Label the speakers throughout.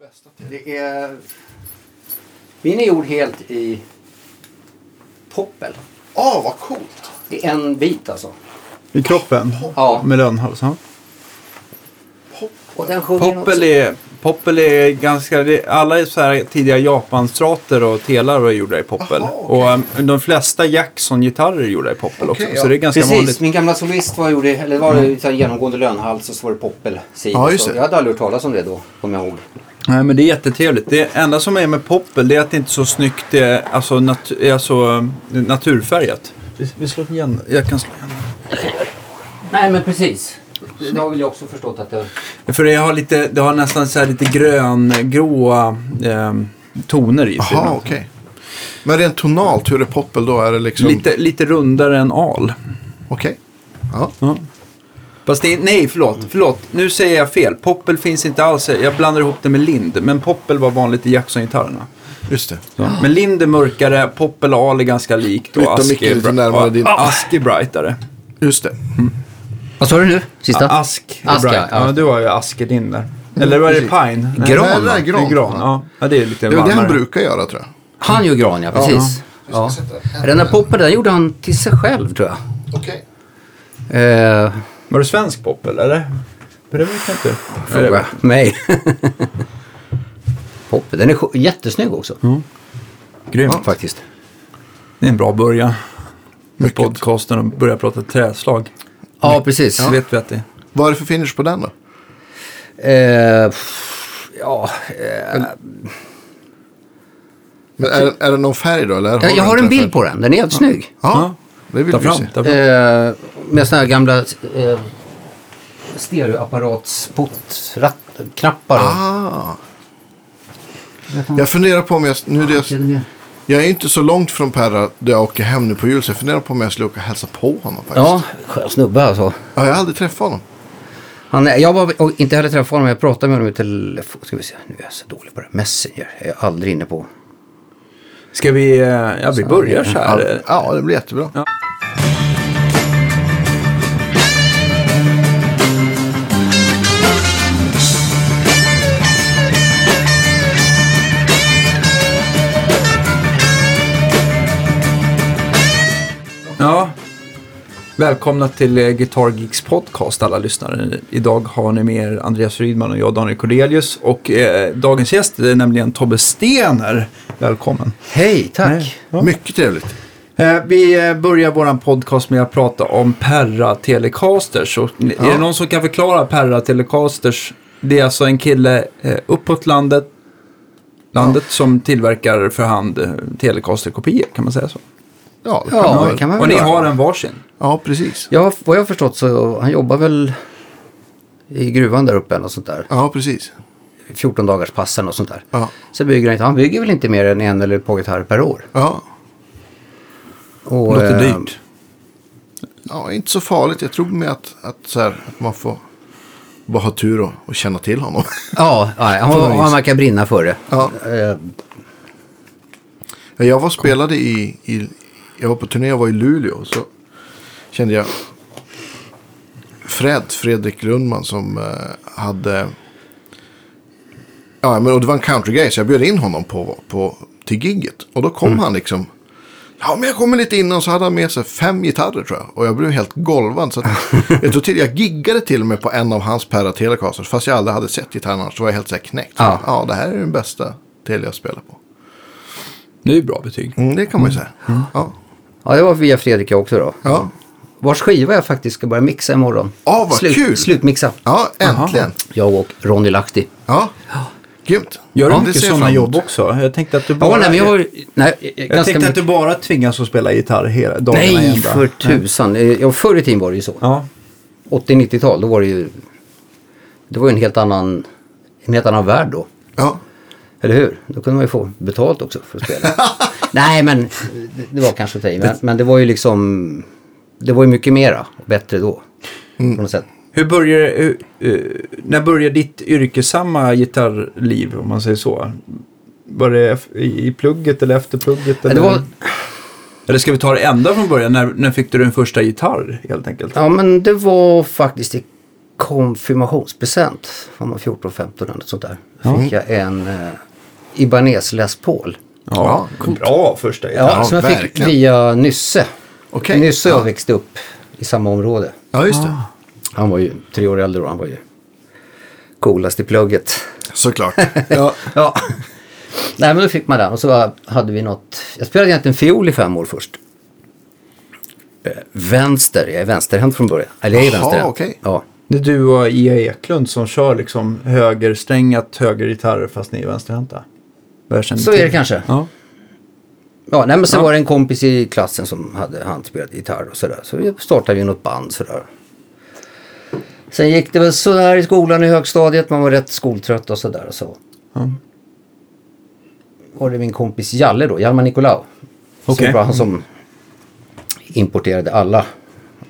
Speaker 1: Bästa
Speaker 2: Det är... Min är gjord helt i poppel.
Speaker 1: Åh, Ah, vad coolt!
Speaker 2: I en bit alltså.
Speaker 3: I kroppen?
Speaker 2: Ja.
Speaker 3: Med lönnhals? ja.
Speaker 2: Och den sjunger något
Speaker 4: Poppel
Speaker 2: så-
Speaker 4: är, poppel är ganska... det- Alla är så här tidiga japanstrater och telar var gjorda i poppel.
Speaker 1: Aha, okej.
Speaker 4: Och um, de flesta Jackson-gitarrer är gjorda i
Speaker 1: Okej,
Speaker 4: poppel också.
Speaker 1: ja.
Speaker 4: Så det är ganska
Speaker 2: Precis,
Speaker 4: vanligt.
Speaker 2: min gamla solist var, gjorde, eller var det så här genomgående lönhals och så var det poppel.
Speaker 1: Ja, just det.
Speaker 2: Jag hade aldrig hört talas om det då, kommer jag ihåg.
Speaker 4: Nej, men det är jättetrevligt. Det enda som är med poppel det är att det inte är så snyggt, det är alltså, nat är alltså um, naturfärgat. Vi, vi slår igen. Jag kan slå igen.
Speaker 2: Nej, men precis. Det har väl jag också förstått att det...
Speaker 4: För det har, lite, det har nästan så här lite gröngråa ehm, toner i sig.
Speaker 1: Jaha, okej. Men rent tonalt, hur är poppel då? Är det liksom...
Speaker 4: lite, lite rundare än al.
Speaker 1: Okej. Ja.
Speaker 4: Fast det, nej, förlåt, förlåt. Nu säger jag fel. Poppel finns inte alls. Jag blandar ihop det med lind. Men poppel var vanligt i Jackson-gitarrerna.
Speaker 1: Just det.
Speaker 4: Så. Men lind är mörkare, poppel och al är ganska likt.
Speaker 1: Flytta
Speaker 4: Och ask
Speaker 1: micken
Speaker 4: är,
Speaker 1: lite
Speaker 4: bra-
Speaker 1: närmare
Speaker 4: och
Speaker 1: din-
Speaker 4: ask är brightare.
Speaker 1: Just det.
Speaker 2: Vad sa du nu? Sista?
Speaker 4: Ask är
Speaker 2: Ask, ja,
Speaker 4: bright.
Speaker 2: ja.
Speaker 4: Ja, du har ju ask i din där. Eller var det
Speaker 1: precis.
Speaker 4: pine? Nej,
Speaker 2: Gran,
Speaker 4: det
Speaker 1: va?
Speaker 4: är gran. Det är gran. Ja. ja, det är lite
Speaker 1: Det är det han
Speaker 4: varmare.
Speaker 1: brukar göra tror jag.
Speaker 2: Han gör gran, ja. Precis. Ja. Den där poppen, den gjorde han till sig själv, tror jag.
Speaker 1: Okej.
Speaker 2: Eh,
Speaker 4: Var det svensk poppel, eller? Det vet jag inte.
Speaker 2: fråga mig. poppen, den är sj- jättesnygg också.
Speaker 4: Grymt.
Speaker 2: Ja, faktiskt.
Speaker 4: Det är en bra början. Med
Speaker 1: Mycket.
Speaker 4: podcasten och börja prata träslag.
Speaker 2: Ja, precis.
Speaker 4: Så vet vi att det
Speaker 1: Vad är det för finish på den då?
Speaker 2: Eh, pff, ja, eh,
Speaker 1: Men är, är det någon färg då? Eller
Speaker 2: jag, jag har
Speaker 1: inte
Speaker 2: en
Speaker 1: färg?
Speaker 2: bild på den. Den är helt snygg.
Speaker 1: Ja, det vill
Speaker 4: Ta
Speaker 1: vi
Speaker 4: fram,
Speaker 1: se.
Speaker 4: ta fram.
Speaker 2: Eh, med sådana här gamla eh, stereoapparatsknappar.
Speaker 1: Ah. Jag funderar på om jag... Nu är det jag, jag är inte så långt från Perra där jag åker hem nu på jul. Så jag funderar på om jag skulle åka och hälsa på honom faktiskt.
Speaker 2: Ja, skön snubbe alltså.
Speaker 1: Ja, jag har aldrig träffat honom.
Speaker 2: Han, är- jag var och inte heller träffat honom, jag pratade med honom i telefon. Ska vi se, nu är jag så dålig på det. Messenger är jag aldrig inne på.
Speaker 4: Ska vi, eh, ja vi börjar så här.
Speaker 1: Ja, det blir jättebra.
Speaker 4: Ja. Ja. Välkomna till eh, Guitar Geeks podcast alla lyssnare. Idag har ni med er Andreas Rydman och jag Daniel Cordelius. Och eh, dagens gäst är nämligen Tobbe Stener. Välkommen.
Speaker 2: Hej, tack.
Speaker 1: Mycket trevligt.
Speaker 4: Eh, Vi eh, börjar våran podcast med att prata om Perra Telecasters. Och ni- Är det någon som kan förklara Perra Telecasters? Det är alltså en kille eh, uppåt landet, landet som tillverkar för hand eh, Telecaster-kopior, kan man säga så?
Speaker 1: Ja, det
Speaker 2: Ja,
Speaker 1: man
Speaker 2: det kan man
Speaker 4: Och
Speaker 2: väl
Speaker 4: ni
Speaker 2: göra.
Speaker 4: har en varsin?
Speaker 1: Ja, precis.
Speaker 2: Ja, vad jag har förstått så han jobbar väl i gruvan där uppe eller något sånt där.
Speaker 1: Ja, precis.
Speaker 2: 14 dagars passen och sånt där.
Speaker 1: Ja.
Speaker 2: Så bygger han inte, han bygger väl inte mer än en eller ett par gitarrer per år.
Speaker 1: Ja.
Speaker 2: Och,
Speaker 4: Låter
Speaker 2: eh,
Speaker 4: dyrt.
Speaker 1: ja, inte så farligt. Jag tror med att, att, så här, att man får bara ha tur och, och känna till honom.
Speaker 2: Ja, nej, han,
Speaker 1: något vis.
Speaker 2: han verkar brinna för det.
Speaker 1: Ja.
Speaker 2: Eh,
Speaker 1: Jag var och spelade i, i... Jag var på turné och var i Luleå. Så kände jag Fred, Fredrik Lundman, som eh, hade... Ja, men och det var en countrygrej, så jag bjöd in honom på, på, till gigget. Och då kom han liksom... Ja, men jag kommer lite innan så hade han med sig fem gitarrer tror jag. Och jag blev helt golvad. Så att, jag, tog till, jag giggade till och med på en av hans Perra Telecasters. Fast jag aldrig hade sett gitarren annars. Så var jag helt så här knäckt. Så,
Speaker 2: Ja.
Speaker 1: ja. det här är den bästa Telia jag spelar på.
Speaker 4: Det är ju bra betyg.
Speaker 1: Mm, det kan man ju säga. Ja.
Speaker 2: ja, det var via Fredrik jag också då.
Speaker 1: Ja.
Speaker 2: Vars skiva jag faktiskt ska börja mixa imorgon.
Speaker 1: Ja, vad
Speaker 2: Slut,
Speaker 1: kul!
Speaker 2: Slutmixa.
Speaker 1: ja, äntligen.
Speaker 2: Jag och Ronny Lahti.
Speaker 1: Ja. Grymt.
Speaker 4: Gör
Speaker 1: ja,
Speaker 4: du mycket
Speaker 1: ser jag
Speaker 4: sådana
Speaker 1: fram emot.
Speaker 4: jobb också? Jag tänkte att du bara,
Speaker 2: Ja, nej, men jag var nej,
Speaker 4: jag
Speaker 2: ganska
Speaker 4: tänkte att du
Speaker 2: mycket.
Speaker 4: bara tvingas att spela gitarr hela dagarna i
Speaker 2: Nej,
Speaker 4: ända.
Speaker 2: för tusan. Eh, Ja, förr i tiden var det ju så.
Speaker 4: Ja.
Speaker 2: 80-90-tal, då var det ju... Det var ju en helt annan, en helt annan värld då.
Speaker 1: Ja.
Speaker 2: Eller hur? Då kunde man ju få betalt också för att spela. Nej, men det- det var kanske att ta i. Men, men det var ju liksom... Det var ju mycket mera och bättre då.
Speaker 1: Mm.
Speaker 2: På något sätt.
Speaker 4: Hur börjar, hur, eh, när börjar ditt yrkesamma gitarrliv om man säger så? Var det eff- i i plugget eller efter plugget?
Speaker 2: Det
Speaker 4: Eller,
Speaker 2: var,
Speaker 4: eller ska vi ta det ända från början? När, när fick du din första gitarr helt enkelt?
Speaker 2: ja, men det var faktiskt i konfirmationspresent, om man var 14, 15 eller något sånt där, fick jag en eh, Ibanez Les Paul.
Speaker 1: Ja,
Speaker 4: Bra första
Speaker 2: Ja,
Speaker 1: Ja,
Speaker 2: som jag fick
Speaker 1: verkligen.
Speaker 2: via Nysse.
Speaker 1: Okej.
Speaker 2: Nysse
Speaker 1: Ja.
Speaker 2: jag växte upp i samma område.
Speaker 1: ja just det.
Speaker 2: Han var ju tre år äldre och han var ju coolast i plugget.
Speaker 1: Såklart.
Speaker 4: Ja.
Speaker 2: Ja. Nej men då fick man den och så hade vi något. Jag spelade egentligen fiol i fem år först. Eh, Vänster, jag är vänsterhänt från början. Eller jag är
Speaker 1: Jaha,
Speaker 2: vänsterhänt.
Speaker 1: okej.
Speaker 2: Ja.
Speaker 4: Det är du och Ia Eklund som kör liksom högersträngat högergitarrer fast ni är vänsterhänta. Vad jag känner
Speaker 2: Så
Speaker 4: till.
Speaker 2: är det kanske.
Speaker 4: Ja.
Speaker 2: Ja, nej, men sen var det en kompis i klassen som hade han spelat gitarr och sådär. Så vi startade vi något band sådär. Sen gick det väl sådär i skolan i högstadiet. Man var rätt skoltrött och sådär. Och så
Speaker 4: Ja.
Speaker 2: var det min kompis Jalle då, Hjalmar Nicolau.
Speaker 4: Okej.
Speaker 2: Som var han
Speaker 1: Mm.
Speaker 2: som importerade alla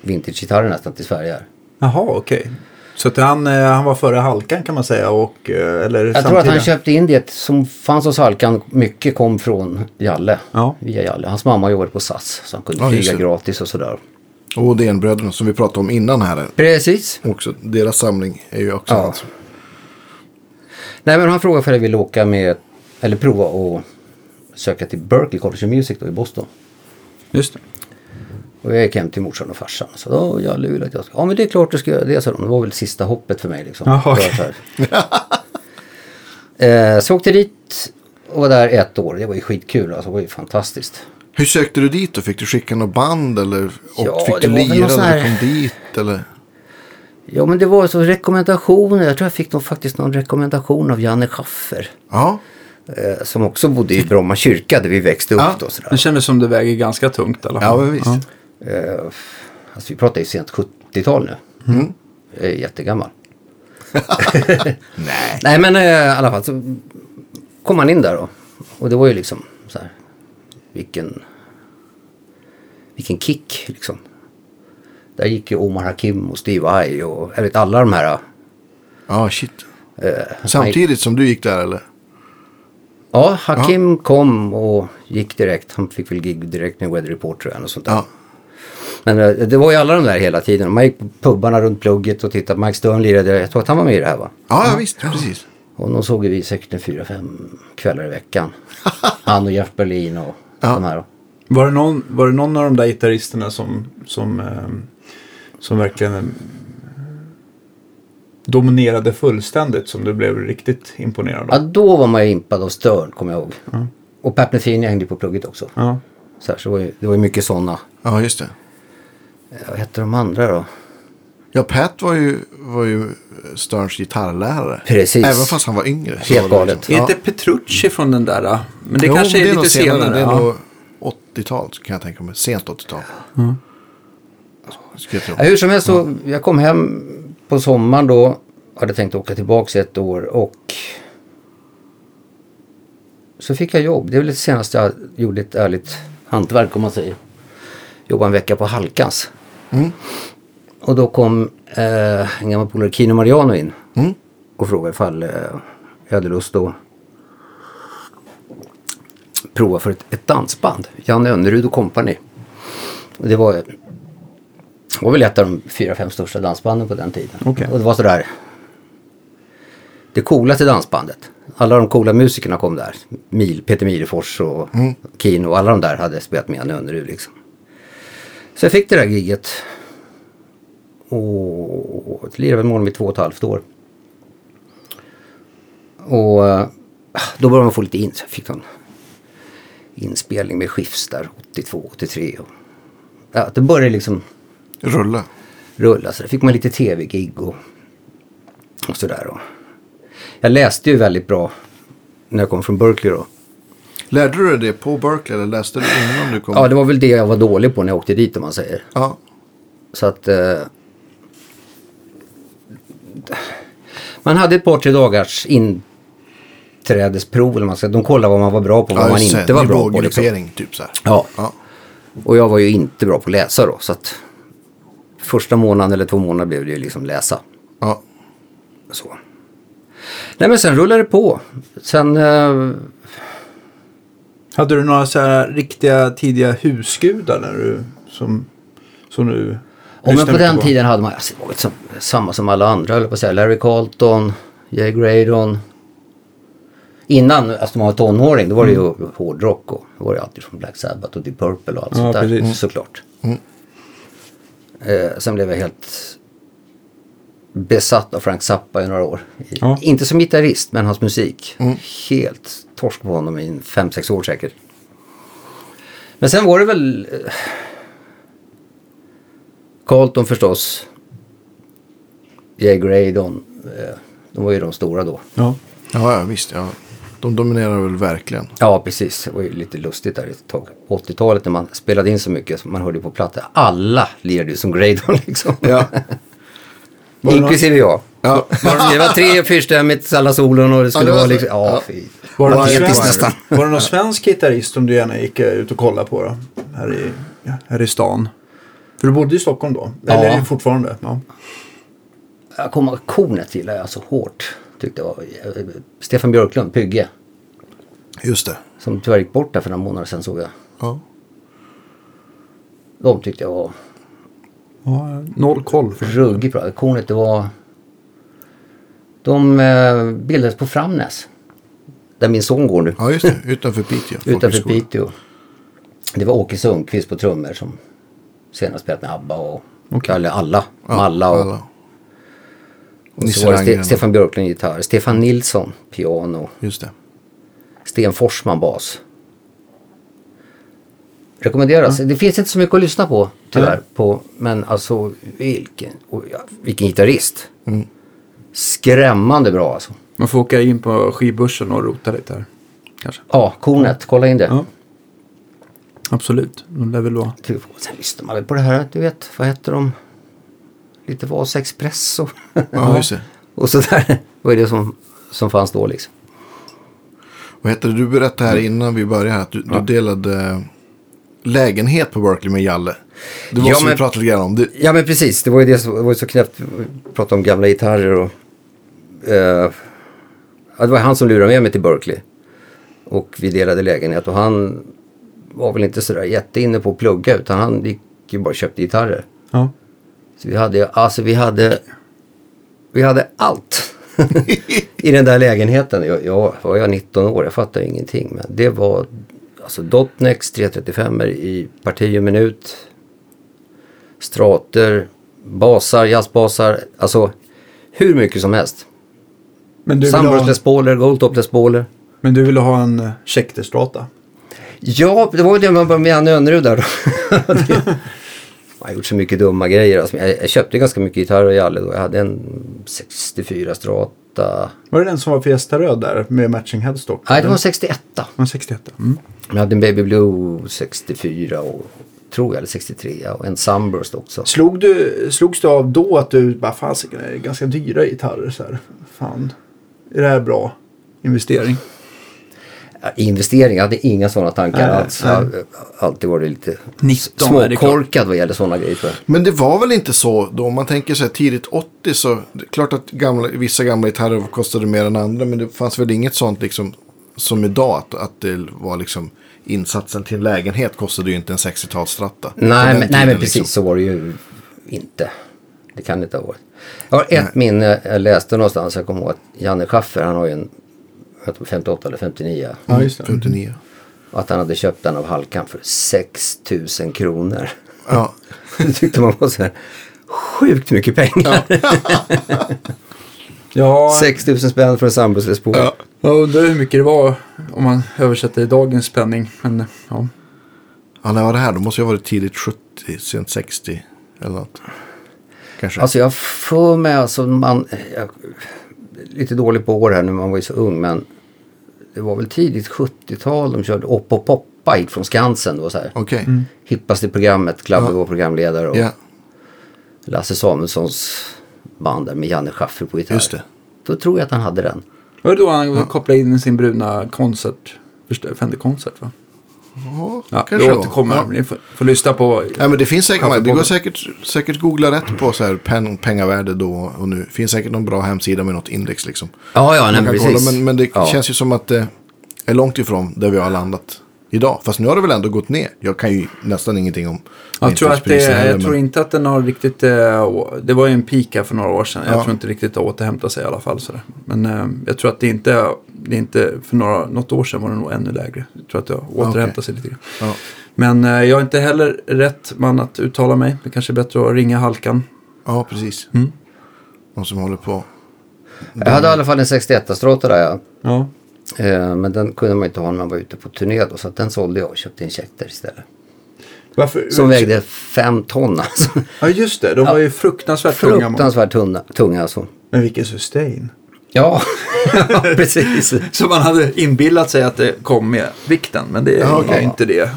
Speaker 2: vintagegitarrer nästan till Sverige. Här.
Speaker 4: Jaha, okej. Så att han, eh, han var före halkan kan man säga och eh, eller
Speaker 2: Jag tror att han köpte in det som fanns hos Halkan. Mycket kom från Jalle.
Speaker 4: Ja.
Speaker 2: Via Jalle. Hans mamma jobbade på SAS så han kunde
Speaker 1: Ja, just
Speaker 2: flyga
Speaker 1: det.
Speaker 2: gratis och sådär.
Speaker 1: Och Odénbröderna som vi pratade om innan här.
Speaker 2: Precis.
Speaker 1: Också, deras samling är ju också
Speaker 2: Ja.
Speaker 1: hans.
Speaker 2: Nej men han frågade för jag ville åka med, eller prova och söka till Berkeley College of Music då i Boston.
Speaker 4: Just det.
Speaker 2: Och jag gick hem till morsan och farsan och sa, "Åh, jag vill att jag ska, ja men det är klart du ska göra det, sa de. Det var väl sista hoppet för mig liksom.
Speaker 4: Jaha,
Speaker 2: Det var
Speaker 4: okej.
Speaker 2: så här. eh, så åkte dit och var där ett år, det var ju skitkul alltså, det var ju fantastiskt.
Speaker 1: Hur sökte du dit då? Fick du skicka något band eller? Och
Speaker 2: Ja,
Speaker 1: fick
Speaker 2: det
Speaker 1: du
Speaker 2: var väl
Speaker 1: lira
Speaker 2: någon sån
Speaker 1: när du
Speaker 2: här-
Speaker 1: kom dit? Eller?
Speaker 2: Ja men det var så rekommendationer, jag tror jag fick någon, faktiskt någon rekommendation av Janne Schaffer.
Speaker 1: Ja,
Speaker 2: Eh, som också bodde i Bromma kyrka där vi växte upp
Speaker 1: Ja,
Speaker 2: då. Sådär.
Speaker 4: Det kändes som det väger ganska tungt i alla
Speaker 1: ja
Speaker 4: fall.
Speaker 1: men visst.
Speaker 2: Eh, alltså vi pratar ju sent 70-tal nu. Jag är jättegammal. Nej. Nej men eh, i alla fall så kom man in där då. Och det var ju liksom så här. Vilken, vilken kick liksom. Där gick ju Omar Hakim och Steve Vai och jag vet alla de här.
Speaker 1: Ja, shit.
Speaker 2: eh,
Speaker 1: Samtidigt som du gick där eller?
Speaker 2: Ja, Hakim kom och gick direkt. Han fick väl gig direkt med Weather Report tror jag. Och sånt där.
Speaker 1: Ja.
Speaker 2: Men eh, det var ju alla de där hela tiden. Man gick på pubbarna runt plugget och tittade. Mike Stern lirade. Jag tror att han var med i det här va?
Speaker 1: Ja, ja visst. Precis.
Speaker 2: Och de såg ju vi säkert en fyra, fem kvällar i veckan. Han och Jeff Berlin och de här.
Speaker 4: Var, det någon, var det någon av de där gitarristerna som, som, ehm, som verkligen ehm, dominerade fullständigt som du blev riktigt imponerad
Speaker 2: Ja,
Speaker 4: av?
Speaker 2: då var man ju impad av Stern kommer jag ihåg. Och Pat Metheny hängde ju på plugget också.
Speaker 4: Ja.
Speaker 2: Så, här, så det, var ju, det var ju mycket sådana.
Speaker 1: Ja, just det.
Speaker 2: Eh, Vad hette de andra då?
Speaker 1: Ja, Pat var ju, var ju Sterns gitarrlärare.
Speaker 2: Precis.
Speaker 1: Även fast han var yngre. så
Speaker 2: Helt
Speaker 1: var det
Speaker 2: galet.
Speaker 1: liksom-
Speaker 4: Är inte Petrucci från den där? då? Men det
Speaker 1: Jo,
Speaker 4: kanske är,
Speaker 1: nog
Speaker 4: lite senare.
Speaker 1: Det är
Speaker 4: ja.
Speaker 1: nog 80-tal kan jag tänka mig. Sent 80-tal.
Speaker 2: Mm.
Speaker 1: Ska jag tro.
Speaker 2: Ja, hur som helst så, jag kom hem på sommaren då. Hade tänkt åka tillbaks ett år och så fick jag jobb. Det är väl det senaste jag gjorde ett ärligt hantverk om man säger. Jobbade en vecka på Halkans. Och då kom eh, en gammal polare, Kino Mariano in och frågade ifall eh, jag hade lust att prova för ett, ett dansband. Janne Önnerud och kompani. Och Det var det var väl ett av de fyra, fem största dansbanden på den tiden.
Speaker 4: Okej.
Speaker 2: Och det var sådär. Det coolaste dansbandet. Alla de coola musikerna kom där. Mil, Peter Milefors och Kino och alla de där hade spelat med Janne Önnerud liksom. Så jag fick det där gigget. Och det lirade väl med honom i två och ett halvt år. Och eh, då började man få lite in, så jag fick någon inspelning med skifts där 82, 83. Och, ja, det började liksom
Speaker 1: Rulla.
Speaker 2: rulla. Så där fick man lite tv-gig och, och sådär. Och. Jag läste ju väldigt bra när jag kom från Berkeley då.
Speaker 1: Lärde du dig det på Berkeley eller läste du innan du kom?
Speaker 2: Ja, det var väl det jag var dålig på när jag åkte dit om man säger.
Speaker 1: ja.
Speaker 2: Så att... Eh, man hade ett par, tre dagars inträdesprov. Eller vad man ska, de kollade vad man var bra på och vad
Speaker 1: Ja,
Speaker 2: man
Speaker 1: just det.
Speaker 2: inte var bra på. Liksom.
Speaker 1: Nivågruppering, typ så här.
Speaker 2: Ja.
Speaker 1: Ja.
Speaker 2: Och jag var ju inte bra på att läsa då. Så att första månaden eller två månader blev det ju liksom läsa.
Speaker 1: ja.
Speaker 2: Så. Nej men sen rullade det på. Sen... Eh,
Speaker 4: Hade du några så här riktiga tidiga husgudar när du, som, som du
Speaker 2: Och men
Speaker 3: Lyssnar
Speaker 2: på den
Speaker 3: mycket på.
Speaker 2: tiden hade man, alltså, det var ju som, samma som alla andra höll jag på att säga, Larry Carlton, Jay Gradon. Innan, alltså man var tonåring, då var det ju hårdrock och då var det alltid från Black Sabbath och Deep Purple och allt
Speaker 4: Mm.
Speaker 2: sånt
Speaker 4: Ja,
Speaker 2: där
Speaker 4: precis. Mm.
Speaker 2: såklart. Eh, sen blev jag helt besatt av Frank Zappa i några år. I-
Speaker 4: Ja.
Speaker 2: Inte som gitarrist, men hans musik. Helt torsk på honom i 5-6 år säkert. Men sen var det väl eh, Carlton förstås. Jay Gradon. eh, De var ju de stora då.
Speaker 3: Ja.
Speaker 1: Ja, ja visst. Ja. De dominerar väl verkligen.
Speaker 2: Ja, precis. Det var ju lite lustigt där ett tag. 80-talet när man spelade in så mycket. så Man hörde ju på platta. Alla lirade ju som Gradon liksom. Inklusive jag.
Speaker 1: Ja.
Speaker 2: Var- Det var tre fyrstämmigt, alla solon och det skulle
Speaker 1: Ja, det var
Speaker 2: vara liksom...
Speaker 1: så. Ja.
Speaker 2: Ja, fy.
Speaker 3: Var det, någon
Speaker 2: Patetiskt
Speaker 3: svensk,
Speaker 2: nästan.
Speaker 3: var det någon svensk gitarrist som du gärna gick eh, ut och kollade på då? Här i, ja, här i stan. För du bodde i Stockholm då? Eller
Speaker 2: Ja.
Speaker 3: är det fortfarande? Ja.
Speaker 2: Jag kommer ihåg kornet gillade jag så hårt. Tyckte jag var, eh, Stefan Björklund, Pygge.
Speaker 1: Just det.
Speaker 2: Som tyvärr gick bort där för några månader sedan såg jag.
Speaker 1: Ja.
Speaker 2: De tyckte jag var
Speaker 4: Ja, noll koll.
Speaker 2: ruggigt bra. Kornet det var... De eh, bildades på Framnäs. Där min son går nu.
Speaker 1: ja, just det. Utanför Piteå.
Speaker 2: utanför
Speaker 1: folkhögskola.
Speaker 2: Piteå. Det var Åke Sundqvist på trummor som senare spelat med ABBA och... Eller alla.
Speaker 1: Ja,
Speaker 2: Malla och...
Speaker 1: alla.
Speaker 2: Och
Speaker 1: Nisse Mm.
Speaker 2: så var det
Speaker 1: Landgren.
Speaker 2: Ste- Stefan Björklund gitarr, Stefan Nilsson piano,
Speaker 1: Just det.
Speaker 2: Sten Forsman bas. Rekommenderas. Det finns inte så mycket att lyssna på tyvärr. På, men alltså vilken, och, ja, vilken gitarrist.
Speaker 1: Mm.
Speaker 2: Skrämmande bra alltså.
Speaker 4: Man får åka in på skibörsen och rota lite här. Kanske.
Speaker 2: Ja, kornet, kolla in det.
Speaker 4: Ja. Absolut, de lär väl vara.
Speaker 2: Typ, och sen lyssnar man väl på det här, du vet, vad heter de? Lite Vasa Express och,
Speaker 1: Ja, just det.
Speaker 2: och sådär. Vad är det som, som fanns då liksom?
Speaker 1: Vad heter det? Du berättade här
Speaker 2: Mm.
Speaker 1: innan vi började här att du, du delade lägenhet på Berkeley med Jalle. Det var
Speaker 2: Ja,
Speaker 1: som vi
Speaker 2: men-
Speaker 1: pratade lite grann om. Det,
Speaker 2: Ja men precis, det var ju det som det var ju så knäppt. Vi pratade om gamla gitarrer och... Eh, ja, det var han som lurade med mig till Berkeley. Och vi delade lägenhet och han var väl inte sådär jätteinne på att plugga utan han gick ju bara och köpte gitarrer.
Speaker 4: Ja.
Speaker 2: Så vi hade, alltså vi hade, vi hade allt i den där lägenheten. Jag, jag var jag 19 år, jag fattade ingenting. Men det var alltså Dotnex 335 i parti och minut. Strater, basar, jazzbasar, alltså hur mycket som helst.
Speaker 3: Men, du vill
Speaker 2: Sunburst
Speaker 3: ha,
Speaker 2: Les Pauler, Goldtop Les Pauler.
Speaker 3: men du ville ha en eh, Schecter-strata?
Speaker 2: Ja, det var ju det man började med Anne Önnerud där då. Det- Man har gjort så mycket dumma grejer. Alltså, jag, jag köpte ganska mycket gitarrer i Jalle då. Jag hade en 64 Strata.
Speaker 3: Var det den som var Fiesta-röd där med matching headstock?
Speaker 2: Nej, det var en 61.
Speaker 3: var 61. Mm.
Speaker 2: Jag hade en Baby Blue 64 och tror jag, eller 63 och en Sunburst också.
Speaker 3: Slog du, slogs du av då att du bara fan det är ganska dyra gitarrer så här. Fan, är det här bra investering?
Speaker 1: Mm.
Speaker 2: Ja, Investering, jag hade inga sådana tankar
Speaker 3: Nej,
Speaker 2: alls. Jag har alltid varit lite
Speaker 4: 19 är det klart.
Speaker 2: småkorkad vad gäller sådana grejer tror jag.
Speaker 1: men det var väl inte så då? Om man tänker sig tidigt 80 så. Det är klart att gamla, vissa gamla gitarrer kostade mer än andra. Men det fanns väl inget sånt liksom. Som idag att, att det var liksom. Insatsen till en lägenhet kostade ju inte en 60-talsstratta. På den
Speaker 2: Nej, men, nej
Speaker 1: tiden,
Speaker 2: men precis
Speaker 1: liksom.
Speaker 2: så var det ju inte. Det kan det inte ha varit. Jag har ett minne, jag läste någonstans, jag kommer ihåg att Janne Schaffer, han har ju en jag tror 58 eller 59.
Speaker 3: Ja, just det.
Speaker 1: 59.
Speaker 2: Och att han hade köpt den av Halkan för 6 000 kronor.
Speaker 1: Ja.
Speaker 2: Det tyckte man var så här sjukt mycket pengar.
Speaker 4: Ja,
Speaker 2: 6 000 spänn för en sambuslös
Speaker 1: Ja.
Speaker 4: jag undrar hur mycket det var om man översätter i dagens penning. Men ja,
Speaker 1: Ja, när var det här? Då måste jag ha varit tidigt 70, sent 60 eller något. Kanske.
Speaker 2: Alltså jag har för mig, alltså man, jag, lite dålig på år här nu, man var ju så ung men det var väl tidigt 70-tal de körde Opp och Poppa gick från Skansen. Det var så här,
Speaker 1: Okej.
Speaker 2: hippaste programmet, Clabbe var programledare och
Speaker 1: Ja,
Speaker 2: Lasse Samuelssons band där med Janne Schaffer på gitarr.
Speaker 1: just det.
Speaker 2: Då tror jag att han hade den.
Speaker 4: var det då han kopplade in sin bruna koncert? förstö- Fender-koncert va?
Speaker 1: Ja,
Speaker 4: Ja,
Speaker 1: kanske det
Speaker 4: det
Speaker 1: var.
Speaker 4: återkommer.
Speaker 1: Ja.
Speaker 4: Ni får, får lyssna på.
Speaker 1: Ja, men det finns säkert, det
Speaker 4: Kaffepodden.
Speaker 1: går säkert, säkert googla rätt på så här pen, pengavärde då och nu. finns säkert någon bra hemsida med något index liksom.
Speaker 2: Ja, ja,
Speaker 1: Man kan kolla, men, men det
Speaker 2: ja.
Speaker 1: känns ju som att det är långt ifrån där vi har landat. idag. Fast nu har det väl ändå gått ner. Jag kan ju nästan ingenting om
Speaker 4: Jag tror, att det,
Speaker 1: inköpspriser heller,
Speaker 4: jag tror
Speaker 1: men-
Speaker 4: inte att den har riktigt... eh, å- Det var ju en peak här för några år sedan. Jag
Speaker 1: Ja.
Speaker 4: tror inte riktigt att återhämta sig i alla fall. Sådär. Men eh, jag tror att det inte... Det är inte för några, något år sedan var den nog ännu lägre. Jag tror att
Speaker 3: Ah,
Speaker 4: det har återhämtat sig lite grann.
Speaker 1: Ja.
Speaker 4: Men eh, jag är inte heller rätt man att uttala mig. Det kanske är bättre att ringa Halkan.
Speaker 1: Ja, precis.
Speaker 4: Mm.
Speaker 1: Någon som håller på.
Speaker 2: Jag hade i alla fall en 61 Strata där ja.
Speaker 4: Ja.
Speaker 2: Eh, Men den kunde man ju inte ha när man var ute på turné då. Så att den sålde jag och köpte en Schecter istället.
Speaker 3: Varför?
Speaker 2: Som vägde fem ton alltså.
Speaker 3: Ja just det, de var ju
Speaker 4: Fruktansvärt tunga mål.
Speaker 2: Fruktansvärt tunga, tunga alltså.
Speaker 3: Men vilken sustain.
Speaker 2: Ja, precis.
Speaker 4: Som man hade inbillat sig att det kom med vikten. Men det är
Speaker 1: Ja, okej.
Speaker 4: ju inte det.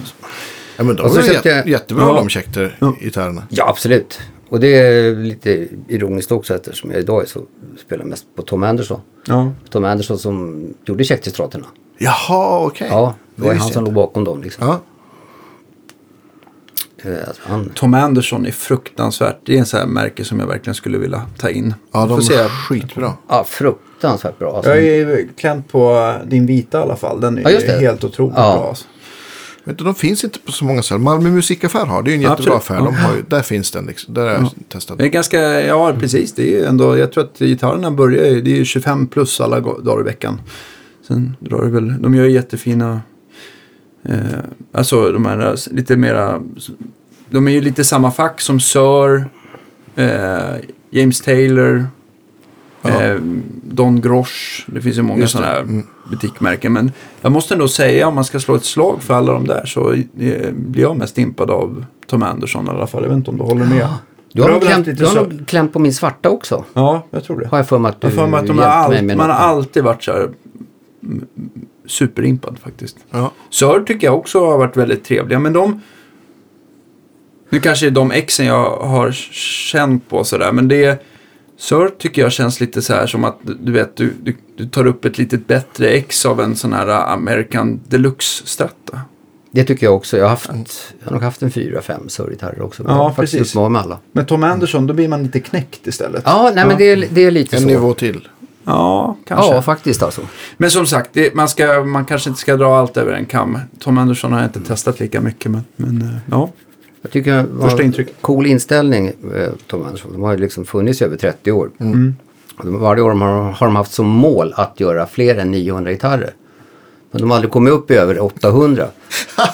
Speaker 1: Ja, men de
Speaker 2: Och så
Speaker 1: är
Speaker 2: köpte
Speaker 1: jä-
Speaker 2: jag-
Speaker 1: jättebra
Speaker 4: Ja.
Speaker 1: de Schecter-gitarrerna.
Speaker 2: Ja, absolut. Och det är lite ironiskt också eftersom jag idag är så, spelar mest på Tom Anderson.
Speaker 4: Ja.
Speaker 2: Tom Anderson som gjorde Schecterstraterna.
Speaker 1: Jaha, okej.
Speaker 2: Ja, det var ju
Speaker 1: visste
Speaker 2: han
Speaker 1: jag
Speaker 2: som låg
Speaker 1: inte.
Speaker 2: bakom dem liksom.
Speaker 1: Ja,
Speaker 2: Eh, Alltså, han,
Speaker 4: Tom Anderson är fruktansvärt. Det är en sån här märke som jag verkligen skulle vilja ta in.
Speaker 1: ja de
Speaker 4: Får se.
Speaker 1: är skitbra.
Speaker 2: ja, fruktansvärt bra alltså.
Speaker 3: Jag är ju klämt på din vita i alla fall. Den är
Speaker 2: Ja,
Speaker 3: ju
Speaker 2: just det.
Speaker 3: helt otroligt
Speaker 2: Ja.
Speaker 3: bra. Alltså.
Speaker 1: Vet du, de finns inte på så många ställen. Malmö musikaffär har, det är ju en jättebra
Speaker 4: Absolut.
Speaker 1: affär. De har ju, där finns den liksom. Där har jag testat.
Speaker 4: Det är ganska, ja precis. Det är ju ändå, jag tror att gitarrerna börjar ju, det är ju 25 plus alla go- dagar i veckan. Sen drar det väl, de gör ju jättefina, eh, alltså de här s- lite mera, de är ju lite samma fack som Sir, eh, James Taylor, eh, Don Grosh. Det finns ju många
Speaker 1: Just det. Mm.
Speaker 4: sådana här butikmärken. Men jag måste ändå säga om man ska slå ett slag för alla de där så eh, blir jag mest impad av Tom Anderson i alla fall. Jag vet inte om du håller med.
Speaker 2: Du har,
Speaker 3: Jag har
Speaker 2: nog
Speaker 3: väl haft
Speaker 2: klämt,
Speaker 3: lite
Speaker 2: du har
Speaker 3: så-
Speaker 2: nog klämt på min svarta också.
Speaker 3: Ja, jag tror det.
Speaker 2: Har jag för mig att du
Speaker 4: Jag har för mig att de har
Speaker 2: hjälpte mig
Speaker 4: all,
Speaker 2: med
Speaker 4: man har
Speaker 2: något.
Speaker 4: alltid varit så här mm, superimpad faktiskt.
Speaker 1: Ja.
Speaker 4: Sör tycker jag också har varit väldigt trevliga, men de... Nu kanske det är de exen jag har känt på sådär, men det... Sör tycker jag känns lite så här som att du vet, du, du, du tar upp ett lite bättre ex av en sån här äh, American Deluxe-stratta.
Speaker 2: Det tycker jag också. Jag har, haft, jag har nog haft en fyra, fem surrgitarrer också. men
Speaker 3: Ja,
Speaker 2: jag har faktiskt
Speaker 3: precis.
Speaker 2: gjort mig av med alla.
Speaker 3: Men Tom Anderson, då blir man lite knäckt istället.
Speaker 2: Ja, nej men det är, det är lite
Speaker 1: En
Speaker 2: så.
Speaker 1: nivå till.
Speaker 4: Ja, kanske.
Speaker 2: Ja, faktiskt alltså.
Speaker 4: Men som sagt, det, man, ska, man kanske inte ska dra allt över en kam. Tom Andersson har jag
Speaker 1: Mm.
Speaker 4: inte testat lika mycket, men, men eh, ja.
Speaker 2: Jag tycker det var
Speaker 4: Första
Speaker 2: en
Speaker 4: intryck.
Speaker 2: cool inställning, eh, Tom Andersson. De har ju liksom funnits i över 30 år.
Speaker 4: Mm.
Speaker 2: Och de- Varje år de har, har de haft som mål att göra fler än 900 gitarrer. Men de har aldrig kommit upp i över 800.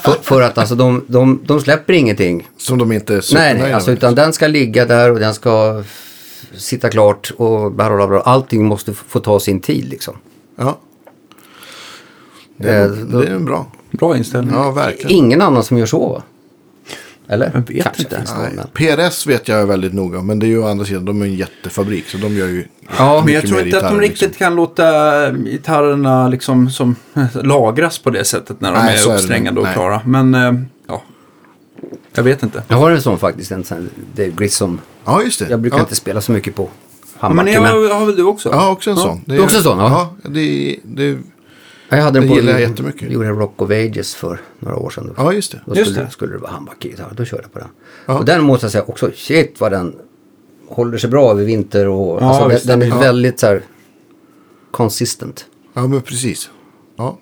Speaker 2: för, för att alltså de, de, de släpper ingenting.
Speaker 1: Som de inte är
Speaker 2: Nej, nej alltså,
Speaker 1: med.
Speaker 2: utan den ska ligga där och den ska f- sitta klart och bla, bla, bla. allting måste f- få ta sin tid liksom.
Speaker 1: Ja. Det är,
Speaker 2: Eh,
Speaker 1: det är en bra.
Speaker 4: Bra inställning.
Speaker 1: Ja, verkligen.
Speaker 2: Ingen annan som gör så va? Eller?
Speaker 4: Jag vet
Speaker 2: Kanske
Speaker 4: inte.
Speaker 2: finns det någon,
Speaker 1: Nej.
Speaker 2: men-
Speaker 1: PRS vet jag är väldigt noga, men det är ju å andra sidan, de är en jättefabrik, så de gör ju
Speaker 2: Ja,
Speaker 4: Men
Speaker 1: mycket
Speaker 4: jag tror
Speaker 1: mer
Speaker 4: inte att de
Speaker 1: gitarrer, liksom.
Speaker 4: riktigt kan låta eh, gitarrerna liksom som lagras på det sättet när de
Speaker 1: Nej, så är
Speaker 4: är
Speaker 1: det.
Speaker 4: uppsträngade och
Speaker 1: Nej.
Speaker 4: klara. Men eh, ja, jag vet inte.
Speaker 2: Jag har en sån faktiskt, en sån Dave Grissom.
Speaker 1: Ja, just det.
Speaker 2: Jag brukar
Speaker 1: ja.
Speaker 2: inte spela så mycket på
Speaker 4: Ja, men
Speaker 2: handbacken.
Speaker 4: jag
Speaker 2: men jag,
Speaker 4: har, har väl du också?
Speaker 1: Ja, också en
Speaker 4: Ja.
Speaker 1: sån. Det
Speaker 2: Du också en sån, ja.
Speaker 1: Ja, det, det,
Speaker 2: hade den
Speaker 1: det
Speaker 2: på,
Speaker 1: gillar jag jättemycket.
Speaker 2: gjorde jag Rock of Ages för några år sedan. Då,
Speaker 1: ja, just det.
Speaker 2: då
Speaker 4: just
Speaker 2: skulle,
Speaker 4: det.
Speaker 2: skulle det vara handbackgitarr, då körde jag på den.
Speaker 1: Ja.
Speaker 2: Och den måste jag säga också, shit vad den håller sig bra över vinter och
Speaker 4: Ja,
Speaker 2: alltså, den,
Speaker 4: visst.
Speaker 2: den är
Speaker 1: Ja.
Speaker 2: väldigt så här consistent.
Speaker 1: Ja, men precis. Ja.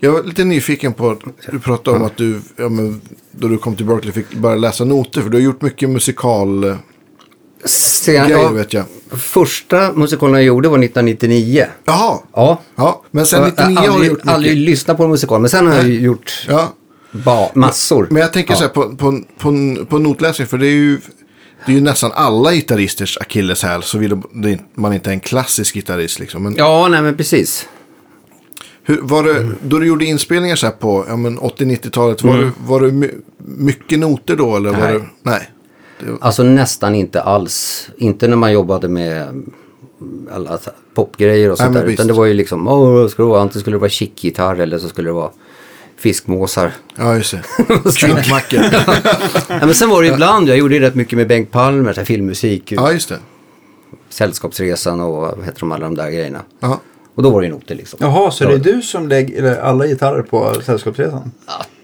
Speaker 1: Jag var lite nyfiken på att du pratade om att du, ja, men, då du kom till Berkeley, fick börja läsa noter. För du har gjort mycket musikal eh,
Speaker 2: Sen,
Speaker 1: grejer,
Speaker 2: ja,
Speaker 1: vet jag.
Speaker 2: första musikalen jag gjorde var 1999.
Speaker 1: Jaha,
Speaker 2: Ja.
Speaker 1: ja, men sen
Speaker 2: Jag
Speaker 1: 99 har du
Speaker 2: aldrig,
Speaker 1: gjort mycket.
Speaker 2: aldrig lyssnat på en musikal, men sen har jag ju gjort
Speaker 1: Ja,
Speaker 2: ba, massor.
Speaker 1: men jag tänker så här på, på, på, på notläsning, för det är ju... Det är ju nästan alla gitarristers akilleshäl, såvida det- man inte är en klassisk gitarrist. Liksom. Men
Speaker 2: Ja, Mm. nej men precis.
Speaker 1: Hur, var det, då du gjorde inspelningar så här på ja, men 80-90-talet, var, det, var det my, mycket noter då? Eller Var
Speaker 2: Mm. Nej.
Speaker 1: det, nej.
Speaker 2: Alltså nästan inte alls. Inte när man jobbade med eh, alla så- popgrejer och
Speaker 1: Nej,
Speaker 2: sånt
Speaker 1: men
Speaker 2: där. Utan
Speaker 1: visst.
Speaker 2: det var ju liksom, åh, skulle det vara, antingen skulle det vara kickgitarr eller så skulle det vara fiskmåsar.
Speaker 1: Ja, just det. Kruttmackor.
Speaker 2: ja, men sen var det ibland, jag gjorde ju rätt mycket med Bengt Palmer, så här filmmusik,
Speaker 1: ja, just det.
Speaker 2: Sällskapsresan och vad heter de alla de där grejerna.
Speaker 1: Ja.
Speaker 2: Och då var det ju noter liksom.
Speaker 3: Jaha, så det är du som lägger eller alla gitarrer på Sällskapsresan?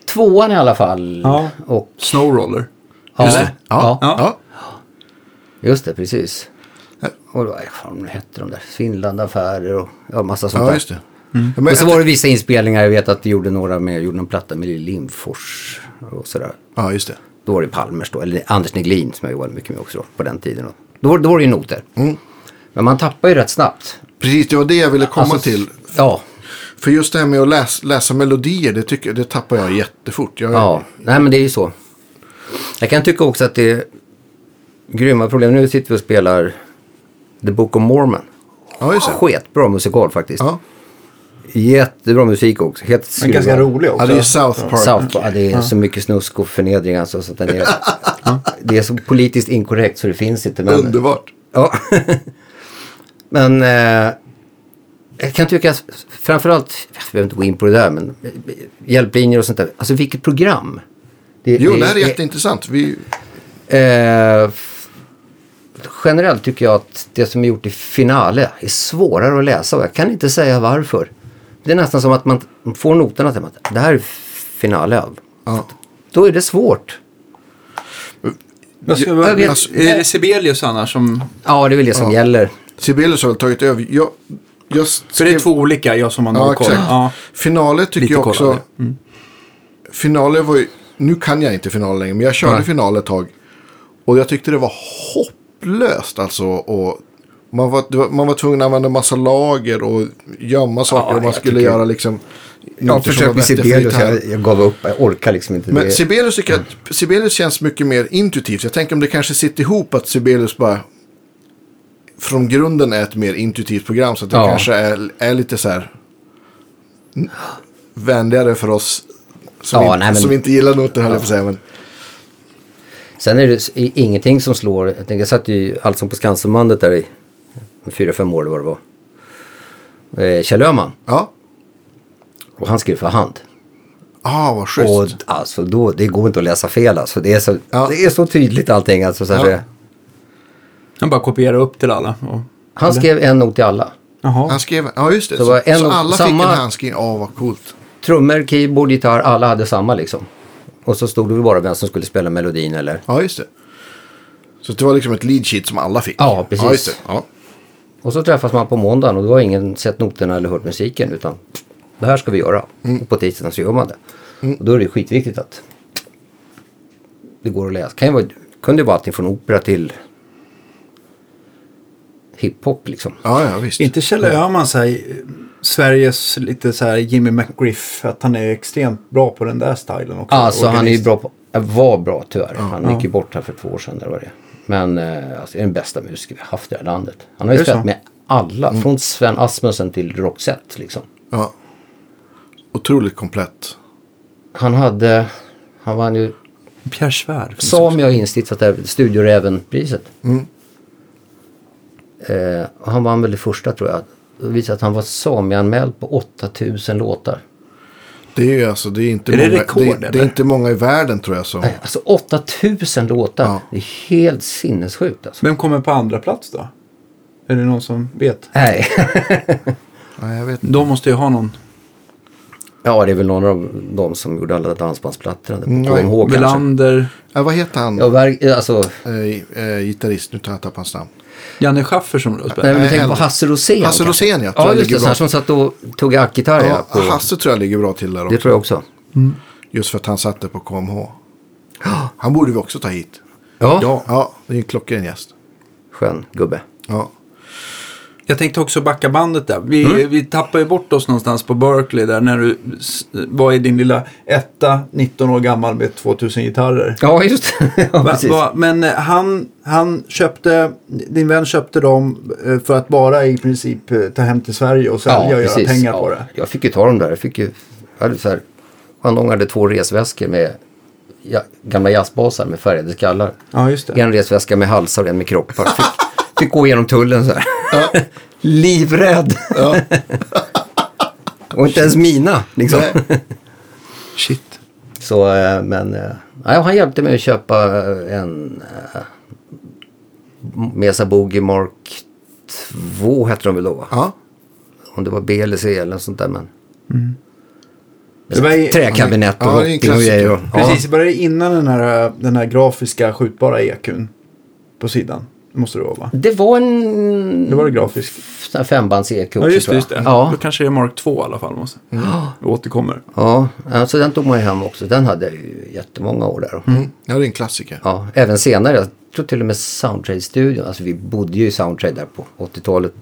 Speaker 2: Tvåan i alla fall.
Speaker 4: Ja.
Speaker 2: Och,
Speaker 4: Snowroller.
Speaker 2: ja,
Speaker 4: Just
Speaker 2: just
Speaker 4: det.
Speaker 2: det.
Speaker 1: Ja,
Speaker 2: Ja.
Speaker 1: ja.
Speaker 2: Just det, precis. Och vad fan hette de där? Svindlande affärer och ja, massa sånt
Speaker 1: ja,
Speaker 2: där.
Speaker 1: just det. Men
Speaker 2: Mm. och så
Speaker 1: jag
Speaker 2: var det vissa inspelningar, jag vet att vi gjorde några med, gjorde en platta med Lill Lindfors och sådär.
Speaker 1: Ja, just det.
Speaker 2: Då var det Palmers då, eller Anders Neglin som jag jobbade mycket med också då, på den tiden. Då, då, var- då var det ju noter.
Speaker 1: Mm.
Speaker 2: Men man tappar ju rätt snabbt.
Speaker 1: Precis, det var det jag ville komma
Speaker 2: Alltså,
Speaker 1: till.
Speaker 2: Ja,
Speaker 1: För just det här med att läsa, läsa melodier, det, tycker, det tappar jag jättefort. Jag,
Speaker 2: ja. Nej men det är ju så. Jag kan tycka också att det är grymma problem. Nu sitter vi och spelar The Book of Mormon.
Speaker 1: ja just det.
Speaker 2: Sketbra musikal faktiskt.
Speaker 1: Ja.
Speaker 2: Jättebra musik också. Helt
Speaker 3: Men
Speaker 2: skruvad.
Speaker 3: ganska rolig också.
Speaker 1: ja, det är ju South Park.
Speaker 2: South, ja, det är så mycket snusk och förnedring alltså, så att den är, det är så politiskt inkorrekt så det finns inte. Men,
Speaker 1: Underbart.
Speaker 2: Ja. men eh, jag kan tycka att framförallt, jag behöver inte gå in på det där, men eh, hjälplinjer och sånt där. Alltså vilket program? Det,
Speaker 1: Jo, det här är jätteintressant. Vi,
Speaker 2: eh, f- Generellt tycker jag att det som är gjort i finale är svårare att läsa och jag kan inte säga varför. Det är nästan som att man får noterna till att det här är finale.
Speaker 1: ja.
Speaker 2: Då är det svårt.
Speaker 4: Jag ska
Speaker 1: Jag
Speaker 4: bara,
Speaker 1: vet-
Speaker 4: alltså, är det Sibelius annars som...
Speaker 2: Ja, det är väl det som gäller.
Speaker 1: Sibelius har väl tagit över. Jag, jag
Speaker 4: För
Speaker 1: skrev,
Speaker 4: det är två olika, jag som har
Speaker 1: Ja,
Speaker 4: noll koll.
Speaker 1: exakt.
Speaker 4: Ja.
Speaker 1: Finaler tycker
Speaker 4: Lite
Speaker 1: jag
Speaker 4: koll
Speaker 1: också.
Speaker 4: hade
Speaker 1: Finaler var ju, nu kan jag inte finaler längre, men jag körde
Speaker 2: Nej.
Speaker 1: finaler ett tag. Och jag tyckte det var hopplöst alltså. Och man, var, det var- man var tvungen att använda massa lager och gömma saker. och man
Speaker 2: jag
Speaker 1: skulle
Speaker 2: tycker-
Speaker 1: göra liksom...
Speaker 2: Jag försökte med Sibelius,
Speaker 1: här.
Speaker 2: jag, jag gav upp, jag orkar liksom inte.
Speaker 1: Men
Speaker 2: det.
Speaker 1: Sibelius, tycker jag, Sibelius känns mycket mer intuitivt. Jag tänker om det kanske sitter ihop att Sibelius bara från grunden är ett mer intuitivt program. Så att det
Speaker 2: Ja.
Speaker 1: kanske är, är lite så här n- vänligare för oss som,
Speaker 2: Ja,
Speaker 1: inte,
Speaker 2: nej, men-
Speaker 1: som inte gillar noter, höll jag på att säga. Men,
Speaker 2: Sen är det s- i- ingenting som slår, jag, tänker, jag satt ju allt som på Skansenbandet där i fyra, fem år eller vad det var. Eh, Kjell Öhman,
Speaker 1: ja,
Speaker 2: och han skrev för hand.
Speaker 1: ah, vad schysst.
Speaker 2: Och alltså då, det går inte att läsa fel alltså. Det är så,
Speaker 1: Ja.
Speaker 2: det är så tydligt allting alltså. Så att
Speaker 1: Ja.
Speaker 2: säga.
Speaker 4: Han bara kopierar upp till alla. Och...
Speaker 2: Han skrev en not till alla.
Speaker 4: Jaha.
Speaker 1: Han skrev, ja just det.
Speaker 2: Så
Speaker 1: Så,
Speaker 2: var en
Speaker 1: så
Speaker 2: och
Speaker 1: alla
Speaker 2: samma-
Speaker 1: fick en handskriven, ja vad coolt.
Speaker 2: Trummor, keyboard, gitarr, alla hade samma liksom. Och så stod det väl bara vem som skulle spela melodin eller.
Speaker 1: Ja just det. Så det var liksom ett lead sheet som alla fick.
Speaker 2: Ja, precis.
Speaker 1: Ja, just det. Ja.
Speaker 2: Och så träffas man på måndagen och då har ingen sett noterna eller hört musiken utan det här ska vi göra.
Speaker 3: Mm.
Speaker 2: Och på tisdagen så gör man det. Och då är det skitviktigt att det går att läsa. Kan ju vara, kunde ju vara allting från opera till hiphop liksom.
Speaker 1: ja, ja visst.
Speaker 3: inte Kjell Öhman så här, eh, Sveriges lite så här Jimmy McGriff. Att han är extremt bra på den där stilen också.
Speaker 2: Alltså han är ju
Speaker 3: Organist.
Speaker 2: bra på, äh, var bra tyvärr. Han gick ju bort här för två år sedan eller vad det är. Men eh, alltså, är den bästa musiker vi har haft i det här landet. Han har
Speaker 3: Är det
Speaker 2: ju
Speaker 3: så?
Speaker 2: spelat
Speaker 3: Mm.
Speaker 2: med alla, från Sven Asmussen till Roxette liksom.
Speaker 1: Ja. Otroligt komplett.
Speaker 2: Han hade, han vann ju
Speaker 4: Pierre Schwer.
Speaker 2: Sami har instiftat det här Studioräven-priset. Eh, och han vann väl det första tror jag. Det visade att han var Sami-anmäld på 8000 låtar.
Speaker 1: Det är ju alltså, det är inte,
Speaker 4: Är det
Speaker 1: många,
Speaker 4: rekord,
Speaker 1: det, det
Speaker 4: eller?
Speaker 1: är inte många i världen tror jag som...
Speaker 2: Nej, Alltså 8000 låtar.
Speaker 1: Ja.
Speaker 2: Det är helt sinnessjukt alltså.
Speaker 3: Vem kommer på andra plats då? Är det någon som vet?
Speaker 2: Nej.
Speaker 1: Nej, jag vet inte.
Speaker 4: De måste ju ha någon.
Speaker 2: ja, det är väl någon av dem som gjorde alla dansbandsplattorna.
Speaker 1: Mm,
Speaker 2: Mm, Kom ihåg kanske.
Speaker 4: Welander,
Speaker 1: Ja, vad heter han?
Speaker 2: Ja, verk, alltså,
Speaker 1: Eh, eh, gitarrist, nu tar jag tappat hans namn.
Speaker 4: Janne Schaffer som du har spelat.
Speaker 2: nej, men
Speaker 1: Nej,
Speaker 2: tänk på
Speaker 1: äldre.
Speaker 2: Eh, Hasse Rosén.
Speaker 1: Hasse
Speaker 2: kanske.
Speaker 1: Rosén, ja, tror
Speaker 2: Ja,
Speaker 1: jag
Speaker 2: just
Speaker 1: ligger
Speaker 2: det. Så här
Speaker 1: bra.
Speaker 2: som satt och tog ackgitarr.
Speaker 1: Ja,
Speaker 2: Ja, på-
Speaker 1: Hasse tror jag ligger bra till där
Speaker 2: det
Speaker 1: också.
Speaker 2: tror jag också.
Speaker 1: Just för att han satte på KMH. Han borde vi också ta hit.
Speaker 2: Ja,
Speaker 1: Ja, ja det är en klockren gäst.
Speaker 2: skön gubbe.
Speaker 1: Ja.
Speaker 4: Jag tänkte också backa bandet där. Vi,
Speaker 2: Mm.
Speaker 4: vi tappar ju bort oss någonstans på Berkeley där när du s- var i din lilla...
Speaker 3: Etta, 19 år gammal med 2000 gitarrer.
Speaker 2: Ja, just det. ja,
Speaker 4: Va-
Speaker 2: precis.
Speaker 4: va-
Speaker 3: Men eh, han, han köpte, din vän köpte dem eh, för att bara i princip eh, ta hem till Sverige och sälja och göra pengar
Speaker 2: ja.
Speaker 3: på det.
Speaker 2: Jag fick ju ta dem där. Jag fick ju, jag hade så här, Shandong hade två resväskor med ja, gamla jazzbasar med färgade skallar.
Speaker 3: Ja, just det.
Speaker 2: En resväska med halsar och en med kroppar. Fick, fick gå igenom tullen så här. Livrädd! och inte ens mina liksom.
Speaker 4: Shit.
Speaker 2: Så, eh, men eh, nej, han hjälpte mig att köpa eh, en eh, Mesa Boogie Mark 2 hette de väl då va?
Speaker 1: ja.
Speaker 2: om det var B eller C eller något sånt där. Men...
Speaker 3: Det var i-
Speaker 2: Träkabinett och
Speaker 1: Ja, det är en
Speaker 2: hopping och grejer. och-
Speaker 3: Precis, det började innan den här, den här grafiska skjutbara EQn E på sidan. Måste det vara va?
Speaker 2: Det var en
Speaker 3: Det var det grafisk.
Speaker 2: sån här fembands-EQ
Speaker 4: Ja,
Speaker 2: också,
Speaker 4: just
Speaker 2: tror jag.
Speaker 4: det. Just det.
Speaker 2: Ja. Mm.
Speaker 4: Då kanske det är Mark 2 i alla fall. Måste. Jag återkommer.
Speaker 2: Ja, alltså den tog man ju hem också. Den hade jag ju jättemånga år där.
Speaker 1: Mm. Ja, det är en klassiker.
Speaker 2: Ja, även senare. Jag tror till och med Soundtrade-studion. Alltså vi bodde ju i Soundtrade där på 80-talet.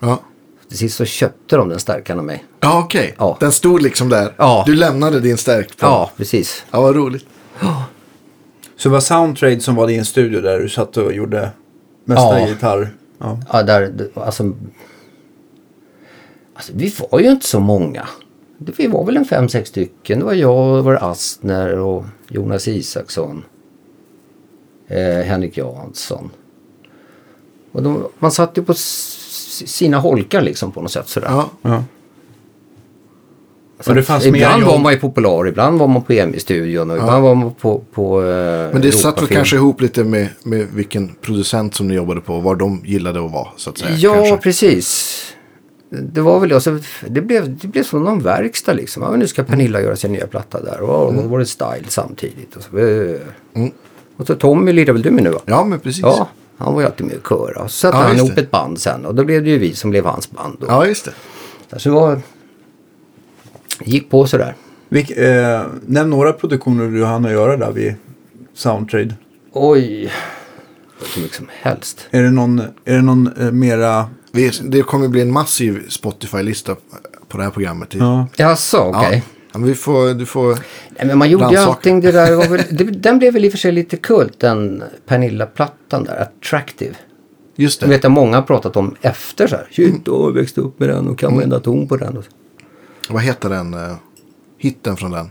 Speaker 1: Ja,
Speaker 2: Till sist så köpte de den starkare av mig.
Speaker 1: ja okej.
Speaker 2: Ja.
Speaker 1: Den stod liksom där.
Speaker 2: Ja.
Speaker 1: Du lämnade din stärkt på.
Speaker 2: Ja, precis.
Speaker 1: ja, vad roligt.
Speaker 3: Så det var Soundtrade som var din studio där du satt och gjorde mesta
Speaker 2: Ja.
Speaker 3: gitarr? Ja.
Speaker 2: Ja, där, alltså, alltså, vi var ju inte så många. Det- Vi var väl en fem, sex stycken. Det var jag, det var Astner och Jonas Isaksson. Eh, Henrik Jansson. Och de, man satt ju på s- sina holkar liksom på något sätt sådär.
Speaker 1: Ja.
Speaker 4: Ja.
Speaker 2: Så
Speaker 3: Och det
Speaker 2: att
Speaker 3: fanns mer
Speaker 2: ibland
Speaker 3: jobb.
Speaker 2: var man ju popular, ibland var man på EMI-studion och ibland var man på, på eh,
Speaker 1: Men det satt väl
Speaker 2: Europafilm.
Speaker 1: kanske ihop lite med, med vilken producent som ni jobbade på. Var de gillade att vara så att säga.
Speaker 2: Ja,
Speaker 1: kanske.
Speaker 2: precis. Det var väl alltså, det blev, det blev som någon verkstad liksom. Ja, men nu ska
Speaker 1: Mm.
Speaker 2: Pernilla göra sin nya platta där. Och då var det style samtidigt. Och så, eh. och så Tommy lirar väl du med nu va?
Speaker 1: Ja, men Mm. precis.
Speaker 2: Ja, han var ju alltid med i kör. Och så satte
Speaker 1: Ja,
Speaker 2: han
Speaker 1: just
Speaker 2: ihop
Speaker 1: det.
Speaker 2: ett band sen. Och då blev det ju vi som blev hans band. Och,
Speaker 1: ja just det.
Speaker 2: Så det var, gick på sådär.
Speaker 3: Vilk, eh, nämn några produktioner du hann att göra där vid Soundtrade.
Speaker 2: Oj, hur mycket som helst.
Speaker 3: Är det någon, är det någon eh, mera...
Speaker 1: Vi, det kommer bli en massiv Spotify-lista på det här programmet.
Speaker 3: Ja.
Speaker 2: Jaså, okej.
Speaker 1: Ja. Ja, men vi får, du får...
Speaker 2: Nej, men man gjorde ju
Speaker 1: Brandsaker.
Speaker 2: allting det där. Var väl, det, den blev väl i och för sig lite kult, den Pernilla-plattan där, Attractive.
Speaker 1: Just
Speaker 2: Jag
Speaker 1: det.
Speaker 2: vet att många har pratat om efter så här. Shit, då har jag växt upp med den och kan varenda ton på den. och så.
Speaker 1: Vad heter den? eh, hitten från den?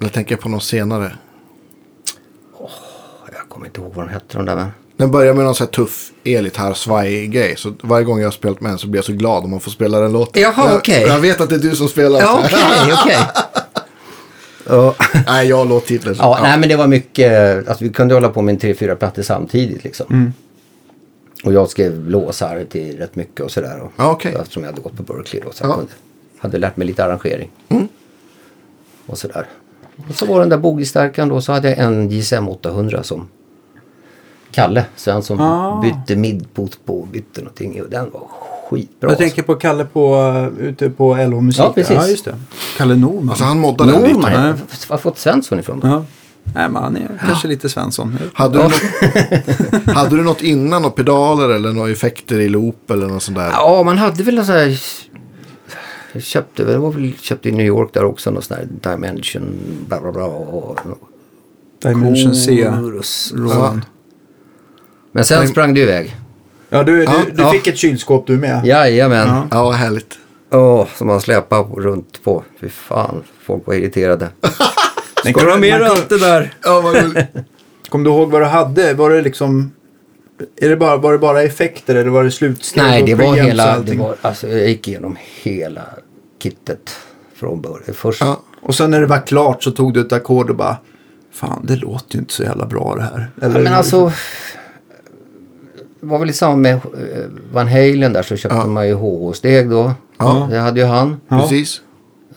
Speaker 1: Eller tänker jag på någon senare?
Speaker 2: Jag kommer inte ihåg vad den hette de där men.
Speaker 1: Den börjar med någon sån här tuff elgitarr, svajig grej. Så varje gång jag har spelat med den så blir jag så glad om man får spela den låten.
Speaker 2: Jaha,
Speaker 1: Jag-
Speaker 2: okej.
Speaker 1: Jag vet att det är du som spelar.
Speaker 2: Ja, okej, okej. Ja,
Speaker 1: Nej, jag har låttitlar.
Speaker 2: ja, nej men det var mycket, alltså vi kunde hålla på med en tre, fyra plattor samtidigt liksom. Och jag skrev låsar till rätt mycket och sådär. och-
Speaker 1: Ja, okej.
Speaker 2: Eftersom jag hade gått på Berkeley då. Så jag
Speaker 1: Ja.
Speaker 2: kunde, hade lärt mig lite arrangering. Och sådär. Och så var den där boogie-stärkan då. Så hade jag en JSM 800 som Kalle Svensson
Speaker 3: Ah.
Speaker 2: bytte midpot på och bytte någonting. Och den var skitbra.
Speaker 3: jag tänker på Kalle på, eh, ute på LH Musik.
Speaker 2: Ja, precis.
Speaker 3: Ja, just det. Kalle Norman.
Speaker 1: Alltså han moddade
Speaker 2: alltså.
Speaker 1: den lite.
Speaker 2: Norman,
Speaker 3: nej.
Speaker 2: var har fått Svensson ifrån då?
Speaker 4: Ja. Nej, men han är kanske lite Svensson.
Speaker 1: Hade du, något, hade du något innan? Några pedaler eller några effekter i loop eller något sånt där?
Speaker 2: Ja, man hade väl en sån här... Jag köpte, det var väl, köpte i New York där också någon sån här Dimension bla bla bla. Och,
Speaker 4: Dimension C.
Speaker 2: Chorus.
Speaker 4: Roland.
Speaker 2: Men sen sprang det iväg.
Speaker 3: Ja, du,
Speaker 1: Ja,
Speaker 3: du, du
Speaker 1: ja.
Speaker 3: fick ett kylskåp du med.
Speaker 2: Jajamän.
Speaker 3: Ja.
Speaker 1: Ja, vad härligt.
Speaker 2: Åh, som man släpade på- runt på. Fy fan, folk var irriterade.
Speaker 3: Men
Speaker 4: Ska du ha
Speaker 3: kom-
Speaker 4: mer
Speaker 3: man kom-
Speaker 4: allt det där?
Speaker 1: Ja, vad roligt.
Speaker 3: Kom du ihåg vad du hade? Var det liksom... Är det bara, var det bara effekter eller var det slutsteg?
Speaker 2: Nej,
Speaker 3: och
Speaker 2: det var
Speaker 3: preamps och
Speaker 2: hela... Det
Speaker 3: allting?
Speaker 2: var, alltså, jag gick igenom hela kittet från början. Först,
Speaker 1: Ja.
Speaker 3: Och sen när det var klart så tog du ett ackord och bara... Fan, det låter ju inte så jävla bra det här.
Speaker 2: Ja, men alltså... Det var väl i samband med eh, Van Halen där så köpte man ju HH-steg då.
Speaker 1: Ja.
Speaker 2: Det hade ju han.
Speaker 3: Ja.
Speaker 1: Precis.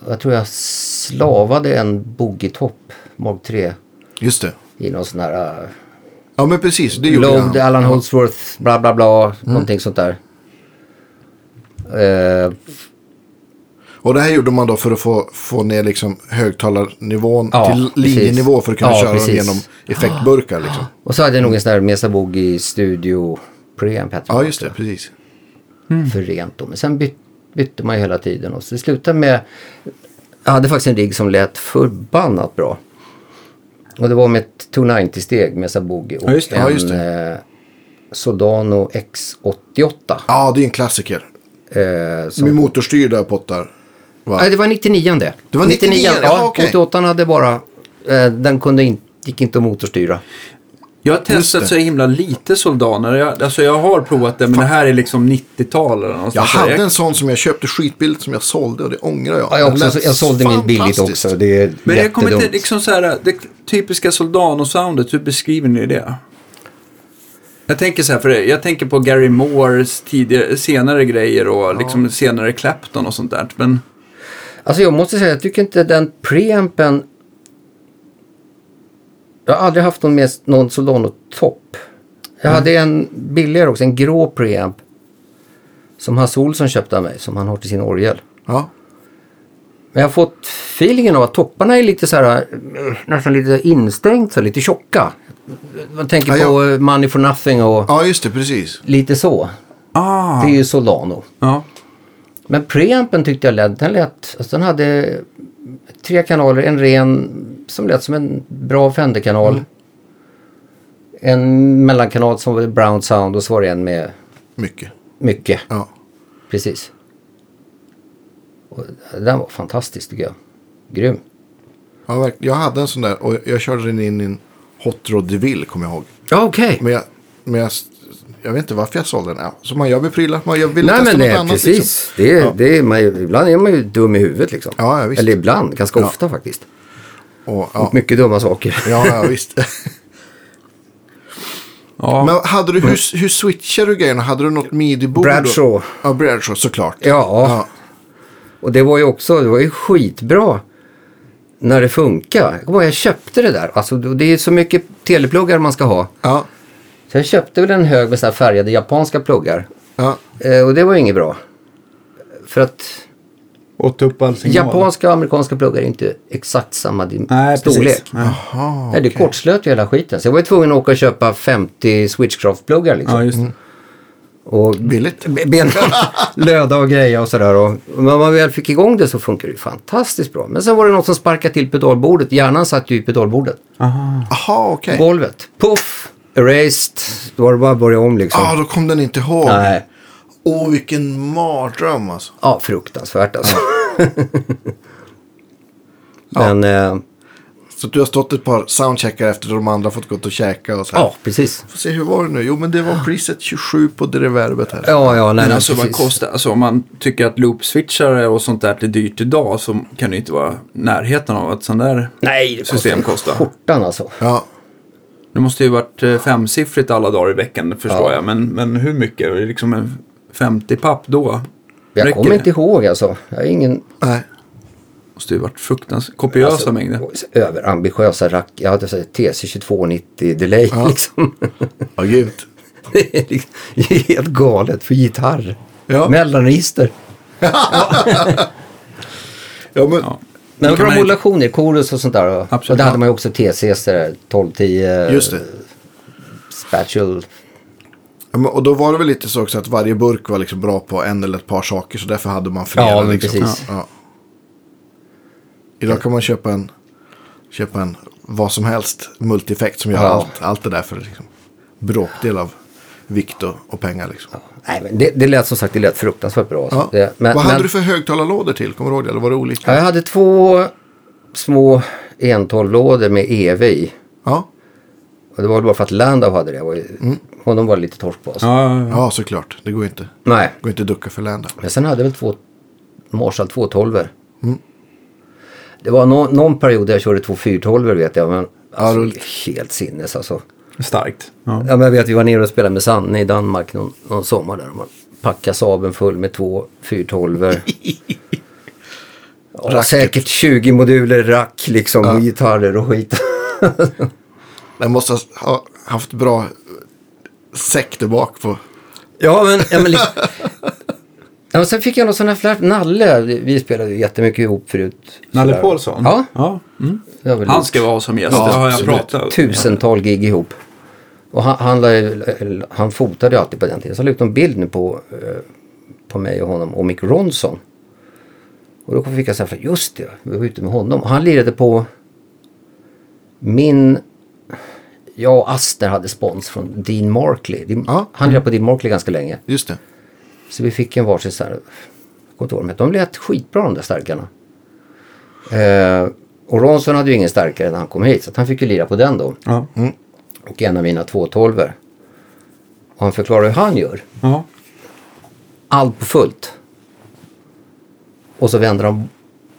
Speaker 2: Jag tror jag slavade en boogie-topp, Mark 3,
Speaker 1: Just det.
Speaker 2: i någon sån här... eh,
Speaker 1: Ja, men precis. Det gjorde Mm.
Speaker 2: Load,
Speaker 1: han.
Speaker 2: Alan Holdsworth, bla bla bla, någonting sånt där. Eh,
Speaker 1: Och det här gjorde man då för att få, få ner liksom högtalarnivån
Speaker 2: Ja,
Speaker 1: till
Speaker 2: precis.
Speaker 1: linjenivå för att kunna
Speaker 2: Ja,
Speaker 1: köra
Speaker 2: precis.
Speaker 1: dem genom effektburkar. Liksom.
Speaker 2: och så hade jag nog en sån där Mesa Boogie Studio preamp hette
Speaker 1: Ja,
Speaker 2: den
Speaker 1: just det. Precis.
Speaker 2: för rent då. Men sen byt, bytte man ju hela tiden och så det slutade med... Jag hade faktiskt en rigg som lät förbannat bra. Och det var med ett 290-steg Mesa Boogie och
Speaker 4: Ja, just det.
Speaker 2: en
Speaker 1: Ja, just
Speaker 2: Eh, Sodano X88.
Speaker 1: Ja, det är en klassiker.
Speaker 2: Eh, som
Speaker 1: Med motorstyrda pottar. Va?
Speaker 2: Nej, det var 99 det.
Speaker 1: Det var 99,
Speaker 2: ja.
Speaker 1: ja, okej.
Speaker 2: 88 hade bara, eh, den kunde in, gick inte att motorstyra.
Speaker 4: Jag har
Speaker 1: Just det.
Speaker 4: testat så himla lite soldaner. Jag, alltså jag har provat det, men det här är liksom 90-tal eller någonstans. Alltså,
Speaker 1: Jag
Speaker 4: Så
Speaker 1: hade en sån som jag köpte skitbilligt som jag sålde och det ångrar jag.
Speaker 2: Ja, jag, också,
Speaker 1: Den
Speaker 2: Alltså, så,
Speaker 1: lät
Speaker 2: jag sålde min billigt
Speaker 1: fantastiskt.
Speaker 2: också. Det är
Speaker 4: Men jag kommer inte,
Speaker 2: jättedumt.
Speaker 4: liksom så här, det typiska Soldano-soundet, hur beskriver ni det? Jag tänker så här för det, jag tänker på Gary Moores tidigare, senare grejer och liksom senare Clapton och sånt där. Men
Speaker 2: Alltså jag måste säga, jag tycker inte den preampen Jag har aldrig haft någon, med, någon Solano-topp. Jag hade en billigare också, en grå preamp. Som Hasse Olsson köpte av mig, som han har till sin orgel.
Speaker 1: Ja.
Speaker 2: Men jag har fått feelingen av att topparna är lite så här, eh, nästan lite instängt, så här, lite tjocka. Man tänker
Speaker 1: Ja, ja.
Speaker 2: på eh, Money for Nothing och
Speaker 1: ja, just det, precis.
Speaker 2: lite så.
Speaker 4: Ah.
Speaker 2: Det är ju Solano.
Speaker 4: Ja.
Speaker 2: Men preampen tyckte jag lät, den lät, alltså den hade tre kanaler, en ren som lät som en bra Fender-kanal.
Speaker 1: Mm.
Speaker 2: En mellankanal som var Brown Sound och så var det en med
Speaker 1: Mycket.
Speaker 2: mycket,
Speaker 1: Ja.
Speaker 2: precis. Och den var fantastisk tycker jag. Grym.
Speaker 1: Ja, verk- jag hade en sån där och jag körde den in i en Hot Rod DeVille kommer jag ihåg.
Speaker 2: Ja, okej.
Speaker 1: Men jag, men jag, jag vet inte varför jag sålde den. Ja, Så man gör med prylar. Man gör, vill
Speaker 2: Nej
Speaker 1: testa
Speaker 2: men
Speaker 1: något
Speaker 2: det är
Speaker 1: annat,
Speaker 2: precis.
Speaker 1: Liksom.
Speaker 2: Det är, det är man, ju- ibland är man ju dum i huvudet liksom.
Speaker 1: Ja, ja, visst.
Speaker 2: Eller ibland, ganska
Speaker 1: Ja.
Speaker 2: ofta faktiskt.
Speaker 1: Och, ja.
Speaker 2: Mycket dumma saker.
Speaker 1: Ja, ja, visst.
Speaker 4: Ja.
Speaker 1: Men hade du, hur, hur switchade du grejerna? Hade du något midi-bord? då?
Speaker 2: Bradshaw.
Speaker 1: Ja, Bradshaw såklart.
Speaker 2: Ja.
Speaker 1: ja.
Speaker 2: Och det var ju också, det var ju skitbra när det funkar. Jag kommer ihåg, jag köpte det där. Alltså det är så mycket telepluggar man ska ha.
Speaker 1: ja.
Speaker 2: Så jag köpte väl en hög med sådana här färgade japanska pluggar.
Speaker 1: ja.
Speaker 2: Eh, och det var ju inget bra. För att
Speaker 3: Åt upp all signal.
Speaker 2: japanska och amerikanska pluggar är inte exakt samma dim-
Speaker 3: Nej,
Speaker 2: storlek.
Speaker 3: precis. Nej.
Speaker 1: Jaha,
Speaker 2: Nej, det
Speaker 1: okej.
Speaker 2: kortslöt ju hela skiten. Så jag var ju tvungen att åka och köpa 50 Switchcraft-pluggar liksom.
Speaker 4: Ja, just det.
Speaker 2: Och
Speaker 1: Billigt.
Speaker 2: b- ben löda och grejer och sådär. Och när man väl fick igång det så funkar det ju fantastiskt bra. Men sen var det något som sparkade till pedalbordet. Hjärnan satt ju i pedalbordet.
Speaker 4: Aha.
Speaker 1: Jaha, okej.
Speaker 2: Golvet. Puff! Erased. Då var det bara att börja om liksom.
Speaker 1: Ja, då kom den inte ihåg.
Speaker 2: Nej.
Speaker 1: Åh, vilken mardröm alltså.
Speaker 2: Ja, fruktansvärt alltså. Men, eh,
Speaker 1: Så du har stått ett par soundcheckar efter då de andra fått gått och käka och så här.
Speaker 2: ja precis.
Speaker 1: Får se, hur var det nu? Jo, men det var preset 27 på det reverbet här.
Speaker 2: Ja, ja, nej,
Speaker 4: Men
Speaker 2: nej,
Speaker 4: alltså vad
Speaker 2: precis.
Speaker 4: kostar, alltså om man tycker att loop-switchare och sånt där är dyrt idag så kan det ju inte vara närheten av att sån där
Speaker 2: Nej, det
Speaker 4: system
Speaker 2: kostar
Speaker 4: kostar.
Speaker 2: skjortan alltså.
Speaker 1: Ja,
Speaker 4: Det måste ju varit eh, femsiffrigt alla dagar i veckan förstår
Speaker 2: Ja.
Speaker 4: jag. Men, men hur mycket? Är det liksom en 50 papp då?
Speaker 2: Jag
Speaker 4: Räcker
Speaker 2: kommer
Speaker 4: det?
Speaker 2: inte ihåg alltså. Jag har ingen alltså,
Speaker 1: nej.
Speaker 4: måste ju varit fruktansvärt kopiösa mängder.
Speaker 2: överambitiösa rack. Jag hade så här TC2290 delay liksom.
Speaker 1: Ja, gud.
Speaker 2: Det är liksom helt galet för gitarr.
Speaker 1: Ja.
Speaker 2: Mellanregister.
Speaker 1: Ja, men,
Speaker 4: Ja.
Speaker 2: Men
Speaker 4: Det
Speaker 2: det
Speaker 4: kan
Speaker 2: var bra
Speaker 4: man ju-
Speaker 2: modulationer, chorus och sånt där. Och-
Speaker 4: Absolut,
Speaker 2: och där
Speaker 4: ja.
Speaker 2: hade man ju också TCs, där, 1210 eh,
Speaker 1: Just det.
Speaker 2: spatial.
Speaker 1: Ja, men, och då var det väl lite så också att varje burk var liksom bra på en eller ett par saker. Så därför hade man flera.
Speaker 2: Ja, men
Speaker 1: liksom.
Speaker 2: precis.
Speaker 1: Ja. Idag kan man köpa en, köpa en vad som helst multifekt som gör
Speaker 2: Ja.
Speaker 1: allt, allt det där för liksom, bråkdel av vikt och, och pengar. Liksom. Ja.
Speaker 2: Nej, men det, det lät som sagt det lät fruktansvärt bra. alltså. Det, men,
Speaker 1: vad hade
Speaker 2: men,
Speaker 1: du för högtalarlådor till? Kommer du ihåg det? Eller var det olika?
Speaker 2: ja, jag hade två små 112-lådor med EV i.
Speaker 1: Ja,
Speaker 2: Och det var väl bara för att Landau hade det. Jag var ju- Honom var det lite torsk på. Alltså.
Speaker 4: Ja, ja, ja.
Speaker 1: ja såklart. Det går inte.
Speaker 2: Nej,
Speaker 1: går inte att ducka för Landa.
Speaker 2: Men sen hade jag väl två Marshall 212 mm. Det var nå- någon period där jag körde två 412 vet jag. Men alltså, helt sinnes alltså.
Speaker 4: Starkt. Ja.
Speaker 2: Ja, men jag vet vi var nere och spelade med Sanne i Danmark någon, någon sommar där. Och Man packade Saaben full med två 412 ja, Säkert 20 moduler rack liksom och gitarrer och skit.
Speaker 1: Den måste ha haft bra säck där bak på.
Speaker 2: Ja, men... Ja, men liksom, ja, men sen fick jag någon sån här flört. Nalle, vi spelade ju jättemycket ihop förut.
Speaker 3: Nalle
Speaker 2: Sådär.
Speaker 3: Paulsson?
Speaker 2: Ja.
Speaker 4: Ja. Mm.
Speaker 2: det har väl
Speaker 4: Han ska vara som gäst,
Speaker 1: Ja,
Speaker 4: det har jag
Speaker 1: absolut.
Speaker 4: pratat om.
Speaker 2: tusental gig ihop. Och han, han, la ju- eller, han fotade ju alltid på den tiden. Så jag la ut en bild nu på, eh, på mig och honom och Mick Ronson. Och då fick jag säga, just det, vi var ute med honom. Och han lirade på min... Jag och Aster hade spons från Dean Markley. Dean-
Speaker 1: Ja.
Speaker 2: Han lirade på Dean Markley ganska länge.
Speaker 1: Just det.
Speaker 2: Så vi fick en varsin sån här, jag kommer inte ihåg vad de hette. de lät skitbra de där starkarna. Eh, och Ronson hade ju ingen starkare när han kom hit så att han fick ju lira på den då.
Speaker 4: Ja.
Speaker 2: Och en av mina 212 Och han förklarar hur han gör.
Speaker 4: Ja.
Speaker 2: Allt på fullt. Och så vänder han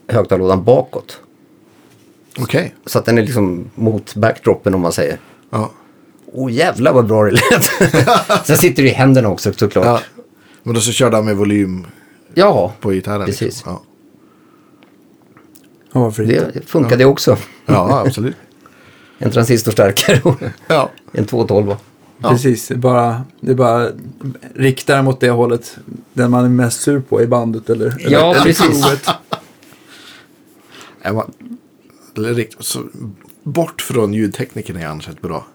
Speaker 2: högtalarlådan bakåt.
Speaker 1: Okej.
Speaker 2: Så att den är liksom mot backdropen om man säger.
Speaker 1: Ja.
Speaker 2: Åh jävlar vad bra det lät. Sen sitter det i händerna också såklart.
Speaker 1: ja.
Speaker 2: Ja,
Speaker 1: Men då så körde han med volym på gitarren.
Speaker 2: Precis.
Speaker 1: Liksom. Ja.
Speaker 4: ja, varför inte?
Speaker 2: det funkade också.
Speaker 1: ja, absolut.
Speaker 2: en transistorstärkare och
Speaker 1: Ja.
Speaker 2: en 212.
Speaker 1: Ja.
Speaker 4: Precis, det bara, det bara riktar mot det hållet. Den man är mest sur på i bandet eller, eller,
Speaker 2: Ja,
Speaker 4: eller
Speaker 2: precis.
Speaker 4: provet.
Speaker 1: Ja, man- Eller riktigt, så bort från ljudteknikerna är annars ett bra.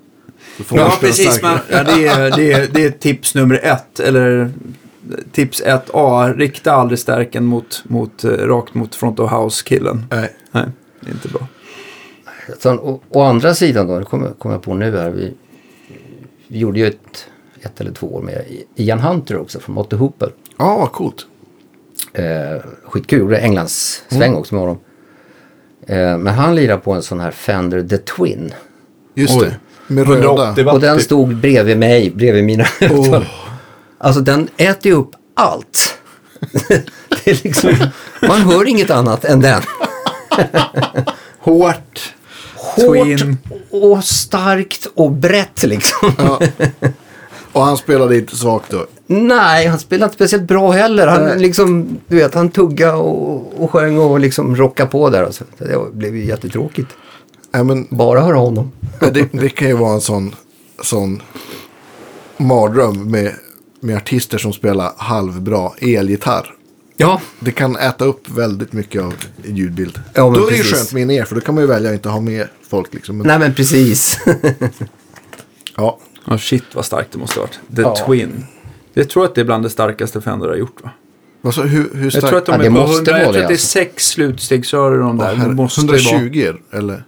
Speaker 1: Då får man
Speaker 4: Ja,
Speaker 1: spela
Speaker 4: precis.
Speaker 1: starkare.
Speaker 4: Man, ja, det, är, det, är, det är tips nummer ett. Eller tips 1A. Rikta aldrig stärken mot, mot, eh, rakt mot front of house-killen.
Speaker 1: Nej.
Speaker 4: Nej, det är inte bra.
Speaker 2: Sen, å, å andra sidan då, det kommer kom jag på nu här. Vi, vi gjorde ju ett, ett eller två år med Ian Hunter också från Motte Hooper.
Speaker 1: Ja, vad coolt.
Speaker 2: Eh, skitkul, gjorde Englands sväng också med honom. Eh, men han lirar på en sån här Fender The Twin.
Speaker 1: Just
Speaker 3: Oj.
Speaker 1: det. Med röda.
Speaker 3: 180 watt.
Speaker 2: Och den
Speaker 3: typ.
Speaker 2: stod bredvid mig, bredvid mina
Speaker 4: Oh.
Speaker 2: högtalare. Alltså den äter ju upp allt. det är liksom, man hör inget annat än den.
Speaker 4: Hårt.
Speaker 2: Hårt
Speaker 4: Twin.
Speaker 2: och starkt och brett liksom.
Speaker 1: Och han spelade inte svagt då.
Speaker 2: Nej, han spelade inte speciellt bra heller. Han, liksom, du vet, han tugga och, och sjöng och liksom rockade på där. Alltså. Det blev ju jättetråkigt.
Speaker 1: Nej, men
Speaker 2: Bara höra honom.
Speaker 1: Ja, det, det kan ju vara en sån, sån mardröm med, med artister som spelar halvbra elgitarr.
Speaker 2: Ja,
Speaker 1: Det kan äta upp väldigt mycket av ljudbild.
Speaker 2: Ja, men
Speaker 1: då är det ju
Speaker 2: precis.
Speaker 1: skönt med in er för då kan man ju välja att inte ha med folk. Liksom. Men,
Speaker 2: nej men precis.
Speaker 1: ja,
Speaker 4: Oh, shit vad starkt det måste ha varit. The
Speaker 2: Ja.
Speaker 4: Twin. Jag tror att det är bland det starkaste Fender har gjort va?
Speaker 1: vad så, hur, hur
Speaker 4: Jag
Speaker 1: starkt?
Speaker 4: tror att de
Speaker 2: Ja,
Speaker 4: är
Speaker 2: det
Speaker 4: på
Speaker 2: måste
Speaker 4: 100,
Speaker 2: vara
Speaker 4: jag
Speaker 2: det,
Speaker 4: tror att det är
Speaker 2: alltså.
Speaker 4: sex slutstegsrör i de
Speaker 1: Åh,
Speaker 4: där.
Speaker 1: herre,
Speaker 4: det måste ju vara-
Speaker 1: 120 eller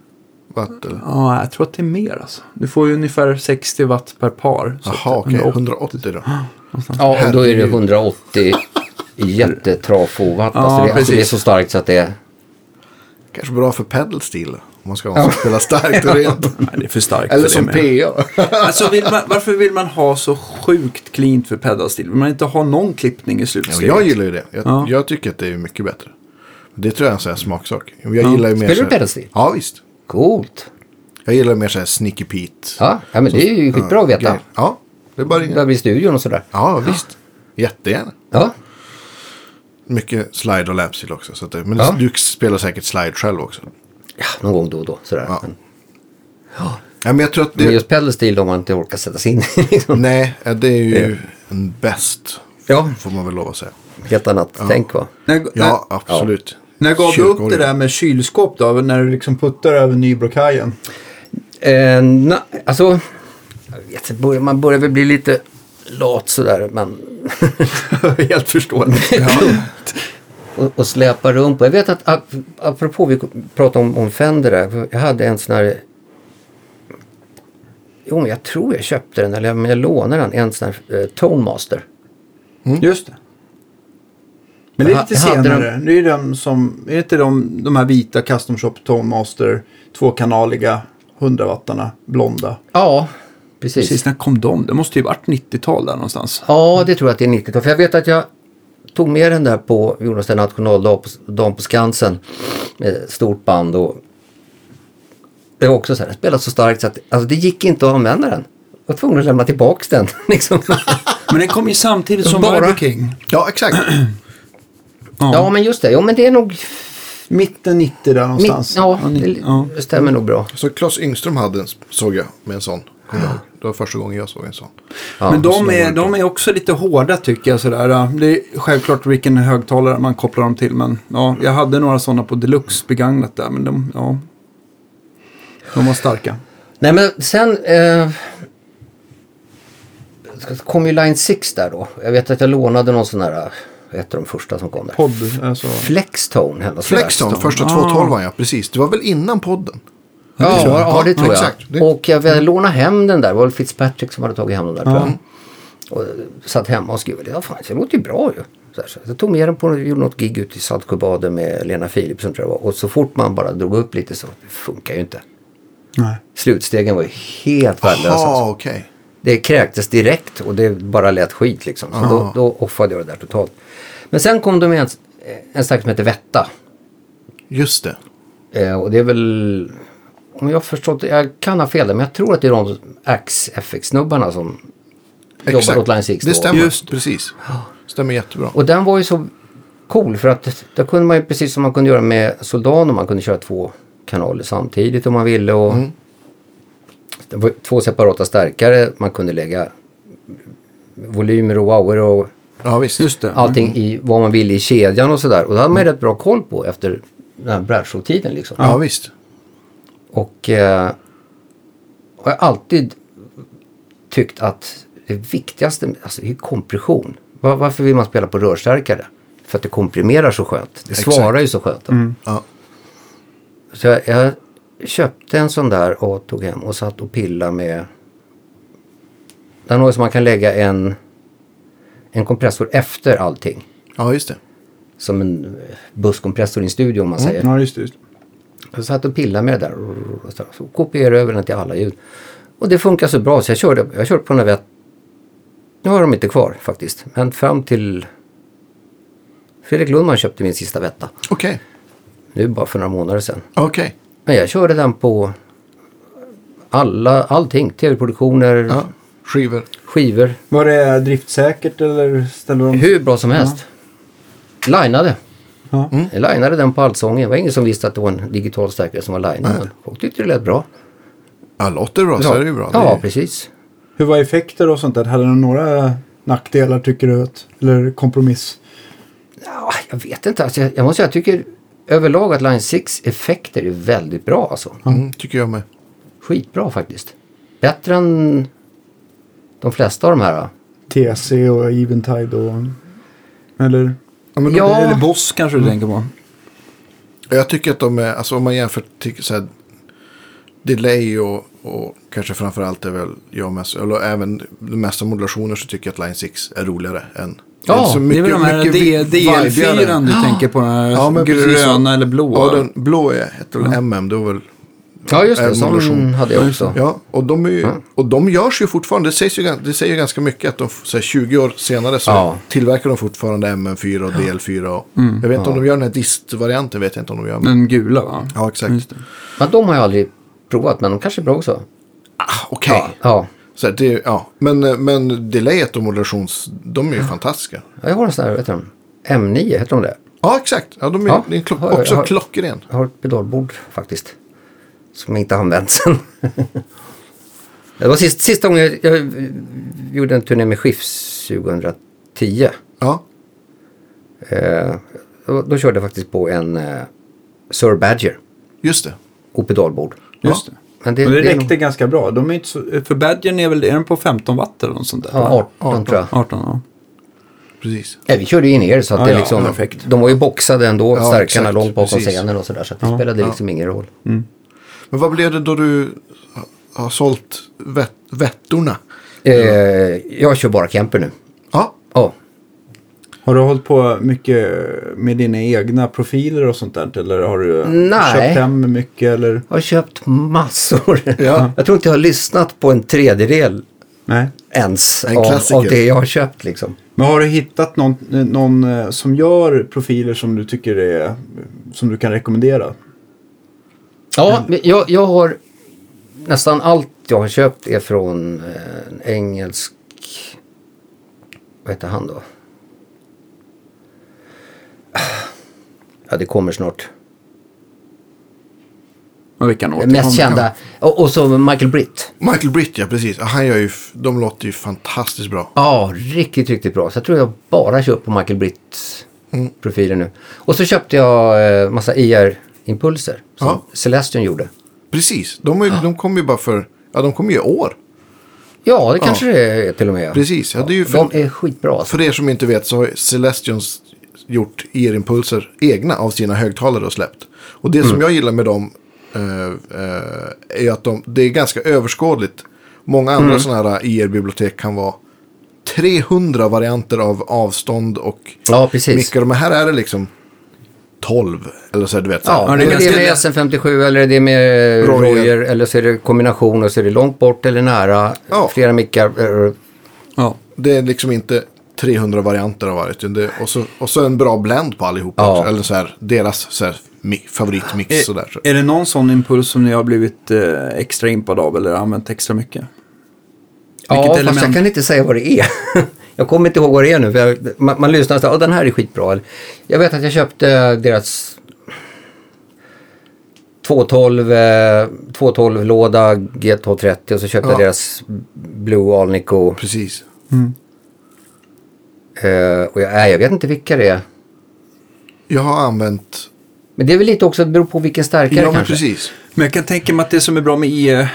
Speaker 1: watt? Eller?
Speaker 4: Ja, jag tror att det är mer alltså. Du får ju ungefär 60 watt per par. Så
Speaker 1: Jaha,
Speaker 4: att-
Speaker 1: okej.
Speaker 4: 180.
Speaker 1: 180 då.
Speaker 2: Ja, och då är det 180 jättetrafovatt.
Speaker 4: Ja,
Speaker 2: alltså det, alltså det är
Speaker 4: precis.
Speaker 2: så starkt så att det är...
Speaker 1: Kanske bra för pedal steel. Om man ska ha någon som spelar starkt och rent.
Speaker 4: Nej, det är för starkt
Speaker 1: Eller
Speaker 4: för det
Speaker 1: som
Speaker 4: med.
Speaker 1: PA.
Speaker 4: Alltså, vill man, varför vill man ha så sjukt cleant för pedalstil? Vill man inte ha någon klippning i
Speaker 1: Ja,
Speaker 4: slutsteget?
Speaker 1: men jag gillar ju det. Jag,
Speaker 4: Ja.
Speaker 1: jag tycker att det är mycket bättre. Det tror jag är en sån här smaksak. Jag gillar ju mer
Speaker 2: Spelar
Speaker 1: så
Speaker 2: du
Speaker 1: här-
Speaker 2: pedalstil?
Speaker 1: Ja, visst.
Speaker 2: Coolt.
Speaker 1: Jag gillar ju mer så här sneaky Pete.
Speaker 2: Ja, ja men det är ju skitbra att veta.
Speaker 1: grejer. Ja, det är bara
Speaker 2: Där blir studion och sådär.
Speaker 1: Ja, visst. Jättegärna.
Speaker 2: Ja,
Speaker 1: Mycket slide och lapsil också. Så att det, men
Speaker 2: Ja.
Speaker 1: du spelar säkert slide själv också.
Speaker 2: ja någon gång då och då sådär.
Speaker 1: Ja.
Speaker 2: Men,
Speaker 1: Ja, men jag tror att
Speaker 2: men
Speaker 1: det...
Speaker 2: just pedalstil om man inte orkar sätta sig in i liksom.
Speaker 1: Nej, det är ju en bäst.
Speaker 2: Ja,
Speaker 1: Får man väl lov att säga.
Speaker 2: helt annat tänk va.
Speaker 4: När, när,
Speaker 1: Ja, absolut.
Speaker 4: när gav du upp det
Speaker 1: Kyrkorgel.
Speaker 4: där med kylskåp då?
Speaker 3: När du liksom puttar över Nybrokajen.
Speaker 2: Eh, na, alltså, jag vet, inte, börjar- man börjar väl bli lite lat sådär. Men,
Speaker 4: Helt förståeligt. Ja.
Speaker 2: och, och släpa runt på. Jag vet att ap- apropå vi pratade om, om Fender där. för Jag hade en sån här. Jo men jag tror jag köpte den eller jag, men jag lånade den. En sån här eh, Tonemaster.
Speaker 1: Mm.
Speaker 4: Just det.
Speaker 3: Men det
Speaker 2: Jag
Speaker 3: är
Speaker 2: ha-
Speaker 3: lite
Speaker 2: jag hade
Speaker 3: senare. Det är ju de som, är det inte de, de här vita Custom Shop Tone Master tvåkanaliga 100-wattarna blonda?
Speaker 2: Ja, precis.
Speaker 4: Precis, när kom de? Det måste ju varit 90-tal där någonstans.
Speaker 2: Ja, det tror jag att det är 90 För jag vet att jag tog med den där på vi gjorde en sån här nationaldag på, dagen på Skansen. Med stort band och det var också så här, den spelade så starkt så att alltså, det gick inte att använda den. Jag var tvungen att lämna tillbaka den. Liksom.
Speaker 4: Men den kom ju samtidigt som
Speaker 2: Bara-
Speaker 4: Vibe King.
Speaker 1: Ja, exakt.
Speaker 2: ja, men just det. Jo, men det är nog...
Speaker 3: Mitten 90 där någonstans.
Speaker 2: Mitt, ja,
Speaker 4: ja.
Speaker 2: det stämmer nog bra.
Speaker 1: Så Claes Yngström hade en, såg jag, med en sån. Kommer jag ihåg. Det var första gången jag såg en sån.
Speaker 2: Ja,
Speaker 4: Men de är, de är också lite hårda tycker jag. Sådär. Det är självklart vilken högtalare man kopplar dem till. Men ja, jag hade några sådana på Deluxe begagnat där. Men de, ja. de var starka.
Speaker 2: Nej, men sen... Eh, så kom ju Line 6 där då. Jag vet att jag lånade någon sån här, ett av de första som kom där.
Speaker 3: Podd, alltså.
Speaker 2: Flextone eller något sånt där.
Speaker 1: Flexton, första
Speaker 4: Ah.
Speaker 1: 212 ja, precis. Det var väl innan podden?
Speaker 2: Ja,
Speaker 1: tror jag.
Speaker 2: ja, det
Speaker 1: Ja,
Speaker 2: tror jag.
Speaker 1: exakt. Det-
Speaker 2: Och jag väl lånade hem den där. Det var väl Fitzpatrick som hade tagit hem den där tror jag. Och eh, satt hemma och skrev. Ja, fan, det låter ju bra ju. Så här, så jag tog med den på vi gjorde något gig ute i Saltsjöbaden med Lena Philipsson tror jag det var. Och så fort man bara drog upp lite så det funkar ju inte.
Speaker 4: Nej.
Speaker 2: Slutstegen var ju helt värdelösa.
Speaker 1: Ja,
Speaker 2: Alltså.
Speaker 1: Ah, okej.
Speaker 2: Det kräktes direkt och det bara lät skit liksom. Så då, då offade jag det där totalt. Men sen kom de med en, en stack som heter Vetta.
Speaker 1: Just det.
Speaker 2: Eh, och det är väl, om jag har förstått det, jag kan ha fel där, men jag tror att det är de Ax-FX-snubbarna som jobbar åt Line 6
Speaker 1: Det
Speaker 2: då.
Speaker 1: stämmer,
Speaker 4: Just
Speaker 1: precis. Stämmer jättebra.
Speaker 2: Och den var ju så cool för att där kunde man ju
Speaker 1: Mm.
Speaker 2: precis som man kunde göra med Soldano, man kunde köra två kanaler samtidigt om man ville och Det var två separata stärkare. Man kunde lägga volymer och wower och
Speaker 1: Ja, visst.
Speaker 4: Just det.
Speaker 1: Mm.
Speaker 2: allting i vad man ville i kedjan och sådär. Och det hade man ju rätt bra koll på efter den här Bradshaw-tiden liksom.
Speaker 1: Ja, visst.
Speaker 2: Och eh, och jag har alltid tyckt att det viktigaste alltså, det är kompression. Var, varför vill man spela på rörstärkare? För att det komprimerar så skönt. Det
Speaker 1: Exakt.
Speaker 2: svarar ju så skönt. då.
Speaker 1: Ja.
Speaker 2: Så jag, jag köpte en sån där och tog hem och satt och pillade med. Den har ju så man kan lägga en, en kompressor efter allting.
Speaker 1: ja, just det.
Speaker 2: Som en eh, busskompressor i en studio om man
Speaker 4: Mm.
Speaker 2: säger.
Speaker 3: Ja, just det. Just. det.
Speaker 2: Jag satt och pillade med det där och så- så kopierade över den till alla ljud. Och det funkar så bra så jag körde, jag körde på Navette. Nu har de inte kvar faktiskt. Men fram till Fredrik Lundman köpte min sista Vetta.
Speaker 1: Okej.
Speaker 2: Nu bara för några månader sedan.
Speaker 1: Okej.
Speaker 2: Men jag körde den på alla, allting. Tv-produktioner,
Speaker 1: Ja. Skivor.
Speaker 2: skivor.
Speaker 3: Var det driftsäkert eller ställde de...
Speaker 2: Hur bra som helst. Linade.
Speaker 3: Ja.
Speaker 1: Mm.
Speaker 2: Jag linade den på allsången. Det var ingen som visste att det var en digital stärkare som var linad. men Folk tyckte det lät bra.
Speaker 1: Ja, låter det bra så är det ju bra. Det är-
Speaker 2: Ja, precis.
Speaker 3: Hur var effekter och sånt där? Hade de några nackdelar tycker du? Att, eller kompromiss?
Speaker 2: Ja, jag vet inte. Alltså, jag, jag måste säga, jag tycker överlag att Line 6 effekter är väldigt bra. Alltså.
Speaker 1: Mm, tycker jag med.
Speaker 2: Skitbra faktiskt. Bättre än de flesta av de här.
Speaker 3: TC och Eventide och... Eller?
Speaker 1: Ja, men
Speaker 2: Ja.
Speaker 4: Eller Boss kanske du tänker på.
Speaker 1: Jag tycker att de är, alltså om man jämför till så här, delay och, och kanske framförallt är väl jag mest, eller även de mesta modulationer så tycker jag att Line 6 är roligare än.
Speaker 2: Ja,
Speaker 1: är så
Speaker 4: Det är väl de här D-
Speaker 1: vibigare.
Speaker 4: DL4 du tänker på. Den här
Speaker 1: Ja, men
Speaker 4: gröna
Speaker 1: precis.
Speaker 4: eller blåa.
Speaker 1: Ja, den blå är, heter väl MM, det var väl
Speaker 2: Ja, just
Speaker 1: Äh,
Speaker 2: det. Sån
Speaker 1: modulation.
Speaker 2: Eh, hade jag också.
Speaker 1: Ja, och de, är ju, och de görs ju fortfarande. Det, sägs ju, gan- det säger ju ganska mycket att de f- så här, 20 år senare så
Speaker 2: Ja.
Speaker 1: tillverkar de fortfarande MM4 och DL4. Och,
Speaker 4: Mm.
Speaker 1: jag vet inte om de gör den här dist-varianten. vet jag inte om de gör. Men,
Speaker 4: Den gula va?
Speaker 1: ja, exakt.
Speaker 4: Just det.
Speaker 2: Men de har jag aldrig provat, men de kanske är bra också.
Speaker 1: Ah, Okej.
Speaker 2: Ja,
Speaker 1: Så här, det, ja. Men, eh, men delayet och modulations, de är ju fantastiska.
Speaker 2: Ja, jag har en sån här, vet du, M9 heter de det.
Speaker 1: Ja, exakt. Ja, de är,
Speaker 2: Ja.
Speaker 1: Det är en klock,
Speaker 2: Har jag-
Speaker 1: också
Speaker 2: har-
Speaker 1: klockren.
Speaker 2: Jag har ett pedalbord faktiskt. Som inte har använts än. det var sist, sista gången jag, jag gjorde en turné med Skifs 2010.
Speaker 1: Ja,
Speaker 2: Eh, då, då körde jag faktiskt på en eh, Sir Badger
Speaker 1: just det.
Speaker 2: och pedalbord.
Speaker 4: Just
Speaker 1: Ja.
Speaker 4: det.
Speaker 2: Men det,
Speaker 3: Och det
Speaker 2: det är
Speaker 3: räckte
Speaker 2: nog-
Speaker 3: ganska bra. De är inte så...
Speaker 4: För badgen är väl är den på 15 watt eller något sånt där?
Speaker 2: Ja, 18
Speaker 1: 18.
Speaker 2: tror jag.
Speaker 4: 18 ja.
Speaker 1: Precis.
Speaker 2: Nej, vi körde ju in er så att
Speaker 4: Ja,
Speaker 2: det
Speaker 4: ja,
Speaker 2: liksom,
Speaker 4: perfekt.
Speaker 2: de var ju boxade ändå,
Speaker 1: Ja,
Speaker 2: stärkarna
Speaker 1: exakt,
Speaker 2: långt bakom
Speaker 1: precis. Mm.
Speaker 2: scenen och sådär. Så att det spelade liksom ingen roll.
Speaker 1: Men vad blev det då du ha- har sålt vett, vettorna?
Speaker 2: Eh, jag kör bara camper nu.
Speaker 1: Ja,
Speaker 2: Ja,
Speaker 3: Har du hållit på mycket med dina egna profiler och sånt där? Eller har du
Speaker 2: Nej.
Speaker 3: köpt hem mycket? Eller?
Speaker 2: jag har köpt massor.
Speaker 1: Ja.
Speaker 2: Jag tror inte jag har lyssnat på en tredjedel
Speaker 3: Nej.
Speaker 2: ens
Speaker 1: En
Speaker 2: av,
Speaker 1: klassiker.
Speaker 2: av det jag har köpt liksom.
Speaker 3: Men har du hittat någon, eh, någon eh, som gör profiler som du tycker är som du kan rekommendera?
Speaker 1: Mm.
Speaker 2: Ja, men jag, jag har nästan allt jag har köpt är från eh, en engelsk, vad heter han då? Ja, det kommer snart.
Speaker 4: Men vi kan
Speaker 2: Det
Speaker 4: återkomma.
Speaker 2: mest kända. Och, och så Michael Britt.
Speaker 1: Michael Britt, ja precis. Ja, Han gör ju, f- de låter ju fantastiskt bra.
Speaker 2: Ja, riktigt, riktigt bra. Så jag tror jag bara kör på Michael Britts
Speaker 1: Mm.
Speaker 2: profiler nu. Och så köpte jag eh, massa IR-impulser som
Speaker 1: Ja.
Speaker 2: Celestion gjorde.
Speaker 1: Precis, de, har ju, de kom ju bara för, ja de kom ju i år.
Speaker 2: Ja, det kanske det är till och med.
Speaker 1: Precis, ja, det är ju
Speaker 2: De
Speaker 1: för,
Speaker 2: är skitbra. Alltså.
Speaker 1: för er som inte vet så har ju Celestions gjort er-impulser egna av sina högtalare och släppt. Och det
Speaker 2: Mm.
Speaker 1: som jag gillar med dem eh, eh, är att de, det är ganska överskådligt. Många andra
Speaker 2: Mm.
Speaker 1: sådana här IR-bibliotek kan vara 300 varianter av avstånd och
Speaker 2: Ja, precis.
Speaker 1: mickar. Men här är det liksom 12 eller så här, du vet. Så här.
Speaker 2: Ja,
Speaker 4: Ja, det är
Speaker 2: det är
Speaker 4: ganska
Speaker 2: det med
Speaker 4: lätt.
Speaker 2: SM57 eller är det med eh,
Speaker 1: Royer.
Speaker 2: Royer eller så är det kombination och så är det långt bort eller nära.
Speaker 1: Ja.
Speaker 2: Flera mickar. eh,
Speaker 4: Ja.
Speaker 1: Det är liksom inte 300 varianter av varje. utan Det, och, så, och så en bra blend på allihopa.
Speaker 2: Ja. Eh,
Speaker 1: också. Eller så här, deras så här, mi, favoritmix.
Speaker 4: Är,
Speaker 1: sådär, så.
Speaker 4: Eh, är det någon sån impuls som ni har blivit eh, extra impad av eller använt extra mycket?
Speaker 2: Ja,
Speaker 4: Vilket
Speaker 2: fast jag
Speaker 4: element?
Speaker 2: kan inte säga vad det är. jag kommer inte ihåg vad det är nu. För jag, man, man lyssnar och säger, "Ja, den här är skitbra. Eller, Jag vet att jag köpte deras 212, eh, 212 låda G230 och så köpte jag
Speaker 1: Ja.
Speaker 2: deras Blue Alnico.
Speaker 1: Precis.
Speaker 2: Eh, och jag, nej, jag vet inte vilka det är.
Speaker 1: Jag har använt...
Speaker 2: Men det är väl lite också, det beror på vilken starkare
Speaker 1: Ja, men
Speaker 2: kanske.
Speaker 1: precis.
Speaker 4: Men jag kan tänka mig att det som är bra med IR,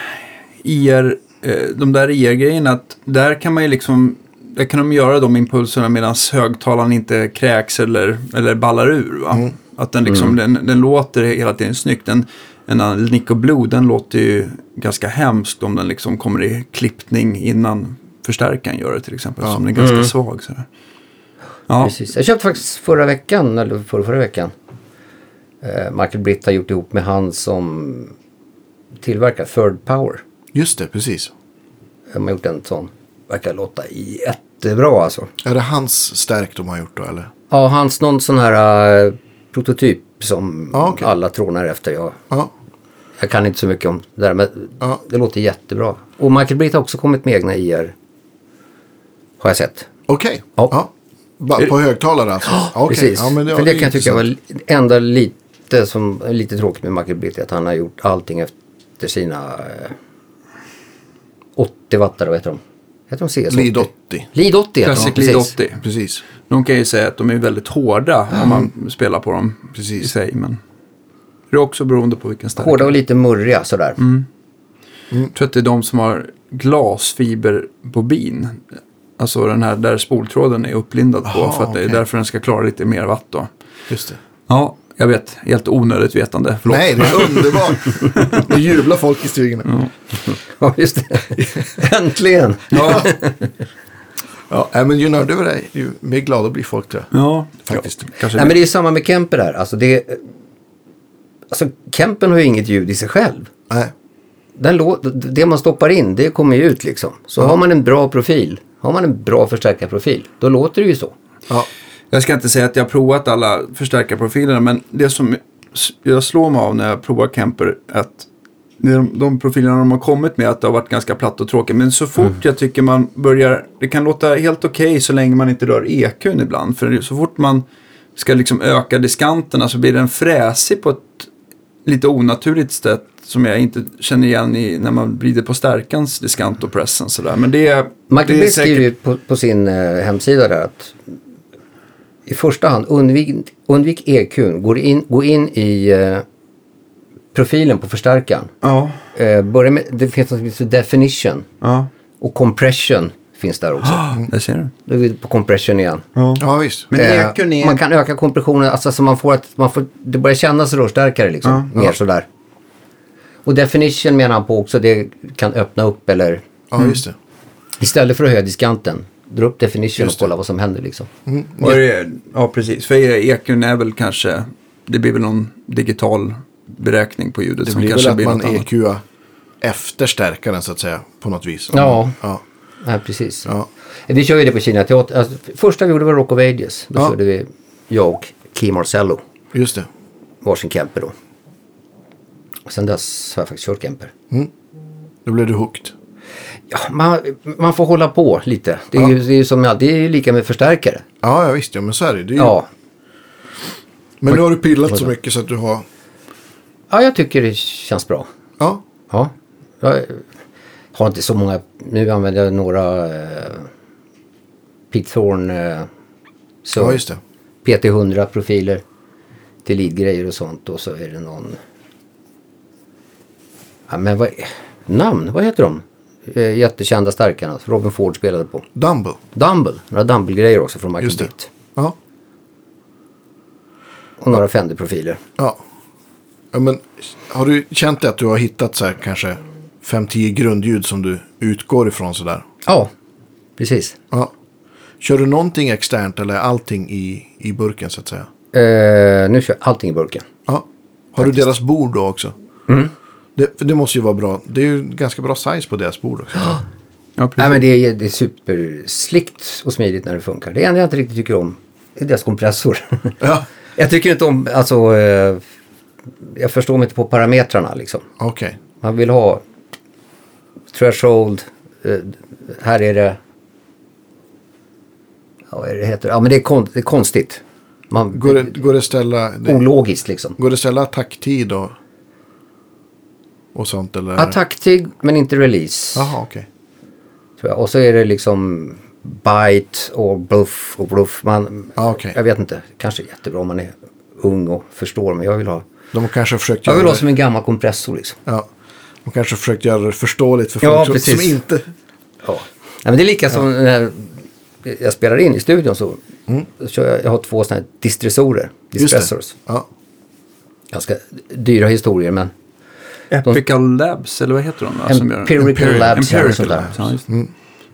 Speaker 4: IR eh, de där IR-grejerna, att där kan man ju liksom, där kan de göra de impulserna medan högtalaren inte kräks eller, eller ballar ur. Va? Att den liksom, den, den låter hela tiden snyggt. En, en Nico Blue, den låter ju ganska hemskt om den liksom kommer i klippning innan förstärkaren gör det till exempel. Som den är ganska svag. Sådär. Ja,
Speaker 2: Precis. Jag köpte faktiskt förra veckan, eller förra, förra veckan. Eh, Michael Britt har gjort ihop med han som tillverkar Third Power.
Speaker 1: Just det, precis.
Speaker 2: De har gjort en sån. Verkar låta jättebra alltså.
Speaker 1: Är det hans stärk de har gjort då eller?
Speaker 2: Ja, hans någon sån här eh, prototyp som
Speaker 1: Ja, okej.
Speaker 2: alla trånar efter. Jag,
Speaker 1: Ja.
Speaker 2: jag kan inte så mycket om det där men
Speaker 1: Ja.
Speaker 2: det låter jättebra. Och Michael Britt har också kommit med egna IR. Har jag sett.
Speaker 1: Okej.
Speaker 2: Ja.
Speaker 1: Ja. Ba- På högtalare alltså? Ja, okej.
Speaker 2: Precis.
Speaker 1: Ja, men det,
Speaker 2: För
Speaker 1: ja,
Speaker 2: det
Speaker 1: är
Speaker 2: kan jag tycka var li- enda lite, som, lite tråkigt med Michael Britt. är Att han har gjort allting efter sina eh, 80 wattare, vad heter de? Heter de CS80?
Speaker 1: Lead 80.
Speaker 2: Lead 80 heter de,
Speaker 4: Classic
Speaker 2: precis.
Speaker 4: Lead 80.
Speaker 1: Precis.
Speaker 4: De kan ju säga att de är väldigt hårda om man spelar på dem
Speaker 1: Precis.
Speaker 4: i sig. Men det är också beroende på vilken stärk.
Speaker 2: Hårda och lite murriga sådär.
Speaker 4: Mm. Jag tror att det är de som har glasfiberbobin. Alltså den här där spoltråden är upplindad på.
Speaker 1: Aha,
Speaker 4: för att det är
Speaker 1: okej.
Speaker 4: därför den ska klara lite mer watt då.
Speaker 1: Just det.
Speaker 4: Ja, jag vet. Helt onödigt vetande. Förlåt.
Speaker 1: Nej, det är underbart. Det jublar folk i stugorna.
Speaker 2: Ja, just det. Äntligen!
Speaker 4: Ja,
Speaker 1: Ja, nej, men ju nördigare det är, ju mer glada blir folk tror jag.
Speaker 4: ja.
Speaker 1: Faktiskt.
Speaker 4: Ja, kanske
Speaker 2: Nej, men
Speaker 4: det.
Speaker 2: det är ju samma med Kemper där. Alltså, det, alltså Kempen har ju inget ljud i sig själv.
Speaker 1: Nej.
Speaker 2: Den lå- det man stoppar in, det kommer ju ut liksom. Så har man en bra profil, har man en bra förstärkarprofil, då låter det ju så.
Speaker 1: Ja.
Speaker 4: Jag ska inte säga att jag har provat alla förstärkarprofilerna. Men det som s- jag slår mig av när jag provar Kemper. är Att de, de profilerna de har kommit med att det har varit ganska platt och tråkigt. Men så fort
Speaker 2: Mm.
Speaker 4: jag tycker man börjar, det kan låta helt okej så länge man inte rör EQn ibland. För så fort man ska liksom öka diskanterna så blir den fräsig på ett lite onaturligt sätt. Som jag inte känner igen i när man vrider på stärkans diskant och pressen sådär. Men det, är-
Speaker 2: Michael
Speaker 4: det är
Speaker 2: Bitt skriver
Speaker 4: säkert...
Speaker 2: ju på, på sin eh, hemsida där att i första hand undvik, undvik EQn, gå in, gå in i eh, profilen på förstärkaren.
Speaker 4: Ja,
Speaker 2: Eh, börja med, det finns något som heter definition
Speaker 4: ja.
Speaker 2: och compression finns där också.
Speaker 4: Där ser du.
Speaker 2: Då är vi på compression igen.
Speaker 1: ja, visst.
Speaker 3: Men
Speaker 2: Eh,
Speaker 3: EQn är...
Speaker 2: Man kan öka kompressionen, alltså så man får att man får, det börjar kännas rörstarkare liksom. Mer sådär. Och definition menar han på också, det kan öppna upp eller
Speaker 1: Ja, just det.
Speaker 2: istället för att höja diskanten, dra upp definition och kolla vad som händer liksom.
Speaker 1: Mm.
Speaker 4: Och det, ja, precis. För EQn är väl kanske, det blir väl någon digital beräkning på ljudet
Speaker 1: Det
Speaker 4: som
Speaker 1: blir väl
Speaker 4: kanske
Speaker 1: att
Speaker 4: blir
Speaker 1: man
Speaker 4: något annat.
Speaker 1: EQar efter stärkaren så att säga. På något vis.
Speaker 2: Ja.
Speaker 1: ja.
Speaker 2: Nej, precis.
Speaker 1: Ja.
Speaker 2: Vi kör ju det på Kina Teater. Alltså, första vi gjorde var Rock of Ages. Då
Speaker 1: Ja.
Speaker 2: körde vi, jag och Key Marcello,
Speaker 1: Just det.
Speaker 2: varsin Kemper då. Och sen dess har jag faktiskt kört Kemper.
Speaker 1: Då blev du hooked.
Speaker 2: Ja, man, man får hålla på lite. Det är, ju, det är ju som med allt, det är ju lika med förstärkare.
Speaker 1: Ja, ja visst. Ja, men så är det. det är ju...
Speaker 2: Ja,
Speaker 1: Men nu har du pillat så mycket så att du har...
Speaker 2: Ja, jag tycker det känns bra.
Speaker 1: Ja,
Speaker 2: Ja. Jag har inte så många. Nu använder jag några eh, Pete Thorne. Eh, så
Speaker 1: ja just det.
Speaker 2: PT100-profiler till leadgrejer och sånt. Och så är det någon... Ja, men vad... Namn? Vad heter de? Eh, jättekända starkarna. som Robin Ford spelade på.
Speaker 1: Dumble.
Speaker 2: Dumble. Några Dumble-grejer också från Michael
Speaker 1: Just det.
Speaker 2: Bitt.
Speaker 1: Ja.
Speaker 2: Och några Fender-profiler.
Speaker 1: Ja. ja men, har du känt det att du har hittat så här kanske 5-10 grundljud som du utgår ifrån sådär?
Speaker 2: Ja, precis.
Speaker 1: Ja. Kör du någonting externt eller allting i, i burken så att säga?
Speaker 2: Eh, nu kör jag allting i burken.
Speaker 1: Ja. Har du deras bord då också? Det, för det måste ju vara bra. Det är ju ganska bra size på deras bord också.
Speaker 4: Ja, precis.
Speaker 2: Nej men det är, det är superslikt och smidigt när det funkar. Det enda jag inte riktigt tycker om är deras kompressor.
Speaker 1: Ja.
Speaker 2: jag tycker inte om, alltså, eh, jag förstår mig inte på parametrarna liksom.
Speaker 1: Okej.
Speaker 2: Man vill ha threshold, eh, här är det, ja vad är det heter, ja men det är, kon, det är konstigt. Man,
Speaker 1: Går, det, går det ställa... Det,
Speaker 2: ologiskt liksom.
Speaker 1: går det ställa tacktid och... och sånt? Eller?
Speaker 2: Attacktig men inte release.
Speaker 1: Jaha, okej.
Speaker 2: Tror jag. Och så är det liksom bite och bluff och bluff. Man,
Speaker 1: Ja, Ah, okej.
Speaker 2: Jag vet inte, kanske är jättebra om man är ung och förstår. Men jag vill ha,
Speaker 1: De kanske försökt
Speaker 2: jag vill
Speaker 1: göra
Speaker 2: ha
Speaker 1: det-
Speaker 2: som en gammal kompressor liksom.
Speaker 1: Ja. De kanske försökt göra det förståeligt för folk
Speaker 2: Ja,
Speaker 1: som,
Speaker 2: precis.
Speaker 1: som inte...
Speaker 2: Ja. Nej, men det är lika som när jag spelar in i studion så kör jag, jag har två sådana här distressorer.
Speaker 1: Mm. Just
Speaker 2: Distressors.
Speaker 1: det. Ja.
Speaker 2: Ganska dyra historier men
Speaker 4: Epical Labs, eller vad heter de? Där, som gör den?
Speaker 2: Empirical Labs, ja,
Speaker 4: Empirical
Speaker 2: sånt där.
Speaker 4: Labs, ja, just. det.
Speaker 1: Mm.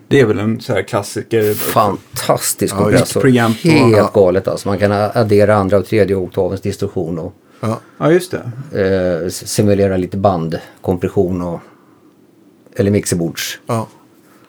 Speaker 4: Det är väl en så här klassiker.
Speaker 2: fantastisk
Speaker 1: Ja,
Speaker 2: kompressor.
Speaker 4: preamp och-
Speaker 2: Helt
Speaker 1: ja.
Speaker 2: galet alltså. Man kan addera andra och tredje oktavens distorsion och
Speaker 1: Ja.
Speaker 3: Ja, just det.
Speaker 2: eh, simulera lite bandkompression och eller mixerbords.
Speaker 1: Ja.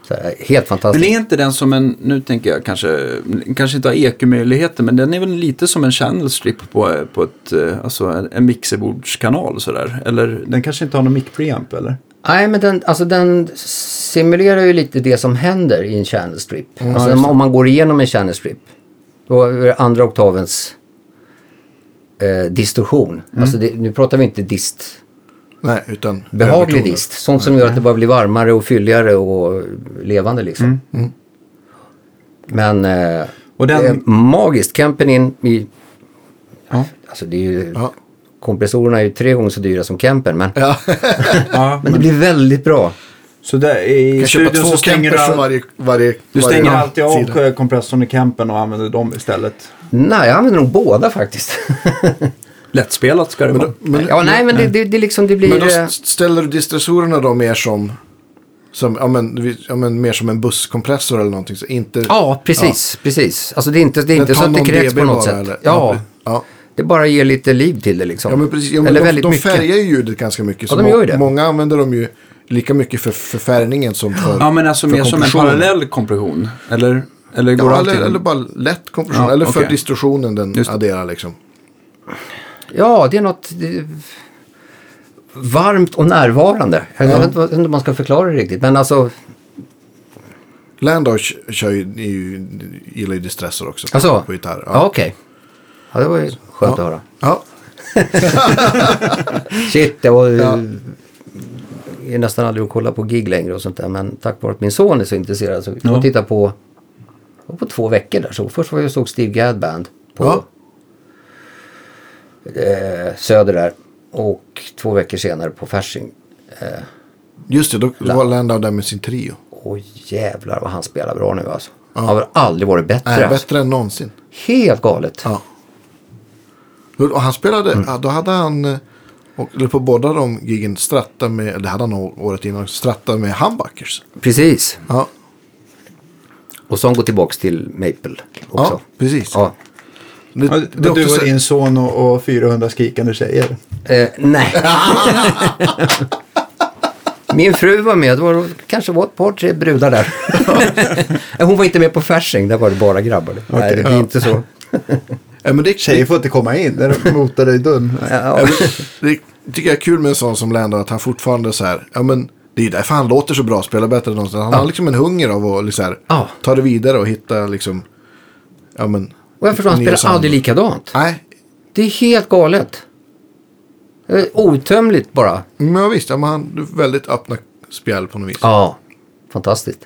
Speaker 2: Så här, helt
Speaker 4: Men
Speaker 2: fantastiskt.
Speaker 4: är inte den som en, nu tänker jag kanske, kanske inte har EQ-möjligheter, men den är väl lite som en channel strip på, på ett, eh, alltså en, en mixerbordskanal sådär. Eller den kanske inte har någon mic-preamp eller?
Speaker 2: Nej men den, alltså, den simulerar ju lite det som händer i en channel strip. alltså, om- om man går igenom en channel strip. Då är det andra oktavens eh, distorsion.
Speaker 1: Mm.
Speaker 2: Alltså det, nu pratar vi inte dist.
Speaker 1: Nej, utan...
Speaker 2: Behaglig
Speaker 1: övertoner.
Speaker 2: dist. Sånt som gör att det bara blir varmare och fylligare och levande liksom.
Speaker 1: Mm,
Speaker 2: Men eh,
Speaker 4: Och
Speaker 2: det
Speaker 4: den,
Speaker 2: är magiskt. Campen in i...
Speaker 4: Ja.
Speaker 2: Alltså det är ju...
Speaker 1: Ja.
Speaker 2: Kompressorerna är ju tre gånger så dyra som Campen men,
Speaker 1: Ja.
Speaker 4: ja,
Speaker 2: men det blir väldigt bra.
Speaker 3: Så där, i
Speaker 1: Jag köper
Speaker 3: studion så
Speaker 1: två
Speaker 3: stänger
Speaker 1: campers
Speaker 3: du,
Speaker 1: för
Speaker 3: all,
Speaker 1: varje, varje,
Speaker 4: Du
Speaker 1: varje
Speaker 4: stänger
Speaker 3: stänger
Speaker 4: Ja.
Speaker 3: alltid
Speaker 1: sida.
Speaker 3: av eh, kompressorn i campen och använder dem istället.
Speaker 2: Nej, jag använder nog båda faktiskt.
Speaker 4: lättspelat ska det
Speaker 1: Men,
Speaker 4: vara.
Speaker 1: då- men,
Speaker 2: ja, nej, men det, det, det liksom det blir...
Speaker 1: men då
Speaker 2: eh,
Speaker 1: st- ställer du distressorerna då mer som... som ja, men, vi- ja, men, mer som en busskompressor eller någonting. Så inte,
Speaker 2: Ja, precis, precis. Alltså det är inte, det är
Speaker 1: Den
Speaker 2: inte så
Speaker 1: tar
Speaker 2: att det
Speaker 1: någon
Speaker 2: kräks
Speaker 1: dB
Speaker 2: på något
Speaker 1: bara,
Speaker 2: sätt.
Speaker 1: eller?
Speaker 2: Ja,
Speaker 1: ja.
Speaker 2: det bara ger lite liv till det liksom.
Speaker 1: Ja, men precis. Ja, men
Speaker 2: Eller
Speaker 1: de,
Speaker 2: väldigt
Speaker 1: de
Speaker 2: mycket.
Speaker 1: färgar ju ljudet ganska mycket.
Speaker 2: Ja,
Speaker 1: så
Speaker 2: de gör ju
Speaker 1: må-
Speaker 2: det.
Speaker 1: Många använder dem ju lika mycket för, för färgningen som för
Speaker 4: Ja, men alltså
Speaker 1: för
Speaker 4: mer som en
Speaker 1: kompressionen.
Speaker 4: parallell kompression. Eller, eller går
Speaker 1: Ja,
Speaker 4: allt
Speaker 1: eller,
Speaker 4: till-
Speaker 1: eller bara lätt kompression.
Speaker 4: Ja,
Speaker 1: eller för
Speaker 4: okej.
Speaker 1: distorsionen den
Speaker 4: Just det.
Speaker 1: adderar liksom.
Speaker 2: Ja, det är något det, varmt och närvarande. Jag vet inte vad- inte om man ska förklara det riktigt. Men alltså,
Speaker 1: Landau k- kör ju, är ju, gillar ju distressor också på,
Speaker 2: alltså
Speaker 1: på gitarr.
Speaker 2: Ja, okej. Ja, det var ju skönt att höra.
Speaker 1: ja.
Speaker 2: Shit, det var ju... Jag är nästan aldrig och kollar på gig längre och sånt där. Men tack vare att min son är så intresserad så jag
Speaker 4: Ja.
Speaker 2: tittar på... jag var på två veckor där. Så först var jag och såg Steve Gadd Band på
Speaker 1: Ja.
Speaker 2: eh, Söder där. Och två veckor senare på Fasching.
Speaker 1: Just det, då var Landau där med sin trio.
Speaker 2: Åh jävlar vad han spelar bra nu alltså. Han har aldrig varit bättre.
Speaker 1: Nej,
Speaker 2: alltså.
Speaker 1: bättre än någonsin.
Speaker 2: Helt galet.
Speaker 1: Ja. Och han spelade,
Speaker 4: Mm.
Speaker 1: ja, då hade han, eh, och, eller på båda de giggen, stratta med, eller det hade han å- året innan, också, stratta med handbackers.
Speaker 2: Precis.
Speaker 1: Ja,
Speaker 2: Och så går tillbaks till Maple också.
Speaker 1: ja precis.
Speaker 2: Ja.
Speaker 1: Det,
Speaker 3: Ja,
Speaker 1: det är
Speaker 3: du
Speaker 1: också
Speaker 3: och
Speaker 1: så-
Speaker 3: din son och, och 400 skrikande tjejer.
Speaker 2: Eh, nej. Min fru var med, det var, kanske var ett par tre brudar där. Eh, Hon var inte med på Fasching, där var det bara grabbar. Nej, det blir inte så.
Speaker 1: Ja, men det,
Speaker 3: Tjejer får inte komma in när de motar dig i dörren.
Speaker 2: Ja,
Speaker 1: det tycker jag är kul med en sån som Landau, att han fortfarande så här, ja men det är ju därför han låter så bra, spelar bättre än någonsin. Han har liksom en hunger av att liksom, så här,
Speaker 2: Ja.
Speaker 1: ta det vidare och hitta liksom, ja men.
Speaker 2: och jag förstår, han
Speaker 1: nya
Speaker 2: spelar
Speaker 1: sound.
Speaker 2: aldrig likadant.
Speaker 1: Nej,
Speaker 2: Det är helt galet. Eh, Outtömligt bara.
Speaker 1: men ja, visst, ja, men han, du har väldigt öppna spjäll på något vis.
Speaker 2: Ja, fantastiskt.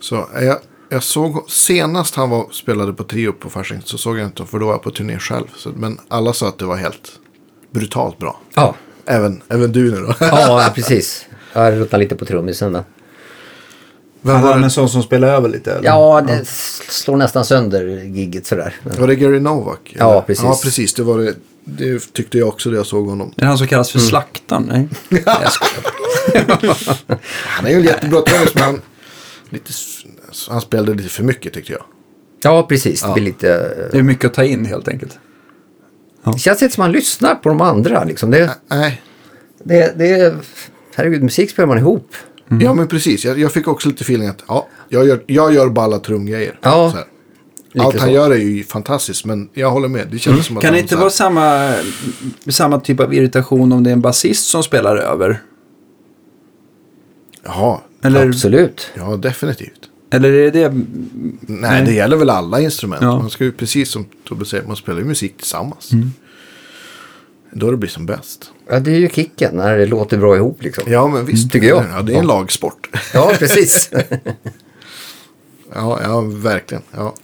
Speaker 1: Så eh, jag, jag såg senast han var, spelade på trio på Fasching så såg jag inte för då var jag på turné själv. Så, men alla sa att det var helt brutalt bra.
Speaker 2: Ja,
Speaker 1: Även, även du nu då.
Speaker 2: ja precis. Jag ruttnar lite på trummisen. men-
Speaker 1: Vem
Speaker 3: Hade
Speaker 1: var,
Speaker 3: han en
Speaker 1: det,
Speaker 3: sån som spelar över lite? Eller?
Speaker 2: Ja, det s- slår nästan sönder gigget sådär. Men-
Speaker 1: var det Gary Novak?
Speaker 2: Ja,
Speaker 1: eller?
Speaker 2: precis.
Speaker 1: Ja, precis. Det, var det, det tyckte jag också det jag såg honom.
Speaker 4: Är det han som kallas för
Speaker 1: Mm.
Speaker 4: slaktaren? Nej. Jag skojar.
Speaker 1: Han är ju en jättebra trummis men han, lite, s- alltså, han spelade lite för mycket tyckte jag.
Speaker 2: Ja, precis. Det blir lite... eh,
Speaker 4: Det är mycket att ta in helt enkelt.
Speaker 2: Det känns inte som man lyssnar på de andra liksom. Det,
Speaker 1: Nej.
Speaker 2: det, det är... Herregud, musik spelar man ihop.
Speaker 1: Ja men precis. Jag, jag fick också lite feeling att ja, jag, gör, jag gör balla trumgrejer.
Speaker 2: Ja,
Speaker 1: Så här.
Speaker 2: lite
Speaker 1: Allt han
Speaker 2: så.
Speaker 1: gör är ju fantastiskt men jag håller med. Det känns som att
Speaker 4: Kan det
Speaker 1: han
Speaker 4: inte
Speaker 1: så här-
Speaker 4: vara samma, samma typ av irritation om det är en basist som spelar över?
Speaker 1: Jaha,
Speaker 4: Eller,
Speaker 2: Absolut.
Speaker 1: ja definitivt.
Speaker 4: eller är det
Speaker 1: Nej, det gäller väl alla instrument.
Speaker 4: Ja.
Speaker 1: Man ska ju precis som Tobbe säger, man spelar ju musik tillsammans. Då det blir som bäst.
Speaker 2: Ja, det är ju kicken när det låter bra ihop liksom.
Speaker 1: Ja, men visst.
Speaker 2: Tycker jag.
Speaker 1: Ja, det är en lagsport.
Speaker 2: Ja, precis.
Speaker 1: Ja, ja verkligen. Ja.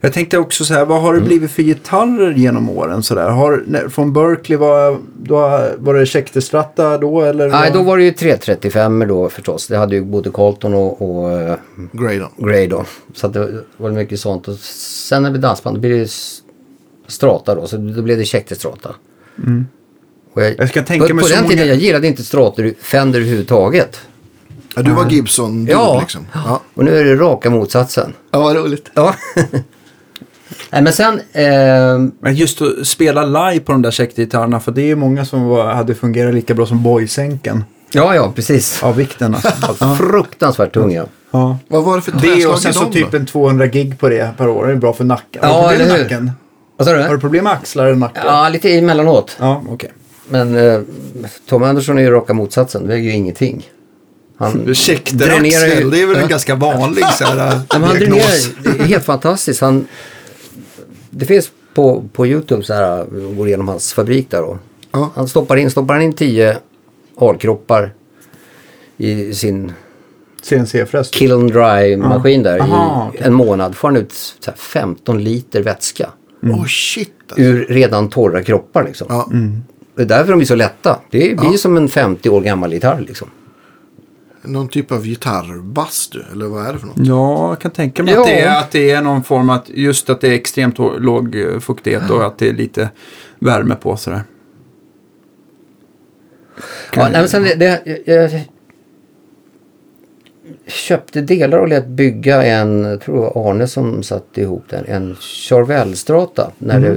Speaker 3: Jag tänkte också så här, vad har det
Speaker 2: Mm.
Speaker 3: blivit för gitarrer genom åren? Så där? Har, när, från Berkeley, var, då, var det Schecterstratta då? Eller
Speaker 2: Nej, då var det ju 335 då förstås. Det hade ju både Carlton och, och eh,
Speaker 1: Graydon.
Speaker 2: Grey då. Så att det var mycket sånt. Och sen när det blev dansband då blev det s- Strata då. Så då blev det käckt i Strata. Och
Speaker 4: Mm. Jag ska tänka
Speaker 2: på,
Speaker 4: mig
Speaker 2: på
Speaker 4: så
Speaker 2: den
Speaker 4: många-
Speaker 2: tiden jag gillade inte Strator, Fender överhuvudtaget.
Speaker 1: Ja, du var Gibson du,
Speaker 2: Ja.
Speaker 1: liksom. Ja.
Speaker 2: Och nu är det raka motsatsen.
Speaker 1: ja, vad roligt.
Speaker 2: Ja. Nej men sen, eh,
Speaker 4: Men just att spela live på de där checkgitarrerna för
Speaker 3: Det är ju många som var, hade fungerat lika bra som boysänken.
Speaker 2: ja ja precis.
Speaker 3: Av vikten alltså.
Speaker 2: Fruktansvärt tung ja.
Speaker 3: ja.
Speaker 1: Vad var det för
Speaker 3: Det och
Speaker 1: tvärslag i
Speaker 3: sen så
Speaker 1: dem
Speaker 3: typ
Speaker 1: då?
Speaker 3: en 200 gig på det per år. Det är bra för nacken.
Speaker 2: Ja,
Speaker 3: har du problem med
Speaker 2: eller hur?
Speaker 3: nacken?
Speaker 2: Vad sa
Speaker 3: Har du
Speaker 2: du?
Speaker 3: problem med axlar eller nacken?
Speaker 2: Ja lite emellanåt.
Speaker 3: ja okej.
Speaker 2: Men eh, Tom Andersson är ju raka motsatsen. Det väger ju ingenting.
Speaker 4: Mm.
Speaker 2: Han dränerar ju-
Speaker 5: Käkderaxel, det är väl en ganska vanlig så här,
Speaker 2: Ja, men han
Speaker 5: diagnos.
Speaker 2: dränerar, det är helt fantastiskt. Han, det finns på, på YouTube så här, vi går igenom hans fabrik där då.
Speaker 1: Ja.
Speaker 2: Han stoppar in, stoppar han in tio alkroppar i sin
Speaker 3: CNC-fräs.
Speaker 2: kill and dry maskin där
Speaker 3: Aha,
Speaker 2: i en månad. Får han ut så här 15 liter vätska
Speaker 1: Åh oh, shit. alltså.
Speaker 2: ur redan torra kroppar liksom.
Speaker 1: Ja.
Speaker 2: Det är därför de är så lätta. Det blir som en 50 år gammal gitarr liksom.
Speaker 1: Någon typ av gitarrbastu, eller vad är det för något?
Speaker 4: Ja, jag kan tänka mig
Speaker 2: Ja.
Speaker 4: att, det är, att det är någon form att just att det är extremt å- låg eh, fuktighet och att det är lite värme på sådär.
Speaker 2: Ja, nej, men sen det, det, jag, jag köpte delar och lät bygga en, jag tror det var Arne som satte ihop den, en Charvel-strata när, det,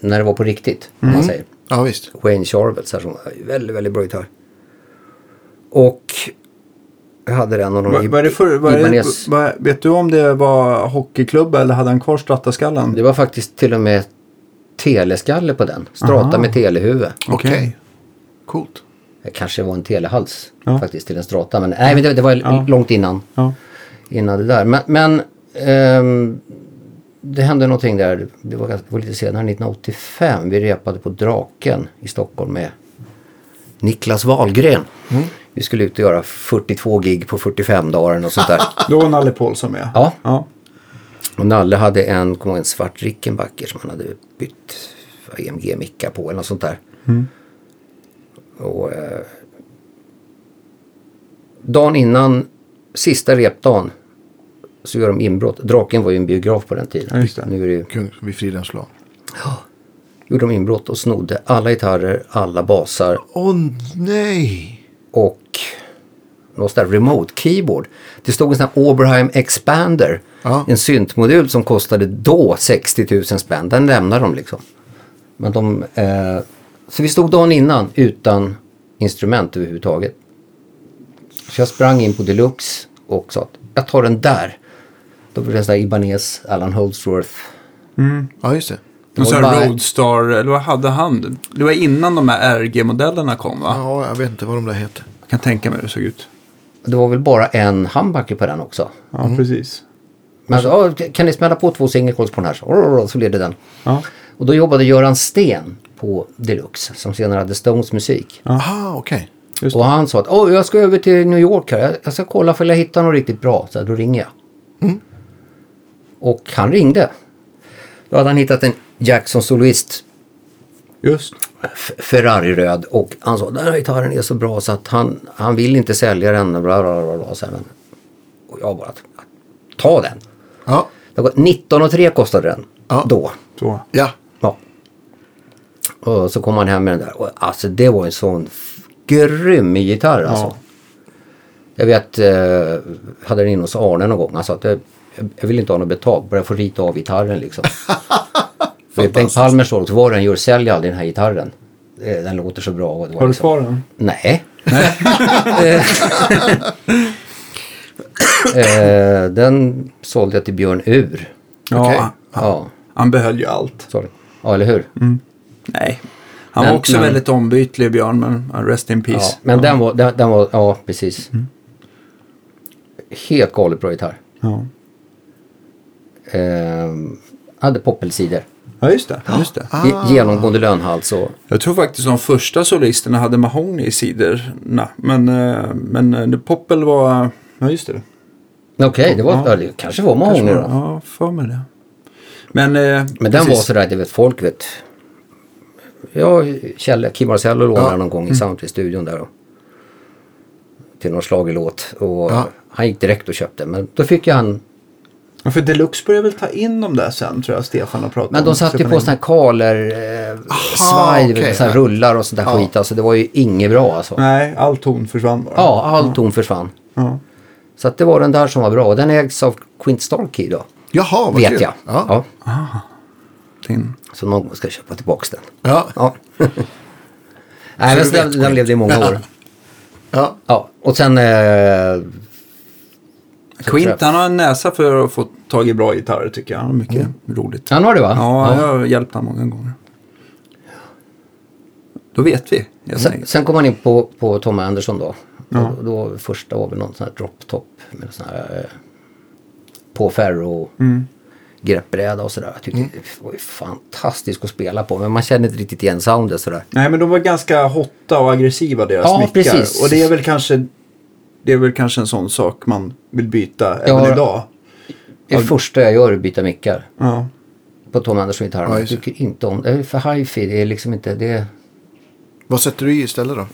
Speaker 2: när det var på riktigt. Om man säger.
Speaker 1: Ja, visst.
Speaker 2: Wayne Charvel, så här, som väldigt, väldigt bra gitarr. Och jag hade den och någon
Speaker 3: Vad, vad är det för, vad är det,
Speaker 2: Ibanez.
Speaker 3: vad, vet du om det var hockeyklubba eller hade han kvar strattaskallen?
Speaker 2: Det var faktiskt till och med teleskalle på den. Strata med telehuvud.
Speaker 1: Okej.
Speaker 4: Okej.
Speaker 1: Coolt.
Speaker 2: Det kanske var en telehals
Speaker 3: Ja.
Speaker 2: faktiskt till en strata. Men, nej, men det, det var långt innan.
Speaker 3: Ja.
Speaker 2: innan det där. Men, men ehm, det hände någonting där. Det var, ganska, det var lite senare, 1985. Vi repade på Draken i Stockholm med Niklas Wahlgren.
Speaker 3: Mm.
Speaker 2: Vi skulle ut och göra 42 gig på 45 dagar eller något sånt där.
Speaker 3: Då var Nalle Paulsson med.
Speaker 2: Ja.
Speaker 3: ja.
Speaker 2: Och Nalle hade en, kommer jag ihåg, en svart Rickenbacker som han hade bytt EMG-mickar på eller något sånt där.
Speaker 3: Mm.
Speaker 2: Och, eh, dagen innan, sista repdagen, så gör de inbrott. Draken var ju en biograf på den
Speaker 3: Ja,
Speaker 2: tiden.
Speaker 3: just det.
Speaker 2: nu är det ju,
Speaker 1: Kung vid Fridens lag.
Speaker 2: gjorde de inbrott och snodde alla gitarrer, alla basar
Speaker 1: Åh nej!
Speaker 2: och något sånt där remote keyboard. Det stod en sån här Oberheim Expander.
Speaker 1: Ja.
Speaker 2: En syntmodul som kostade då 60 000 spänn. Den lämnade de liksom. Men de, eh, så vi stod dagen innan utan instrument överhuvudtaget. Så jag sprang in på Deluxe och sa att jag tar den där. Då blev det en sån här Ibanez Alan Holdsworth.
Speaker 1: Ja, just det.
Speaker 4: Någon sån
Speaker 2: Det var
Speaker 4: här
Speaker 2: bara-
Speaker 4: Roadstar, eller vad hade han? Det var innan de här RG-modellerna kom va?
Speaker 1: Ja, jag vet inte vad de där heter.
Speaker 4: Jag kan tänka mig hur det såg ut.
Speaker 2: Det var väl bara en humbucker på den också.
Speaker 3: Ja, precis.
Speaker 2: Men så, "Ja, kan ni smälla på två singelkolls på den här? Så, "Rrrr", så blev det den.
Speaker 3: Ja.
Speaker 2: Och då jobbade Göran Sten på Deluxe som senare hade Stones musik.
Speaker 1: Aha, okej.
Speaker 3: Just
Speaker 2: Och han sa att Åh, jag ska över till New York här. Jag- Jag ska kolla för jag hittar något riktigt bra. Så här, då ringer jag. Och han ringde. Då hade han hittat en Jackson Soloist
Speaker 3: Just.
Speaker 2: F- Ferrari-röd och han sa den här gitarren är så bra så att han, han vill inte sälja den. Bla, bla, bla, bla, så här, men, och jag bara, ta den.
Speaker 1: Ja,
Speaker 2: Det var 19 och 3 kostade den
Speaker 1: Ja.
Speaker 2: då.
Speaker 3: Så.
Speaker 1: ja.
Speaker 2: Ja. Och så kom han hem med den där. Och alltså det var en sån f- grym gitarr alltså. Jag vet, eh, hade den inne hos Arne någon gång. Han sa att jag, jag vill inte ha något betalt, bara jag får rita av gitarren liksom. För Bengt Palmer såg också, var den gör, sälj aldrig den här gitarren. Eh, Den låter så bra. Och det var
Speaker 3: Har du
Speaker 2: liksom-
Speaker 3: kvar den?
Speaker 2: Nej. eh, den sålde jag till Björn Ur.
Speaker 4: Ja,
Speaker 1: Okej.
Speaker 4: han-
Speaker 2: Ja,
Speaker 4: han behöll ju allt.
Speaker 2: sorry. ja eller hur?
Speaker 4: Nej. Han
Speaker 2: Men-
Speaker 4: var också
Speaker 2: men-
Speaker 4: väldigt ombytlig Björn, men uh, rest in
Speaker 2: Ja,
Speaker 4: peace.
Speaker 2: men den var, den, den var, ja precis. Helt galet bra gitarr.
Speaker 3: Ja.
Speaker 2: Ehm, hade poppelsidor.
Speaker 4: Ja, just det. Just det.
Speaker 2: Ge- Genomgående lönhals och
Speaker 4: Jag tror faktiskt de första solisterna hade mahogny i sidorna. Men, eh, men eh, Poppel var... Ja, just det.
Speaker 2: Okej, det var, ja. det kanske var
Speaker 4: Kanske
Speaker 2: Mahoney
Speaker 4: var-
Speaker 2: då.
Speaker 4: Ja, för mig det. Men, eh,
Speaker 2: Men den
Speaker 4: precis.
Speaker 2: var sådär, det vet folk vet. Jag Kjelle, Kim Marcello lånade den någon gång i Soundtree-studion där. då. Till någon schlagerlåt. Och
Speaker 1: Ja.
Speaker 2: han gick direkt och köpte. Men då fick ju han
Speaker 3: Ja, för Deluxe började väl ta in dem där sen tror jag Stefan har pratat om.
Speaker 2: Men de satte ju
Speaker 3: Stefan
Speaker 2: på
Speaker 3: Eng-
Speaker 2: sådana här kaler, eh, svaj,
Speaker 1: okej.
Speaker 2: såna här rullar och sånt där skit. Alltså det var ju inget bra alltså.
Speaker 3: Nej, all ton försvann bara.
Speaker 2: Ja, all ton försvann.
Speaker 3: Ja.
Speaker 2: Så att det var den där som var bra. Och den ägs av Quint Starkey då.
Speaker 1: Jaha, vad kul.
Speaker 2: Vet jag.
Speaker 1: Ja.
Speaker 2: Ja.
Speaker 4: Tin.
Speaker 2: Så någon gång ska jag köpa tillbaka den.
Speaker 1: Ja.
Speaker 2: Ja. Nej, men så den, den levde i många år.
Speaker 1: Ja.
Speaker 2: Ja, och sen... Eh,
Speaker 4: Quint,
Speaker 2: jag-
Speaker 4: han har en näsa för att få tag i bra gitarrer tycker jag. Han har mycket
Speaker 2: Mm.
Speaker 4: roligt.
Speaker 2: han har det va?
Speaker 4: Ja, jag har hjälpt honom många gånger. Då vet vi. helt
Speaker 2: Sen,
Speaker 4: enkelt.
Speaker 2: sen kom han in på, på Tom Anderson då. Och då första var väl någon sån här drop top med sån här eh, på ferro greppbräda och sådär. Jag tyckte det var ju fantastiskt att spela på men man kände inte riktigt igen soundet sådär.
Speaker 3: Nej, men de var ganska hotta och aggressiva deras
Speaker 2: Ja,
Speaker 3: mickar.
Speaker 2: precis.
Speaker 3: Och det är väl kanske det är väl kanske en sån sak man vill byta
Speaker 2: Ja.
Speaker 3: även idag.
Speaker 2: Det första jag gör är att byta mickar
Speaker 3: Ja.
Speaker 2: på Tom Anderson gitarren.
Speaker 1: Ja,
Speaker 2: jag
Speaker 1: just det.
Speaker 2: tycker inte om det. Det är för hifi. Det är liksom inte det.
Speaker 1: Vad sätter du i istället då?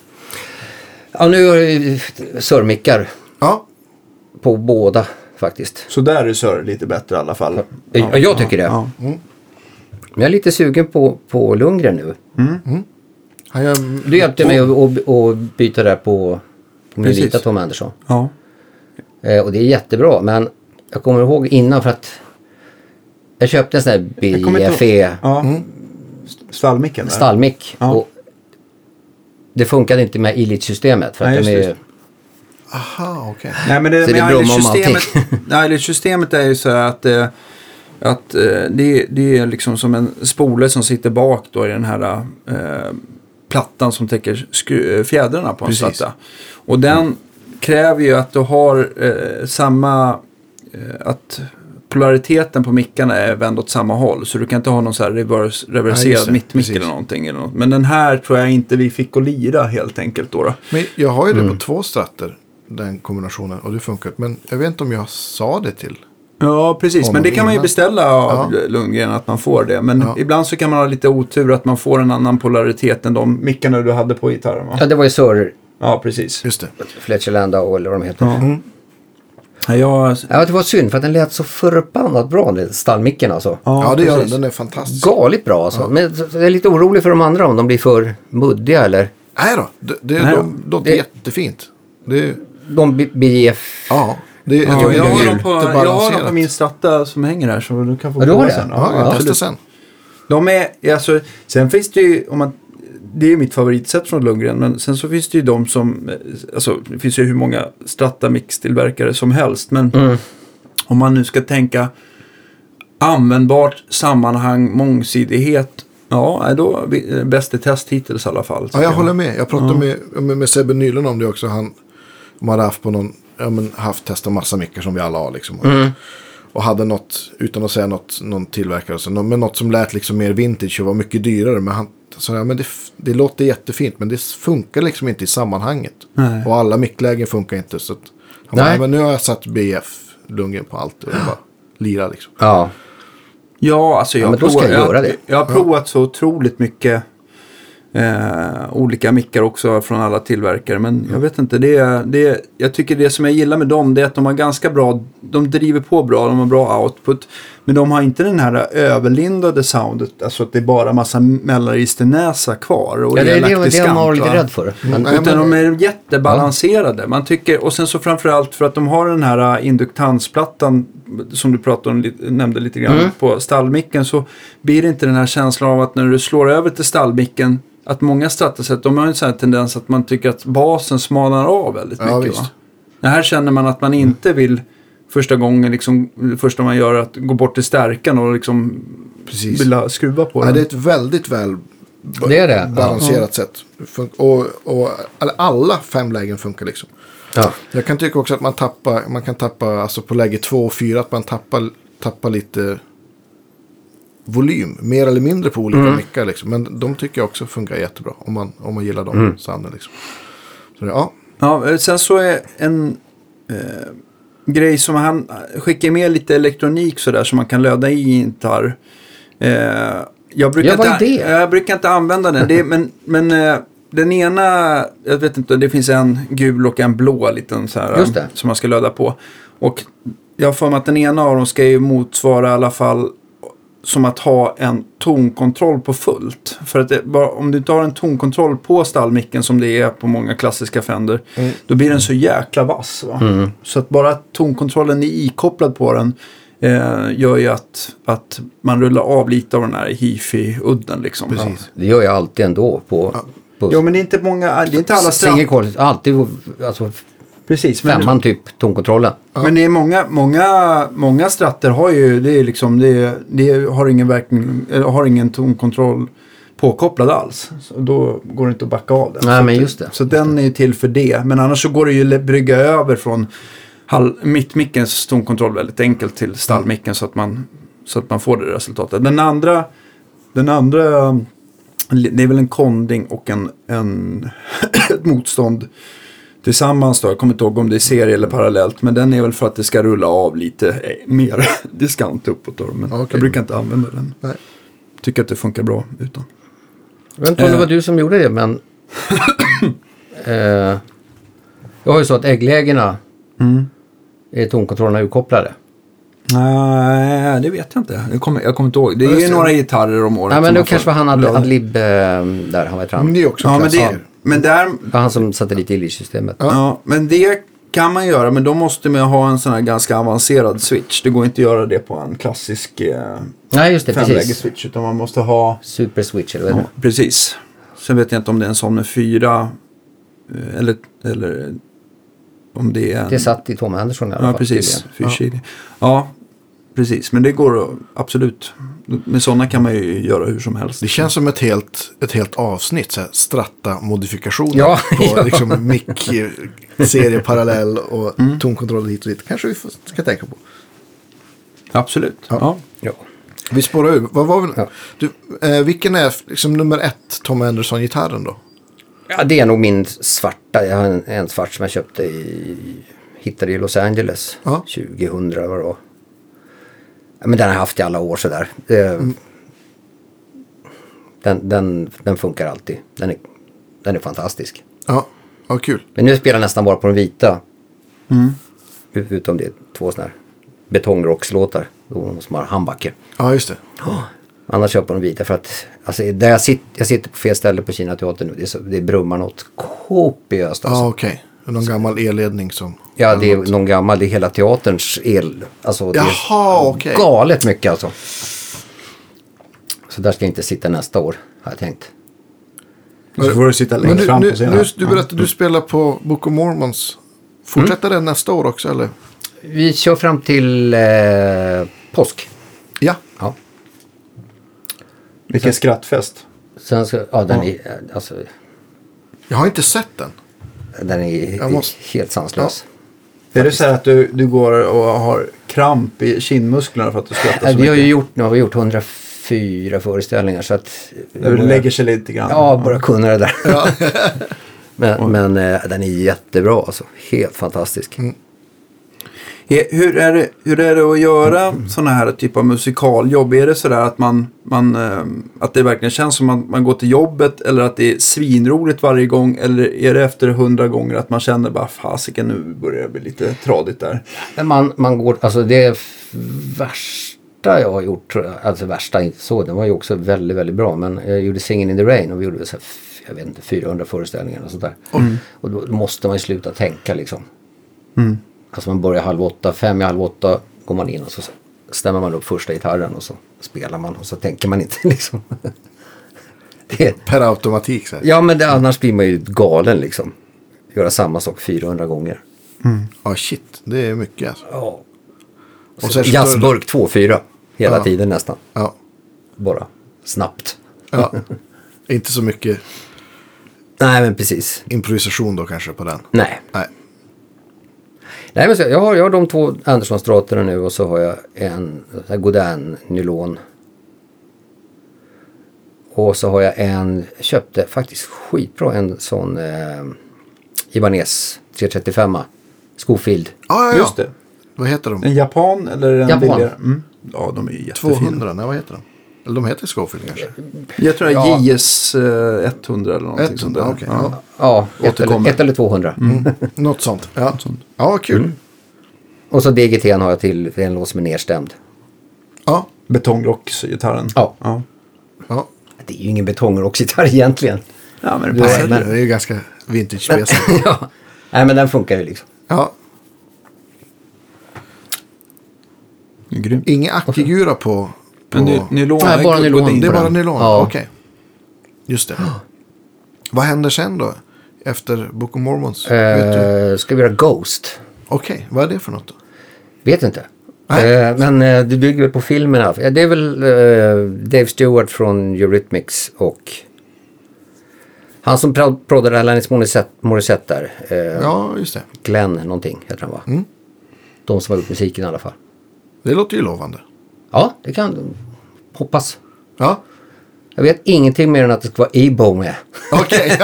Speaker 2: Ja nu har jag ju surrmickar
Speaker 1: Ja,
Speaker 2: på båda faktiskt.
Speaker 3: Så där är Sör lite bättre i alla fall.
Speaker 2: Ja, jag tycker det.
Speaker 3: Ja.
Speaker 2: Men jag är lite sugen på, på Lundgren nu.
Speaker 1: han gör...
Speaker 2: Du hjälpte mig att- att att byta där på, på min
Speaker 4: Precis.
Speaker 2: vita Tom Andersson.
Speaker 4: Ja.
Speaker 2: Eh, och det är jättebra men jag kommer ihåg innan för att jag köpte en sån här
Speaker 3: kommer inte
Speaker 2: BFE
Speaker 3: Ja. Stallmicken där.
Speaker 2: stallmick.
Speaker 3: Ja.
Speaker 2: Och det funkade inte med Ilit-systemet. För att
Speaker 3: Nej,
Speaker 2: de
Speaker 3: just
Speaker 2: är,
Speaker 1: Aha, okej.
Speaker 4: Nej, men det,
Speaker 2: Så det är
Speaker 4: men
Speaker 2: Bromma om
Speaker 4: Eilish-systemet- Nej, Eilish-systemet är ju så här att, eh, att eh, det, det är liksom som en spole som sitter bak då i den här eh, plattan som täcker skru- eh, fjädrarna på en
Speaker 1: Precis.
Speaker 4: platta. Och den kräver ju att du har eh, samma, eh, att polariteten på mickarna är vänd åt samma håll. Så du kan inte ha någon så här reverse,
Speaker 1: Nej, just
Speaker 4: reverserad
Speaker 1: det.
Speaker 4: mittmick
Speaker 1: Precis.
Speaker 4: eller någonting. Eller något. Men den här tror jag inte vi fick att lira helt enkelt då. då.
Speaker 1: Men jag har ju det på två stratter, den kombinationen. Och det funkar. Men jag vet inte om jag sa det till.
Speaker 4: Ja, precis.
Speaker 1: Om
Speaker 4: Men det
Speaker 1: de
Speaker 4: kan man ju
Speaker 1: vinner.
Speaker 4: beställa av Lundgren att man får det. Men
Speaker 1: Ja.
Speaker 4: ibland så kan man ha lite otur att man får en annan polaritet än de
Speaker 3: Mickarna du hade på gitarren va?
Speaker 2: ja det var ju Sir
Speaker 3: Ja, precis.
Speaker 1: Just det.
Speaker 2: Fletcher Landau eller vad de heter. Ja.
Speaker 1: Mm.
Speaker 4: Ja, jag...
Speaker 2: det var synd för att den lät så förbannat bra den stallmicken alltså.
Speaker 1: Ja, det gör den.
Speaker 4: precis.
Speaker 1: Den är fantastisk.
Speaker 2: Galigt bra alltså. Men så- så jag är lite orolig för de andra om de blir för muddiga eller
Speaker 1: Nej då, det, det,
Speaker 4: Nej då.
Speaker 1: de, de,
Speaker 2: Det-
Speaker 1: är jättefint. Det,
Speaker 2: de B- BF
Speaker 1: ja, det, jag
Speaker 4: Ja,
Speaker 1: tycker
Speaker 4: jag,
Speaker 1: det
Speaker 4: har
Speaker 1: är
Speaker 4: dem på, jag har dem på
Speaker 1: jättebalanserat.
Speaker 4: min stratta som hänger här så du kan få
Speaker 2: Ja, du har
Speaker 4: prova
Speaker 2: det?
Speaker 4: sen.
Speaker 1: Ja, jag testar
Speaker 4: absolut.
Speaker 1: sen.
Speaker 4: De är, alltså, sen finns det ju, om man, det är ju mitt favoritsätt från Lundgren, men sen så finns det ju de som, eh, alltså det finns ju hur många Stratamix-tillverkare som helst, men om man nu ska tänka användbart, sammanhang, mångsidighet, ja, nej, då eh, bäst i test hittills i alla fall.
Speaker 1: Ja, jag håller med. Jag pratade med, med, med Sebbe nyligen om det också. Han de hade haft på någon, ja men haft testat massa mickar som vi alla har liksom. Och, och hade något, utan att säga något, någon tillverkare och så, nå- men något som lät liksom mer vintage och var mycket dyrare. Men han sa, ja men det, f- det låter jättefint men det funkar liksom inte i sammanhanget. Och alla micklägen funkar inte. Så att, han bara,
Speaker 2: Nej.
Speaker 1: "Ja, men nu har jag satt BF Lundgren på allt och jag bara lirar liksom.
Speaker 2: Ja.
Speaker 4: Ja, alltså jag,
Speaker 2: men då ska
Speaker 4: provar-
Speaker 2: jag göra det.
Speaker 4: Jag har provat så otroligt mycket eh, olika mickar också från alla tillverkare. Men
Speaker 2: Mm.
Speaker 4: jag vet inte, det, är- det, är- jag tycker det som jag gillar med dem det är att de har ganska bra, de driver på bra, de har bra output. Men de har inte den här överlindade soundet, alltså att det är bara massa mellanregisternäsa kvar. Och
Speaker 2: Ja, det är det,
Speaker 4: elakt
Speaker 2: det man
Speaker 4: diskant,
Speaker 2: var
Speaker 4: va?
Speaker 2: lite rädd för. Men,
Speaker 1: Nej,
Speaker 4: Utan
Speaker 1: men-
Speaker 4: de är jättebalanserade. Man tycker, och sen så framförallt för att de har den här äh, induktansplattan som du pratade om, li- nämnde lite grann
Speaker 1: Mm.
Speaker 4: på stallmicken så blir det inte den här känslan av att när du slår över till stallmicken att många strattasätt, de har en sån här tendens att man tycker att basen smalnar av väldigt
Speaker 1: Ja,
Speaker 4: mycket. Va?
Speaker 1: visst.
Speaker 4: Det här känner man att man inte vill första gången, liksom, det första man gör är att gå bort till stärkan och liksom
Speaker 1: Precis.
Speaker 4: vilja skruva på
Speaker 1: Nej,
Speaker 4: den.
Speaker 1: det är ett väldigt väl
Speaker 2: det är det. Ja.
Speaker 1: balanserat sätt. Fun- och, och, eller alla fem lägen funkar liksom.
Speaker 2: Ja.
Speaker 1: Jag kan tycka också att man tappar, man kan tappa, alltså på läge två och fyra, att man tappar, tappar lite volym, mer eller mindre på
Speaker 2: Mm.
Speaker 1: olika mickar. Liksom. Men de tycker jag också funkar jättebra om man, om man gillar dem.
Speaker 2: Mm.
Speaker 1: Sonden, liksom. Så det, ja,
Speaker 4: Ja, eh, sen så är en eh, grej som han skickar med lite elektronik sådär som man kan löda i en gitarr. Eh, jag, brukar
Speaker 2: Ja, vad
Speaker 4: inte,
Speaker 2: är det?
Speaker 4: jag brukar inte använda den. Det är, men men eh, den ena, jag vet inte, det finns en gul och en blå liten så här,
Speaker 2: Just det.
Speaker 4: som man ska löda på. Och jag har för mig att den ena av dem ska ju motsvara i alla fall som att ha en tonkontroll på fullt. För att det, bara, om du inte har en tonkontroll på stallmicken som det är på många klassiska Fender. Då blir den så jäkla vass. Va? Så att bara att tonkontrollen är ikopplad på den. Eh, gör ju att, att man rullar av lite av den här hifi-udden. Liksom. Precis.
Speaker 2: Det gör jag alltid ändå på... på
Speaker 4: Jo men det är inte många, det är inte alla strapp.
Speaker 2: Single quality, alltid alltså,
Speaker 4: Precis, men,
Speaker 2: femman typ, tonkontrollen.
Speaker 4: men det är många, många, många stratter har ju, det är liksom, det, är, det är, har ingen verkning, eller har ingen tonkontroll påkopplad alls. Så då går det inte att backa av den.
Speaker 2: Nej,
Speaker 4: så
Speaker 2: men
Speaker 4: att-
Speaker 2: just det.
Speaker 4: Så den är ju till för det. Men annars så går det ju le- brygga över från hal- mittmickens tonkontroll väldigt enkelt till stallmicken så att man, så att man får det resultatet. Den andra, den andra, um, det är väl en konding och en, en ett motstånd tillsammans då. Jag kommer inte ihåg om det är serie eller parallellt. Men den är väl för att det ska rulla av lite eh, mer diskant uppåt då. Men
Speaker 1: Okej.
Speaker 4: jag brukar inte använda den.
Speaker 1: Nej.
Speaker 4: Tycker att det funkar bra utan.
Speaker 2: Jag vet inte
Speaker 4: Eh.
Speaker 2: om det var du som gjorde det men... eh, jag har ju så att ägglägena
Speaker 4: Mm.
Speaker 2: är tonkontrollerna urkopplade.
Speaker 4: Nej, det vet jag inte. Jag kommer, jag kommer inte ihåg. Det är ju några gitarrer om året.
Speaker 2: Nej men
Speaker 4: som
Speaker 2: det
Speaker 4: man får
Speaker 2: kanske var han ad,
Speaker 4: löda.
Speaker 2: Adlib eh, där han var i
Speaker 1: men
Speaker 2: fram.
Speaker 1: det är också
Speaker 4: Ja, men det,
Speaker 1: klassiker.
Speaker 4: men där,
Speaker 2: Det var han som satte lite ill i systemet.
Speaker 4: Ja. men det kan man göra, men då måste man ha en sån här ganska avancerad switch. Det går inte att göra det på en klassisk eh,
Speaker 2: Nej just det, precis.
Speaker 4: femläges-switch, utan man måste ha...
Speaker 2: Super switch eller vad heter
Speaker 4: Ja, precis. Sen vet jag inte om det är en sån med fyra, eh, eller, eller om det är en...
Speaker 2: det? Det satt i Tom Anderson i alla
Speaker 4: ja,
Speaker 2: fall.
Speaker 4: precis.
Speaker 2: tydligen.
Speaker 4: Fyrsidig. Ja. precis. Men det går att- absolut. Med sådana kan man ju göra hur som helst.
Speaker 1: Det känns som ett helt, ett helt avsnitt, så här, stratta-modifikationer
Speaker 2: Ja,
Speaker 1: på
Speaker 2: ja.
Speaker 1: liksom, mick, serie parallell och tonkontroll hit och dit. kanske vi får- ska tänka på.
Speaker 4: Absolut. Ja.
Speaker 2: Ja.
Speaker 1: Vi spårar ur. Vad var vi?
Speaker 2: Ja.
Speaker 1: Du, eh, vilken är liksom, nummer ett Tom Anderson-gitarren då?
Speaker 2: ja, det är nog min svarta. Jag har en, en svart som jag köpte i... Hittade i Los Angeles
Speaker 1: Ja.
Speaker 2: 2000 eller vad det var. Ja, men den har jag haft i alla år sådär. Eh,
Speaker 4: Mm.
Speaker 2: den, den, den funkar alltid. Den är, den är fantastisk.
Speaker 1: Ja, ja kul.
Speaker 2: Men nu spelar jag nästan bara på den vita. Mm. Utom det är två sådana här betongrockslåtar. De som har handbacker.
Speaker 1: Ja, just det.
Speaker 2: Annars köper de vita för att alltså, där jag, sitter, jag sitter på fel ställe på Kina teatern nu. Det, är så, det brummar något kopiöst alltså.
Speaker 1: Ja, okej. Någon gammal elledning som...
Speaker 2: Ja, det är någon gammal, det är hela teaterns el. Alltså, det är
Speaker 1: Jaha, okej.
Speaker 2: galet mycket alltså. Så där ska jag inte sitta nästa år, har jag tänkt.
Speaker 3: Så får du sitta
Speaker 1: Men
Speaker 3: längst
Speaker 1: du,
Speaker 3: fram
Speaker 1: nu,
Speaker 3: på
Speaker 1: nu,
Speaker 3: scenen.
Speaker 1: du berättade att du spelar på Book of Mormons. Fortsätter den nästa år också, eller?
Speaker 2: Vi kör fram till eh, påsk.
Speaker 1: Ja.
Speaker 2: Ja.
Speaker 3: Vilken skrattfest.
Speaker 2: Sen ska, ja, den, Är, alltså,
Speaker 1: Jag har inte sett den.
Speaker 2: den är
Speaker 1: Jag måste-
Speaker 2: helt sanslös.
Speaker 3: Är det så här att du, du går och har kramp i kindmusklerna för att du skrattar
Speaker 2: Äh,
Speaker 3: så
Speaker 2: Vi har ju
Speaker 3: mycket?
Speaker 2: gjort, nu har vi gjort 104 föreställningar så att...
Speaker 3: Du lägger sig lite grann.
Speaker 2: Ja, börja kunna det där. men men eh, den är jättebra alltså. Helt fantastisk.
Speaker 4: He- Hur är, det, hur är det att göra sådana här typ av musikaljobb? Är det sådär att, man, man, eh, att det verkligen känns som att man går till jobbet eller att det är svinroligt varje gång? Eller är det efter hundra gånger att man känner bara fasiken nu börjar det bli lite tradigt där?
Speaker 2: Men man, man går, alltså det f- värsta jag har gjort, tror jag, alltså värsta inte så, den var ju också väldigt, väldigt bra. Men jag gjorde Singin' in the Rain och vi gjorde väl så här, f- jag vet inte, 400 föreställningar och sånt där. Och då måste man ju sluta tänka liksom. Alltså man börjar halv åtta, fem i halv åtta går man in och så stämmer man upp första gitarren och så spelar man och så tänker man inte liksom. det,
Speaker 1: Per automatik. Så här.
Speaker 2: ja men det, annars blir man ju galen liksom. Göra samma sak 400 gånger.
Speaker 1: Ja, shit. Det är mycket alltså.
Speaker 2: Ja.
Speaker 1: Och sen så-
Speaker 2: Jazzburk 2-4 hela
Speaker 1: Ja.
Speaker 2: tiden nästan.
Speaker 1: Ja.
Speaker 2: Bara snabbt.
Speaker 1: ja. inte så mycket
Speaker 2: Nej men precis.
Speaker 1: improvisation då kanske på den.
Speaker 2: Nej.
Speaker 1: Nej.
Speaker 2: Nej men så, jag, har, jag har de två Andersson-stratorna nu och så har jag en Godin nylon Och så har jag en, köpte faktiskt skitbra en sån eh, Ibanez 335 Skofield.
Speaker 1: Ja, ja,
Speaker 3: Just
Speaker 1: ja.
Speaker 3: det.
Speaker 1: Vad heter de?
Speaker 3: En japan eller en
Speaker 2: Japan.
Speaker 3: billigare? Mm. Ja, de är ju jättefina.
Speaker 1: 200, nej vad heter de? Eller de heter Scofield kanske?
Speaker 3: Jag tror det är
Speaker 2: Ja.
Speaker 3: JS eh, 100 eller någonting sånt
Speaker 1: 100,
Speaker 3: där.
Speaker 1: okej.
Speaker 3: Ja.
Speaker 1: Ja.
Speaker 2: Ja, ett eller,
Speaker 3: Återkommer.
Speaker 2: ett eller 200.
Speaker 1: Något sånt. Ja, ja kul.
Speaker 2: Och så DGT har jag till, för en låt som är nedstämd.
Speaker 1: Ja,
Speaker 3: Betongrocksgitarren.
Speaker 2: Ja.
Speaker 3: ja.
Speaker 1: ja.
Speaker 2: Det är ju ingen betongrocksgitarr egentligen.
Speaker 3: Ja, men det
Speaker 2: Ja,
Speaker 3: passar.
Speaker 2: men-
Speaker 1: det är ju ganska vintage
Speaker 2: ja. Nej men den funkar ju liksom.
Speaker 1: Ja,
Speaker 3: Grymt.
Speaker 1: inga ackigura på... på...
Speaker 4: Men ny- nylon
Speaker 2: Nej,
Speaker 4: är
Speaker 2: bara
Speaker 4: guld-
Speaker 2: nylon.
Speaker 4: guld-
Speaker 1: det är
Speaker 2: på
Speaker 1: bara
Speaker 2: den.
Speaker 1: nylon?
Speaker 2: Ja.
Speaker 1: Okej. Just det. Vad händer sen då? Efter Book of Mormons? Vet du?
Speaker 2: Eh, ska vi göra Ghost?
Speaker 1: Okej, vad är det för något då?
Speaker 2: Vet inte.
Speaker 1: Nej.
Speaker 2: Eh, men eh, det bygger väl på filmerna. Eh, Det är väl eh, Dave Stewart från Eurythmics och han som pra- proddade Alanis Morissette, Morissette där. Eh,
Speaker 1: Ja, just det.
Speaker 2: Glenn någonting heter han va? De som har gjort musiken i alla fall.
Speaker 1: Det låter ju lovande.
Speaker 2: Ja, det kan hoppas.
Speaker 1: Ja,
Speaker 2: Jag vet ingenting mer än att det ska vara Ebo med.
Speaker 1: okej.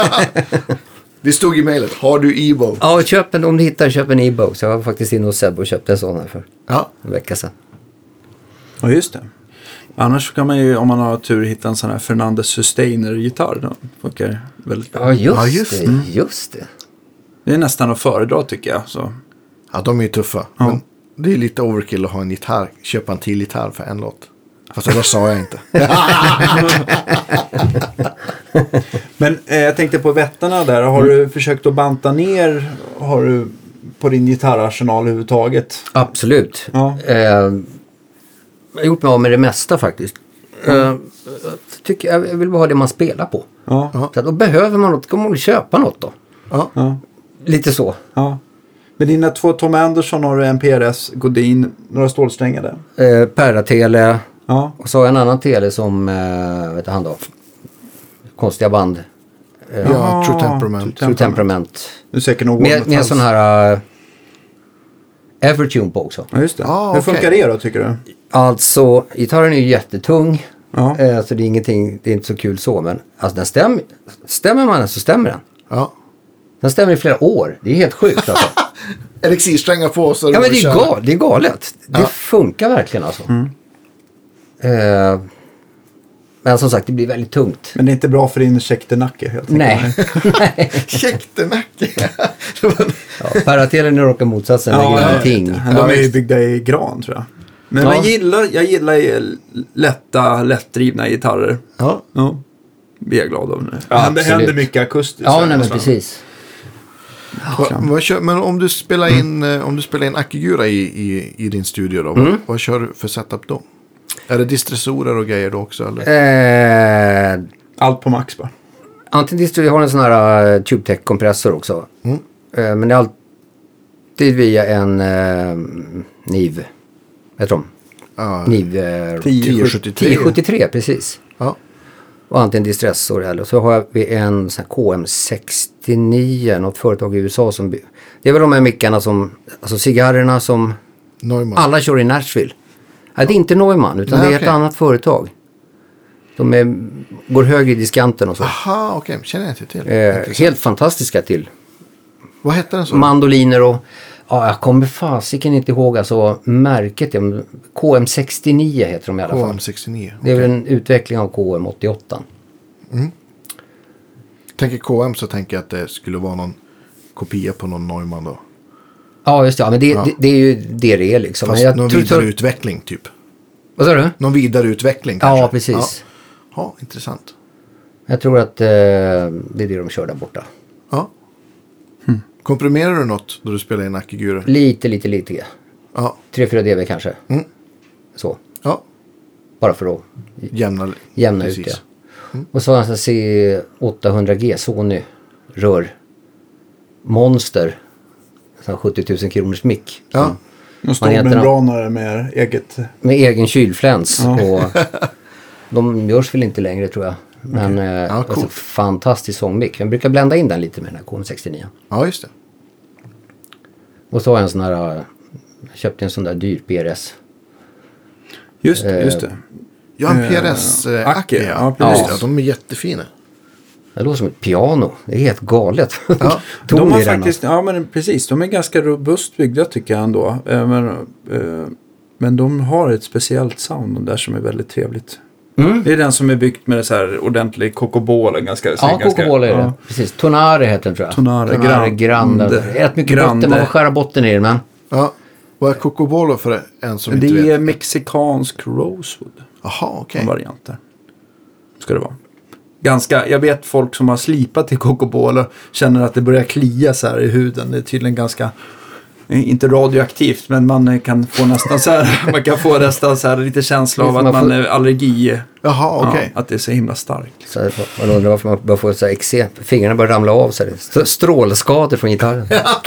Speaker 1: det stod i mejlet. Har du Ebo?
Speaker 2: Ja, köp en, om du hittar köp en Ebo. Så jag var faktiskt inne hos Sebbe och köpte en sån här för
Speaker 1: Ja.
Speaker 2: en vecka sedan.
Speaker 3: Ja, just det.
Speaker 4: Annars kan man ju om man har tur hitta en sån här Fernandez Sustainer-gitarr. Den funkar väldigt bra.
Speaker 2: Ja, just,
Speaker 1: Ja, just
Speaker 2: det. Just det.
Speaker 4: Det är nästan att föredra tycker jag. Så.
Speaker 1: Ja, de är ju tuffa. Men det är lite overkill att ha en gitarr, köpa en till gitarr för en låt. Fast det där sa jag inte.
Speaker 3: Men eh, jag tänkte på vättarna där. Har
Speaker 1: Mm.
Speaker 3: du försökt att banta ner har du på din gitarrarsenal överhuvudtaget?
Speaker 2: Absolut.
Speaker 3: Ja.
Speaker 2: Eh, jag har gjort mig av med det mesta faktiskt. Eh, jag, tycker, jag vill bara ha det man spelar på.
Speaker 3: Ja.
Speaker 1: Ja.
Speaker 2: Så att, då behöver man något, då kommer man köpa något då.
Speaker 1: Ja.
Speaker 3: ja.
Speaker 2: Lite så.
Speaker 3: ja. Med dina två Tom Anderson har du en PRS, Godin, några stålsträngar där.
Speaker 2: Eh, Perra-tele
Speaker 3: Ja.
Speaker 2: och så har jag en annan tele som, eh, vet du han då? Konstiga band.
Speaker 1: Ja, True Temperament.
Speaker 2: True Temperament.
Speaker 3: Du är säkert nog
Speaker 2: Med, med en sån här eh, Evertune på också.
Speaker 3: Ja, just det.
Speaker 1: Ah,
Speaker 3: Hur
Speaker 1: okej.
Speaker 3: funkar det då tycker du?
Speaker 2: Alltså, gitarren är ju jättetung.
Speaker 3: Ja.
Speaker 2: Eh, så det är ingenting, det är inte så kul så. Men alltså den stäm, stämmer man den så stämmer den.
Speaker 1: Ja.
Speaker 2: Den stämmer i flera år. Det är helt sjukt alltså.
Speaker 1: Elixirsträngar på så
Speaker 2: ja men det är,
Speaker 1: kör.
Speaker 2: gal, det är galet. Det funkar verkligen alltså.
Speaker 3: Mm.
Speaker 2: Eh, men som sagt, det blir väldigt tungt.
Speaker 3: Men det är inte bra för din käktenacke helt enkelt.
Speaker 2: Nej.
Speaker 1: Käktenacke. Det var-
Speaker 2: ja, Paratelen är raka motsatsen.
Speaker 3: Ja,
Speaker 2: Ja,
Speaker 3: jag
Speaker 2: ingenting.
Speaker 3: vet. De är ju byggda i gran tror jag.
Speaker 4: Men
Speaker 2: Ja.
Speaker 4: jag, gillar, jag gillar ju lätta, lättdrivna gitarrer.
Speaker 1: ja.
Speaker 4: Ja. Vi är glada över nu.
Speaker 3: Ja, det händer
Speaker 2: absolut.
Speaker 3: mycket akustiskt.
Speaker 2: Ja, nej, men
Speaker 3: Alltså.
Speaker 2: precis.
Speaker 1: Va, vad kör, men om du spelar in, eh, om du spelar in Akigura i, i, i din studio då, vad, vad kör du för setup då? Är det distressorer och grejer då också? Eller?
Speaker 2: Eh,
Speaker 3: Allt på max bara.
Speaker 2: Antingen distro, jag har en sån här uh, TubeTech-kompressor också.
Speaker 1: Mm.
Speaker 2: Eh, men det är alltid via en uh, NIV. Vet du om?
Speaker 1: Ja,
Speaker 2: NIV eh,
Speaker 1: 1073.
Speaker 2: 1073, precis.
Speaker 1: Ja.
Speaker 2: Och antingen distressor eller så har jag vid en sån här KM69, något företag i USA som... by- Det är väl de här mickarna som, alltså cigarrerna som
Speaker 1: Neumann.
Speaker 2: alla kör i Nashville. Nej, det är inte Neumann utan
Speaker 1: Nej,
Speaker 2: det är
Speaker 1: okej.
Speaker 2: ett annat företag. De är, går högre i diskanten och så.
Speaker 1: Aha, okej. Känner jag inte till.
Speaker 2: Eh, helt fantastiska till.
Speaker 1: Mm. Vad hette den så?
Speaker 2: Mandoliner och... Ja, jag kommer fasiken inte ihåg alltså märket. är- men KM69 heter de i alla fall.
Speaker 1: KM69.
Speaker 2: Det är väl en utveckling av KM88.
Speaker 1: Tänker KM så tänker jag att det skulle vara någon kopia på någon Neumann då.
Speaker 2: Ja, just det. Ja, men det, Det, det är ju det det är liksom.
Speaker 1: Fast
Speaker 2: Men jag
Speaker 1: någon
Speaker 2: tror- tror-
Speaker 1: vidareutveckling typ.
Speaker 2: Vad sa du?
Speaker 1: Någon vidareutveckling
Speaker 2: Ja,
Speaker 1: kanske.
Speaker 2: precis.
Speaker 1: Ja, ja intressant.
Speaker 2: Jag tror att eh, det är det de kör där borta.
Speaker 1: Ja. Komprimerar du något då du spelar in Akigura?
Speaker 2: Lite, lite, lite.
Speaker 1: Ja.
Speaker 2: 3-4 dB kanske.
Speaker 1: Mm.
Speaker 2: Så.
Speaker 1: ja.
Speaker 2: Bara för att
Speaker 1: Jämna,
Speaker 2: jämna ut
Speaker 1: precis. Mm.
Speaker 2: det. Och så har jag en C800G Sony rör. Monster. Sån här 70 000 kronors mick.
Speaker 1: Ja.
Speaker 3: En stor
Speaker 2: Vad heter han?
Speaker 3: membranare med eget...
Speaker 2: Med egen kylfläns. Och de görs väl inte längre tror jag. Men eh, alltså,
Speaker 1: coolt.
Speaker 2: fantastisk sångmick. Jag brukar blända in den lite med den här KM69.
Speaker 1: ja, just det.
Speaker 2: Och så har jag en sån här, eh, jag köpte en sån där dyr PRS.
Speaker 4: Just det, just det.
Speaker 1: Ja, en PRS eh,
Speaker 4: Acke,
Speaker 1: Acke.
Speaker 4: ja,
Speaker 1: Ja,
Speaker 2: precis.
Speaker 1: just det. de är jättefina.
Speaker 2: Det låter som ett piano. Det är helt galet.
Speaker 1: Ja,
Speaker 2: Ton
Speaker 4: de har
Speaker 2: i den,
Speaker 4: faktiskt, ja men precis, de är ganska robust byggda tycker jag ändå. Eh, Men, eh, men de har ett speciellt sound de där som är väldigt trevligt.
Speaker 2: Mm.
Speaker 4: Det är den som är byggt med så här ordentlig kokobola. Ganska,
Speaker 2: Ja,
Speaker 4: ganska-
Speaker 2: Coca-Cola är det.
Speaker 4: ja.
Speaker 2: Precis. Tonare heter den tror jag.
Speaker 4: Tonare, Grande.
Speaker 2: Grande. Rätt mycket
Speaker 4: Grande.
Speaker 2: botten. Man får skära botten i den. Men...
Speaker 1: Ja. Vad är Coco Bolo för en som inte
Speaker 4: Det
Speaker 1: vet?
Speaker 4: är mexikansk rosewood.
Speaker 1: Jaha, okej.
Speaker 4: en variant där. Ska det vara. Ganska, jag vet folk som har slipat i kokobol och känner att det börjar klia så här i huden. Det är tydligen ganska, eh, inte radioaktivt, men man eh, kan få nästan så här, man kan få nästan så här lite känsla av att
Speaker 2: Man får-
Speaker 4: man är allergi.
Speaker 1: Jaha, okej.
Speaker 4: Ja, att det är så himla starkt. liksom.
Speaker 2: Så här, man undrar varför man börjar få så här eksem. Fingrarna börjar ramla av. Så här. St- Strålskador från gitarren.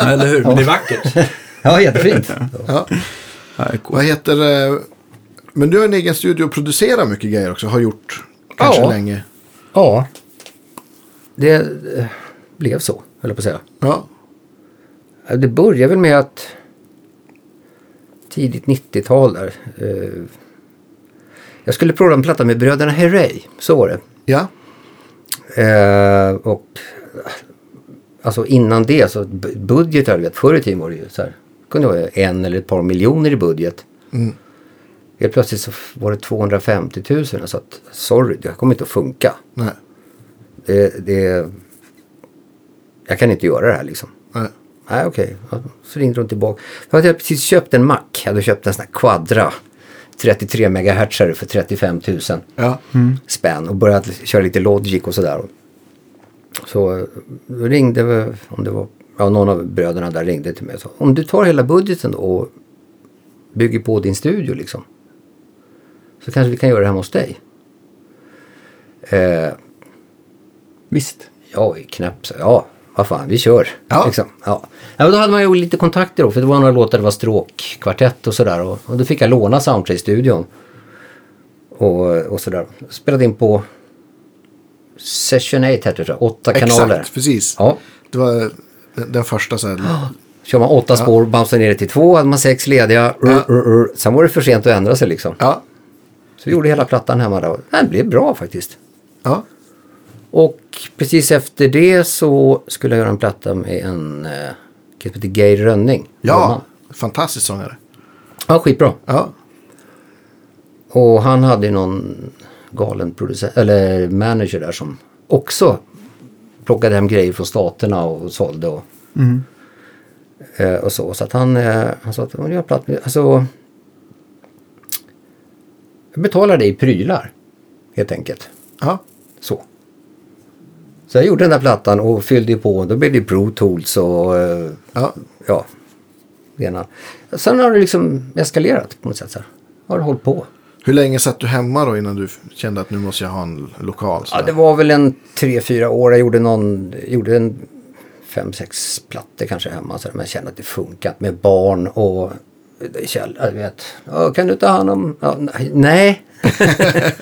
Speaker 4: Eller hur? Men det är vackert.
Speaker 2: Ja, jättefint.
Speaker 1: Ja.
Speaker 4: Ja, det är coolt.
Speaker 1: Vad heter det? Men du har en egen studio och producerar mycket grejer också. Har gjort kanske
Speaker 2: Ja.
Speaker 1: länge.
Speaker 2: Ja, det eh, blev så, höll jag på att säga.
Speaker 1: Ja.
Speaker 2: Eh, Det började väl med att tidigt 90-tal där. Eh, jag skulle prova en platta med bröderna Herrey, så var det.
Speaker 1: Ja.
Speaker 2: Eh, och eh, alltså innan det så b- budgetar, du vet, förr i tiden var det ju så här. kunde vara en eller ett par miljoner i budget.
Speaker 1: Mm.
Speaker 2: Helt plötsligt så f- var det 250 000. Så att, sorry, det här kommer inte att funka.
Speaker 1: Nej.
Speaker 2: Det, det, jag kan inte göra det här liksom.
Speaker 1: Nej.
Speaker 2: Nej okej, Ja, så ringde de tillbaka. För att jag hade precis köpt en Mac. Jag hade köpt en sån här Quadra. 33 MHz för 35 000
Speaker 1: Ja.
Speaker 2: spänn och började köra lite Logic och sådär. Så eh, då ringde, vi- om det var, ja, någon av bröderna där ringde till mig och sa om du tar hela budgeten och bygger på din studio liksom. Så kanske vi kan göra det hemma hos dig. Eh,
Speaker 4: Visst.
Speaker 2: Ja, i knäpp så ja, vad fan, vi kör.
Speaker 1: Ja.
Speaker 2: Liksom. ja. ja men då hade man ju lite kontakter då, för det var några låtar, det var stråkkvartett och sådär. Och, och då fick jag låna Soundtrace-studion. Och, och sådär. Spelade in på Session 8 hette det tror jag, åtta kanaler.
Speaker 1: Exakt, precis.
Speaker 2: Ja.
Speaker 1: Det var eh, den, den första så här.
Speaker 2: Kör man åtta spår, bamsade ner det till två, hade man sex lediga. Rr, rr, rr. Sen var det för sent att ändra sig liksom.
Speaker 1: Ja.
Speaker 2: Så vi gjorde hela plattan hemma då. Den blev bra faktiskt.
Speaker 1: Ja.
Speaker 2: Och precis efter det så skulle jag göra en platta med en eh, kille som heter Geir Rönning.
Speaker 1: Ja. Fantastisk sångare.
Speaker 2: Ja, skitbra.
Speaker 1: Ja.
Speaker 2: Och han hade ju någon galen producent, eller manager där som också plockade hem grejer från staterna och sålde och, eh, och så. Så att han, eh, han sa att "Ja, jag platt, alltså, jag betalar dig i prylar helt enkelt.
Speaker 1: Ja.
Speaker 2: Så. Så jag gjorde den där plattan och fyllde på. Då blev det Pro Tools och eh,
Speaker 1: Ja.
Speaker 2: ja, det ena. Sen har det liksom eskalerat på något sätt. Så här. Har det hållit på.
Speaker 1: Hur länge satt du hemma då innan du kände att nu måste jag ha en lokal? Så
Speaker 2: Ja,
Speaker 1: där?
Speaker 2: det var väl en tre, fyra år. Jag gjorde någon, gjorde en fem, sex plattor kanske hemma. Så där, men jag kände att det funkat med barn och eh, Kjell, jag vet. Ja, kan du ta hand om... Ja, nej, nej.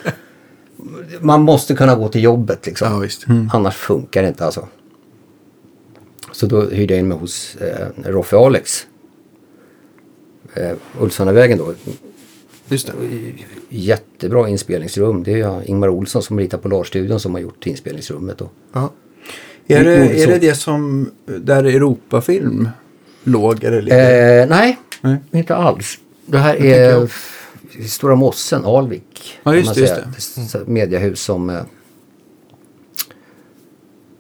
Speaker 2: Man måste kunna gå till jobbet liksom.
Speaker 1: Ja, visst.
Speaker 2: Annars funkar det inte alltså. Så då hyrde jag in mig hos eh, Roffe Alex. Eh, Ulvsundavägen då.
Speaker 1: Just det.
Speaker 2: Jättebra inspelningsrum. Det är ju Ingmar Olsson som ritar Polarstudion som har gjort inspelningsrummet. Och,
Speaker 1: Ja.
Speaker 4: Är
Speaker 3: Gjorde
Speaker 4: det, är
Speaker 3: så.
Speaker 4: det det som, där Europafilm låg? Eller ligger?
Speaker 2: Eh, nej, inte alls. Det här är f- Stora Mossen, Alvik.
Speaker 4: Ja,
Speaker 2: kan
Speaker 4: just
Speaker 2: man
Speaker 4: det, Mm. just
Speaker 2: säga. s- s- Mediahus som... eh,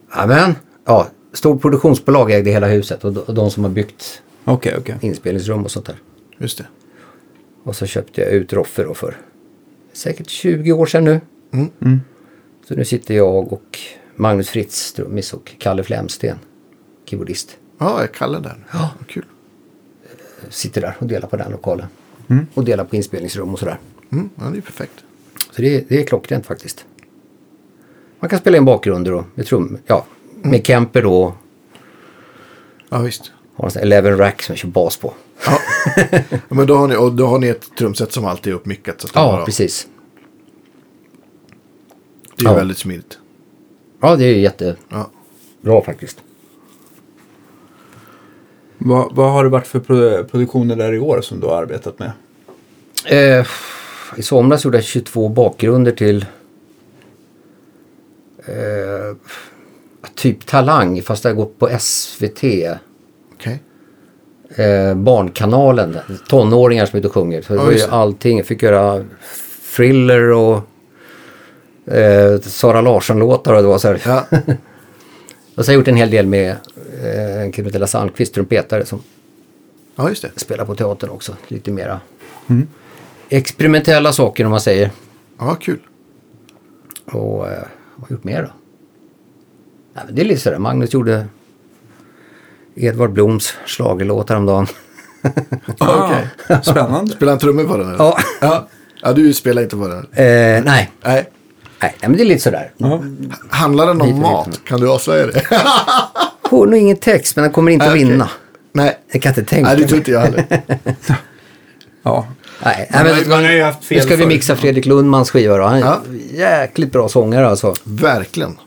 Speaker 2: Amen. Ja, stort produktionsbolag ägde hela huset och de, och de som har byggt
Speaker 4: Okej, okej.
Speaker 2: inspelningsrum och sånt där.
Speaker 1: Just det.
Speaker 2: Och så köpte jag ut Roffe då för säkert 20 år sedan nu.
Speaker 1: Mm.
Speaker 2: Så nu sitter jag och Magnus Fritz, trummis, och Kalle Flemsten, keyboardist,
Speaker 1: Ja, jag kallar den. Ja. Kul.
Speaker 2: sitter där och delar på den lokalen. Och delar på inspelningsrum och sådär.
Speaker 1: Mm. Ja, det är ju perfekt.
Speaker 2: Så det, är- det är klockrent faktiskt. Man kan spela in bakgrunder då, med trum, ja,
Speaker 1: Mm.
Speaker 2: med Kemper då.
Speaker 1: Ja, visst.
Speaker 2: Har en sån här 11 rack som jag kör bas på.
Speaker 1: Ja. Ja, Men då har ni, och då har ni ett trumset som alltid är uppmickat. Så att det
Speaker 2: Ja,
Speaker 1: bara-
Speaker 2: precis.
Speaker 1: Det är
Speaker 2: Ja.
Speaker 1: väldigt smidigt.
Speaker 2: Ja, det är ju jättebra
Speaker 1: Ja.
Speaker 2: faktiskt.
Speaker 4: Vad, vad har det varit för pro- produktioner där i år som du har arbetat med?
Speaker 2: Eh, I somras gjorde jag 22 bakgrunder till eh, typ Talang fast jag har gått på SVT.
Speaker 1: Okej.
Speaker 2: Eh, barnkanalen, tonåringar som är ute och sjunger. Så det
Speaker 1: Ja,
Speaker 2: var ju
Speaker 1: just det.
Speaker 2: allting. Jag fick göra thriller och eh, Sara Larsson-låtar och det var så här.
Speaker 1: Ja.
Speaker 2: Och så har jag gjort en hel del med eh, en kille som heter Lasse Almqvist, trumpetare som
Speaker 1: ja, just det.
Speaker 2: spelar på teatern också. Lite mera
Speaker 1: Mm.
Speaker 2: experimentella saker om man säger.
Speaker 1: Ja, kul.
Speaker 2: Och eh, vad har jag gjort mer då? Nej, men det är lite sådär, Magnus gjorde Edvard Bloms schlagerlåt häromdagen.
Speaker 4: Ah, Spännande.
Speaker 1: Spelar han trummor på den? eller?
Speaker 2: Ja.
Speaker 1: ja. Ja, du spelar inte på den.
Speaker 2: Eh, nej, nej,
Speaker 1: Nej.
Speaker 2: nej, men det är lite sådär.
Speaker 1: Handlar den om
Speaker 2: Lite, lite.
Speaker 1: mat? Kan du avslöja det?
Speaker 2: Hon har ingen text men han kommer inte
Speaker 1: Nej,
Speaker 2: att
Speaker 1: Ah, okej.
Speaker 2: vinna.
Speaker 1: Nej.
Speaker 2: Jag kan inte tänka
Speaker 1: Nej, det tror
Speaker 2: mig.
Speaker 1: inte jag heller.
Speaker 4: Ja.
Speaker 2: Nej,
Speaker 5: Man
Speaker 2: nej,
Speaker 5: har ju- man har ju haft fel
Speaker 2: nu ska vi
Speaker 5: förr.
Speaker 2: mixa Fredrik Lundmans skiva då. Han är
Speaker 1: Ja.
Speaker 2: jäkligt bra sångare alltså.
Speaker 1: Verkligen.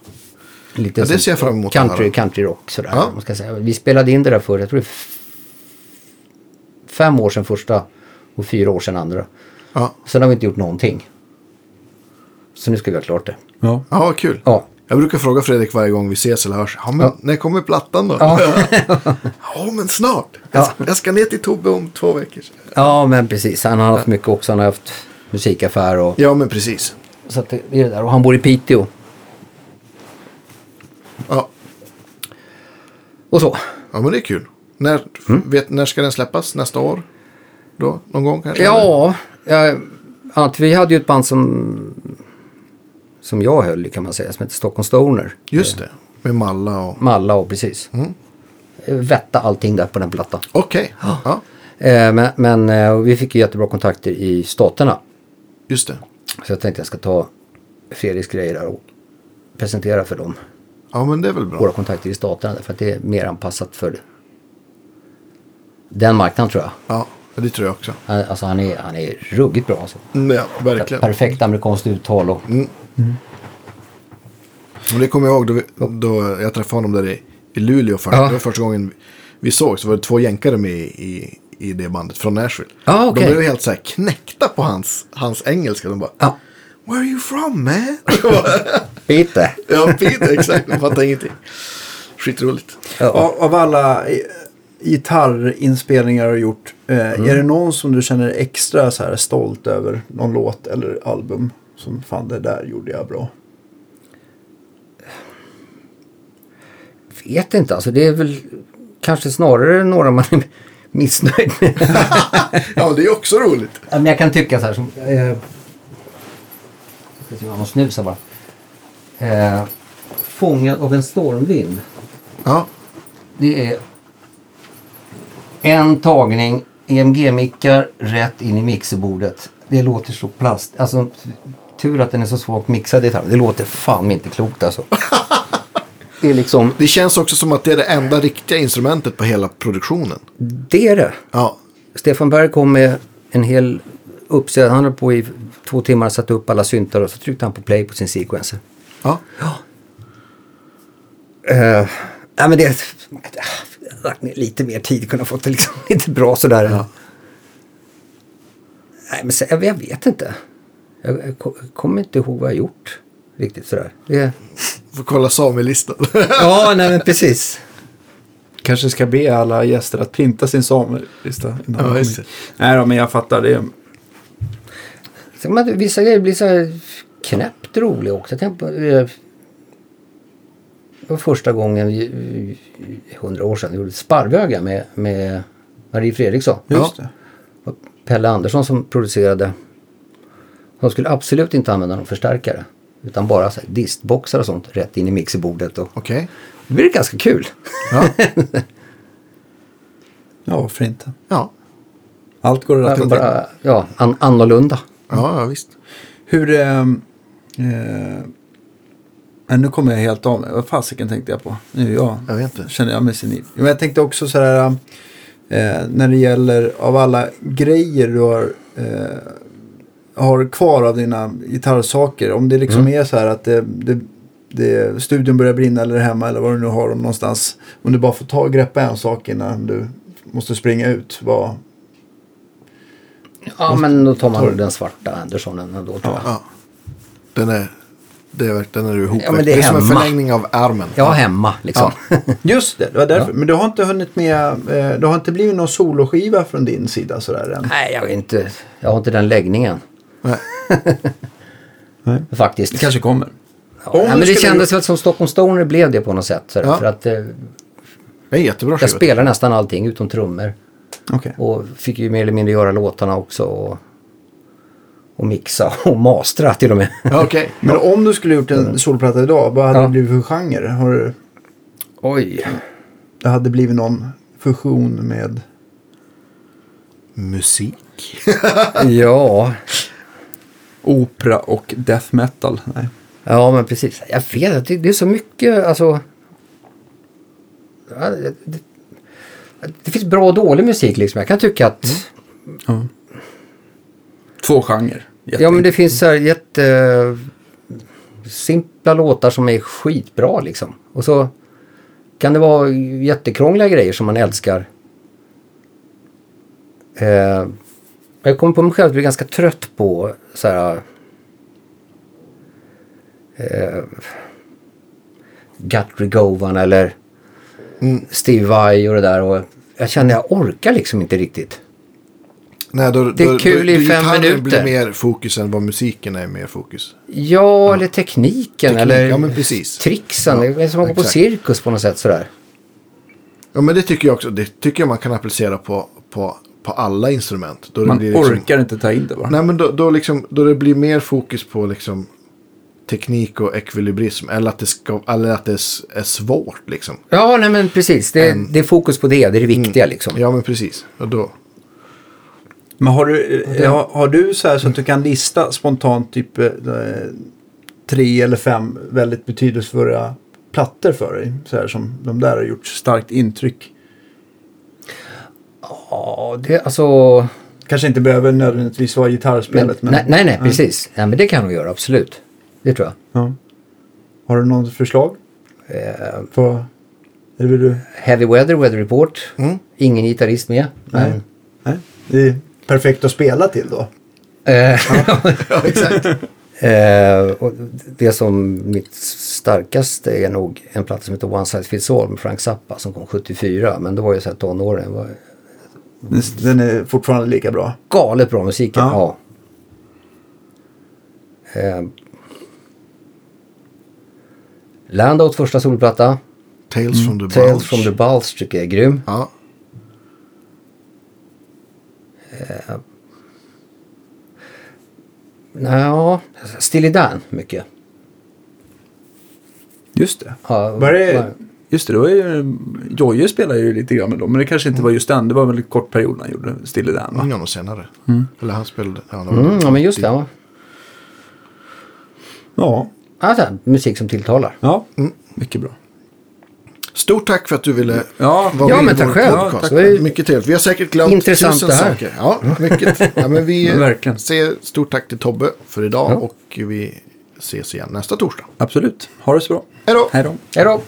Speaker 2: Lite
Speaker 1: Ja, det
Speaker 2: som
Speaker 1: ser jag fram emot att
Speaker 2: Country,
Speaker 1: höra.
Speaker 2: country rock sådär.
Speaker 1: Ja.
Speaker 2: Man ska säga. Vi spelade in det där för, jag tror det är f- fem år sedan första och fyra år sedan andra.
Speaker 1: Ja,
Speaker 2: Sen har vi inte gjort någonting. Så nu ska vi ha klart det.
Speaker 4: Ja.
Speaker 1: ja vad kul.
Speaker 2: Ja.
Speaker 1: Jag brukar fråga Fredrik varje gång vi ses eller hörs. Ja, men när kommer plattan då? Ja,
Speaker 2: Ja,
Speaker 1: men snart. Jag,
Speaker 2: Ja.
Speaker 1: ska, jag ska ner till Tobbe om två veckor.
Speaker 2: ja men precis. Han har haft mycket också. Han har haft musikaffär och
Speaker 1: Ja, men precis.
Speaker 2: så att det är det där. Och han bor i Piteå.
Speaker 1: Ja,
Speaker 2: Och så.
Speaker 1: ja men det är kul. När, vet, när ska den släppas? Nästa år? Då? Någon gång kanske? eller?
Speaker 2: Ja, jag, att vi hade ju ett band som som jag höll i, kan man säga, som hette Stockholm Stoner.
Speaker 1: Just det. Med Malla och...
Speaker 2: Malla och precis. Vätta allting där på den plattan.
Speaker 1: Okej. Ja,
Speaker 2: Eh, men men eh, vi fick ju jättebra kontakter i staterna.
Speaker 1: just det.
Speaker 2: Så jag tänkte jag ska ta Fredriks grejer där och presentera för dem.
Speaker 1: Ja, men det är väl bra.
Speaker 2: Våra kontakter i staterna. För att det är mer anpassat för den marknaden tror jag.
Speaker 1: Ja, det tror jag också.
Speaker 2: Han- Alltså han är, han är ruggigt bra. Alltså.
Speaker 1: Mm, Ja, verkligen. Mm.
Speaker 2: Perfekt amerikanskt uttal och
Speaker 1: Och det kommer jag ihåg då, vi, då jag träffade honom där i, i Luleå först.
Speaker 2: Ja.
Speaker 1: Det var första gången vi såg så var det två jänkare med i, i, i det bandet från Nashville.
Speaker 2: Ja, okej.
Speaker 1: De blev helt så här knäckta på hans, hans engelska. De bara
Speaker 2: Ja.
Speaker 1: Where are you from man?
Speaker 2: lite.
Speaker 1: ja, Peter, exakt. De fattar ingenting. Skitroligt.
Speaker 3: Av, av alla eh, gitarrinspelningar du har gjort, eh, är det någon som du känner extra så här stolt över? Någon låt eller album? Som fan, det där gjorde jag bra.
Speaker 2: Vet inte alltså. Det är väl kanske snarare några man är missnöjd med.
Speaker 1: Ja, men det är också roligt.
Speaker 2: Ja, men jag kan tycka så här som... Eh, jag ska se om jag måste snusa bara. Eh, fångad av en stormvind.
Speaker 1: Ja,
Speaker 2: Det är en tagning, EMG-mickar rätt in i mixerbordet. Det låter så plast. Alltså tur att den är så svagt mixad i tarmen. Det låter fan inte klokt alltså. Det är liksom,
Speaker 1: det känns också som att det är det enda riktiga instrumentet på hela produktionen.
Speaker 2: det är det.
Speaker 1: Ja,
Speaker 2: Stefan Berg kom med en hel uppsättning. Han höll på i två timmar och satte upp alla syntar och så tryckte han på play på sin sequencer.
Speaker 1: ja.
Speaker 2: Uh, nej men det... äh, jag hade lagt ner lite mer tid kunde ha fått det liksom lite bra sådär. Nej men sen, jag, jag vet inte. Jag, jag ko- jag kommer inte ihåg vad jag gjort riktigt sådär. Det...
Speaker 1: Får kolla Samuel-listan.
Speaker 2: Ja nej men precis.
Speaker 4: Kanske ska be alla gäster att printa sin samelista.
Speaker 1: Ja,
Speaker 4: innan de
Speaker 1: just
Speaker 4: kommer hit. Nej då, men jag fattar. Det är
Speaker 2: Sen, man, vissa grejer blir så här knäppt roliga också. Jag tänker på, eh, det var första gången, vi- eh, hundra år sedan, jag gjorde Sparvöga med, med Marie Fredriksson.
Speaker 3: Just det.
Speaker 2: Och Pelle Andersson som producerade. De skulle absolut inte använda någon förstärkare. Utan bara så här distboxar och sånt rätt in i mixerbordet. Och
Speaker 1: Okej.
Speaker 2: det blir ganska kul.
Speaker 4: Ja, varför inte?
Speaker 1: Ja.
Speaker 4: Allt går att
Speaker 2: Bara,
Speaker 4: rätta till.
Speaker 2: bara, ja, an, annorlunda.
Speaker 1: ja, ja, visst.
Speaker 4: Hur... ehm, Eh, nej, nu kommer jag helt av mig. Vad fasiken tänkte jag på? Nu jag,
Speaker 1: Jag vet inte.
Speaker 4: känner jag mig senil.
Speaker 3: Men jag tänkte också så här, eh, när det gäller av alla grejer du har, eh, har kvar av dina gitarrsaker. Om det liksom är så här att det, det, det, studion börjar brinna eller hemma eller vad du nu har dem någonstans. Om du bara får ta och greppa en sak innan du måste springa ut. Vad,
Speaker 2: Ja, men då tar man nog den svarta Andersonen ändå tror jag.
Speaker 1: Ja. Den är, det är, verk- den är ihopväxt.
Speaker 2: Ja, men det
Speaker 1: det är,
Speaker 2: är
Speaker 1: som en
Speaker 2: hemma.
Speaker 1: förlängning av armen.
Speaker 2: Ja, hemma liksom.
Speaker 3: Just det, det var därför. Men du har inte hunnit med, eh, det har inte blivit någon soloskiva från din sida sådär än.
Speaker 2: Nej, jag, är inte, jag har inte den läggningen.
Speaker 1: Nej.
Speaker 3: Nej.
Speaker 2: Faktiskt.
Speaker 4: Det kanske kommer.
Speaker 2: ja.
Speaker 3: om
Speaker 2: Nej,
Speaker 3: du
Speaker 2: men det
Speaker 3: skulle-
Speaker 2: kändes väl som Stockholm Stoner blev det på något sätt. sådär.
Speaker 1: Ja.
Speaker 2: För att eh,
Speaker 1: Det är en jättebra
Speaker 2: jag
Speaker 1: skiva.
Speaker 2: spelar nästan allting utom trummor.
Speaker 3: Okej.
Speaker 2: Och fick ju mer eller mindre göra låtarna också. Och, och mixa och mastra till och med.
Speaker 1: Ja, okej.
Speaker 3: Men om du skulle gjort en solplatta idag, vad hade
Speaker 2: Ja.
Speaker 3: det blivit för genre? Har du,
Speaker 2: Oj.
Speaker 3: det hade blivit någon fusion med...
Speaker 1: Musik.
Speaker 2: Ja.
Speaker 4: Opera och death metal. Nej.
Speaker 2: Ja, men precis. Jag vet att det, det är så mycket, alltså... Ja, Det, det, det finns bra och dålig musik liksom. Jag kan tycka att...
Speaker 4: Två genrer. Jätte-
Speaker 2: Ja, men det finns så här jätte... Simpla låtar som är skitbra liksom. Och så kan det vara jättekrångliga grejer som man älskar. Eh, jag kommer på mig själv att bli ganska trött på så här... Eh, Guthrie Govan eller Steve Vai och det där. Och jag känner jag orkar liksom inte riktigt.
Speaker 1: Nej, då,
Speaker 2: Det är
Speaker 1: då,
Speaker 2: kul
Speaker 1: då,
Speaker 2: i
Speaker 1: då
Speaker 2: fem
Speaker 1: gitarren
Speaker 2: minuter.
Speaker 1: blir mer fokus än vad musiken är mer fokus.
Speaker 2: Ja, eller tekniken eller
Speaker 1: ja, men precis.
Speaker 2: trixen. det är som att gå på
Speaker 1: exakt.
Speaker 2: cirkus på något sätt sådär.
Speaker 1: Ja, men det tycker jag också. Det tycker jag man kan applicera på, på, på alla instrument. Då det
Speaker 4: Man
Speaker 1: blir liksom,
Speaker 4: orkar inte ta in det bara.
Speaker 1: Nej, men då, då, liksom, då det blir mer fokus på liksom teknik och ekvilibrism. Eller att det, ska, eller att det är, s- är svårt liksom.
Speaker 2: Ja, nej men precis. Det, det är fokus på det. Det är det viktiga liksom.
Speaker 1: Ja, men precis. Och då,
Speaker 3: Men har du, eh, har, har du så här så att du kan lista spontant typ eh, tre eller fem väldigt betydelsefulla plattor för dig? Så här som de där har gjort starkt intryck.
Speaker 2: Ja, det alltså...
Speaker 3: Kanske inte behöver nödvändigtvis vara gitarrspelet. Men,
Speaker 2: nej, nej, nej, precis. Nej, men det kan de göra, absolut. Det tror jag.
Speaker 3: Ja. Har du något förslag?
Speaker 2: Eh,
Speaker 3: På, eller vill du?
Speaker 2: heavy Weather, Weather Report. Ingen gitarrist med. Mm. Nej.
Speaker 3: Nej. Det är perfekt att spela till då.
Speaker 2: Eh, Eh, och det som mitt starkaste är nog en platta som heter One Size Fits All med Frank Zappa som kom 74. Men det var ju så här tonåren. Det var
Speaker 3: Den- Den är fortfarande lika bra.
Speaker 2: galet bra musik. Ja.
Speaker 3: Ja.
Speaker 2: Eh, Landauts första solplatta.
Speaker 1: Tales from the
Speaker 2: Mm. Tales
Speaker 1: Bulge.
Speaker 2: from the Bulge tycker jag är grym.
Speaker 1: Ja.
Speaker 2: Ja, Steely Dan mycket.
Speaker 4: Just det.
Speaker 2: Ja,
Speaker 3: Var det-
Speaker 4: Just det, det var ju... Jojje spelade ju lite grann med dem. Men det kanske inte var just den. Det var en väldigt kort period när han gjorde Stille Dan va?
Speaker 1: Många år senare. Eller han spelade. Ja, det var-
Speaker 2: Mm, ja, men just det. Ja.
Speaker 4: Ja.
Speaker 2: Alltså, musik som tilltalar.
Speaker 4: Ja. Mycket bra.
Speaker 1: Stort tack för att du ville
Speaker 4: Ja.
Speaker 1: vara
Speaker 2: Ja,
Speaker 1: med
Speaker 2: men
Speaker 1: i
Speaker 2: tack
Speaker 1: vår
Speaker 2: själv.
Speaker 1: podcast.
Speaker 2: Ja, tack. Det var ju
Speaker 1: mycket trevligt. Vi har säkert glömt
Speaker 2: intressant
Speaker 1: tusen
Speaker 2: det här.
Speaker 1: saker. Ja, mycket. Ja, men vi
Speaker 4: Ja, verkligen.
Speaker 1: säger stort tack till Tobbe för idag och vi ses igen nästa torsdag.
Speaker 4: Absolut. Ha det så bra.
Speaker 1: Hej då!
Speaker 4: Hej då.
Speaker 2: Hej då!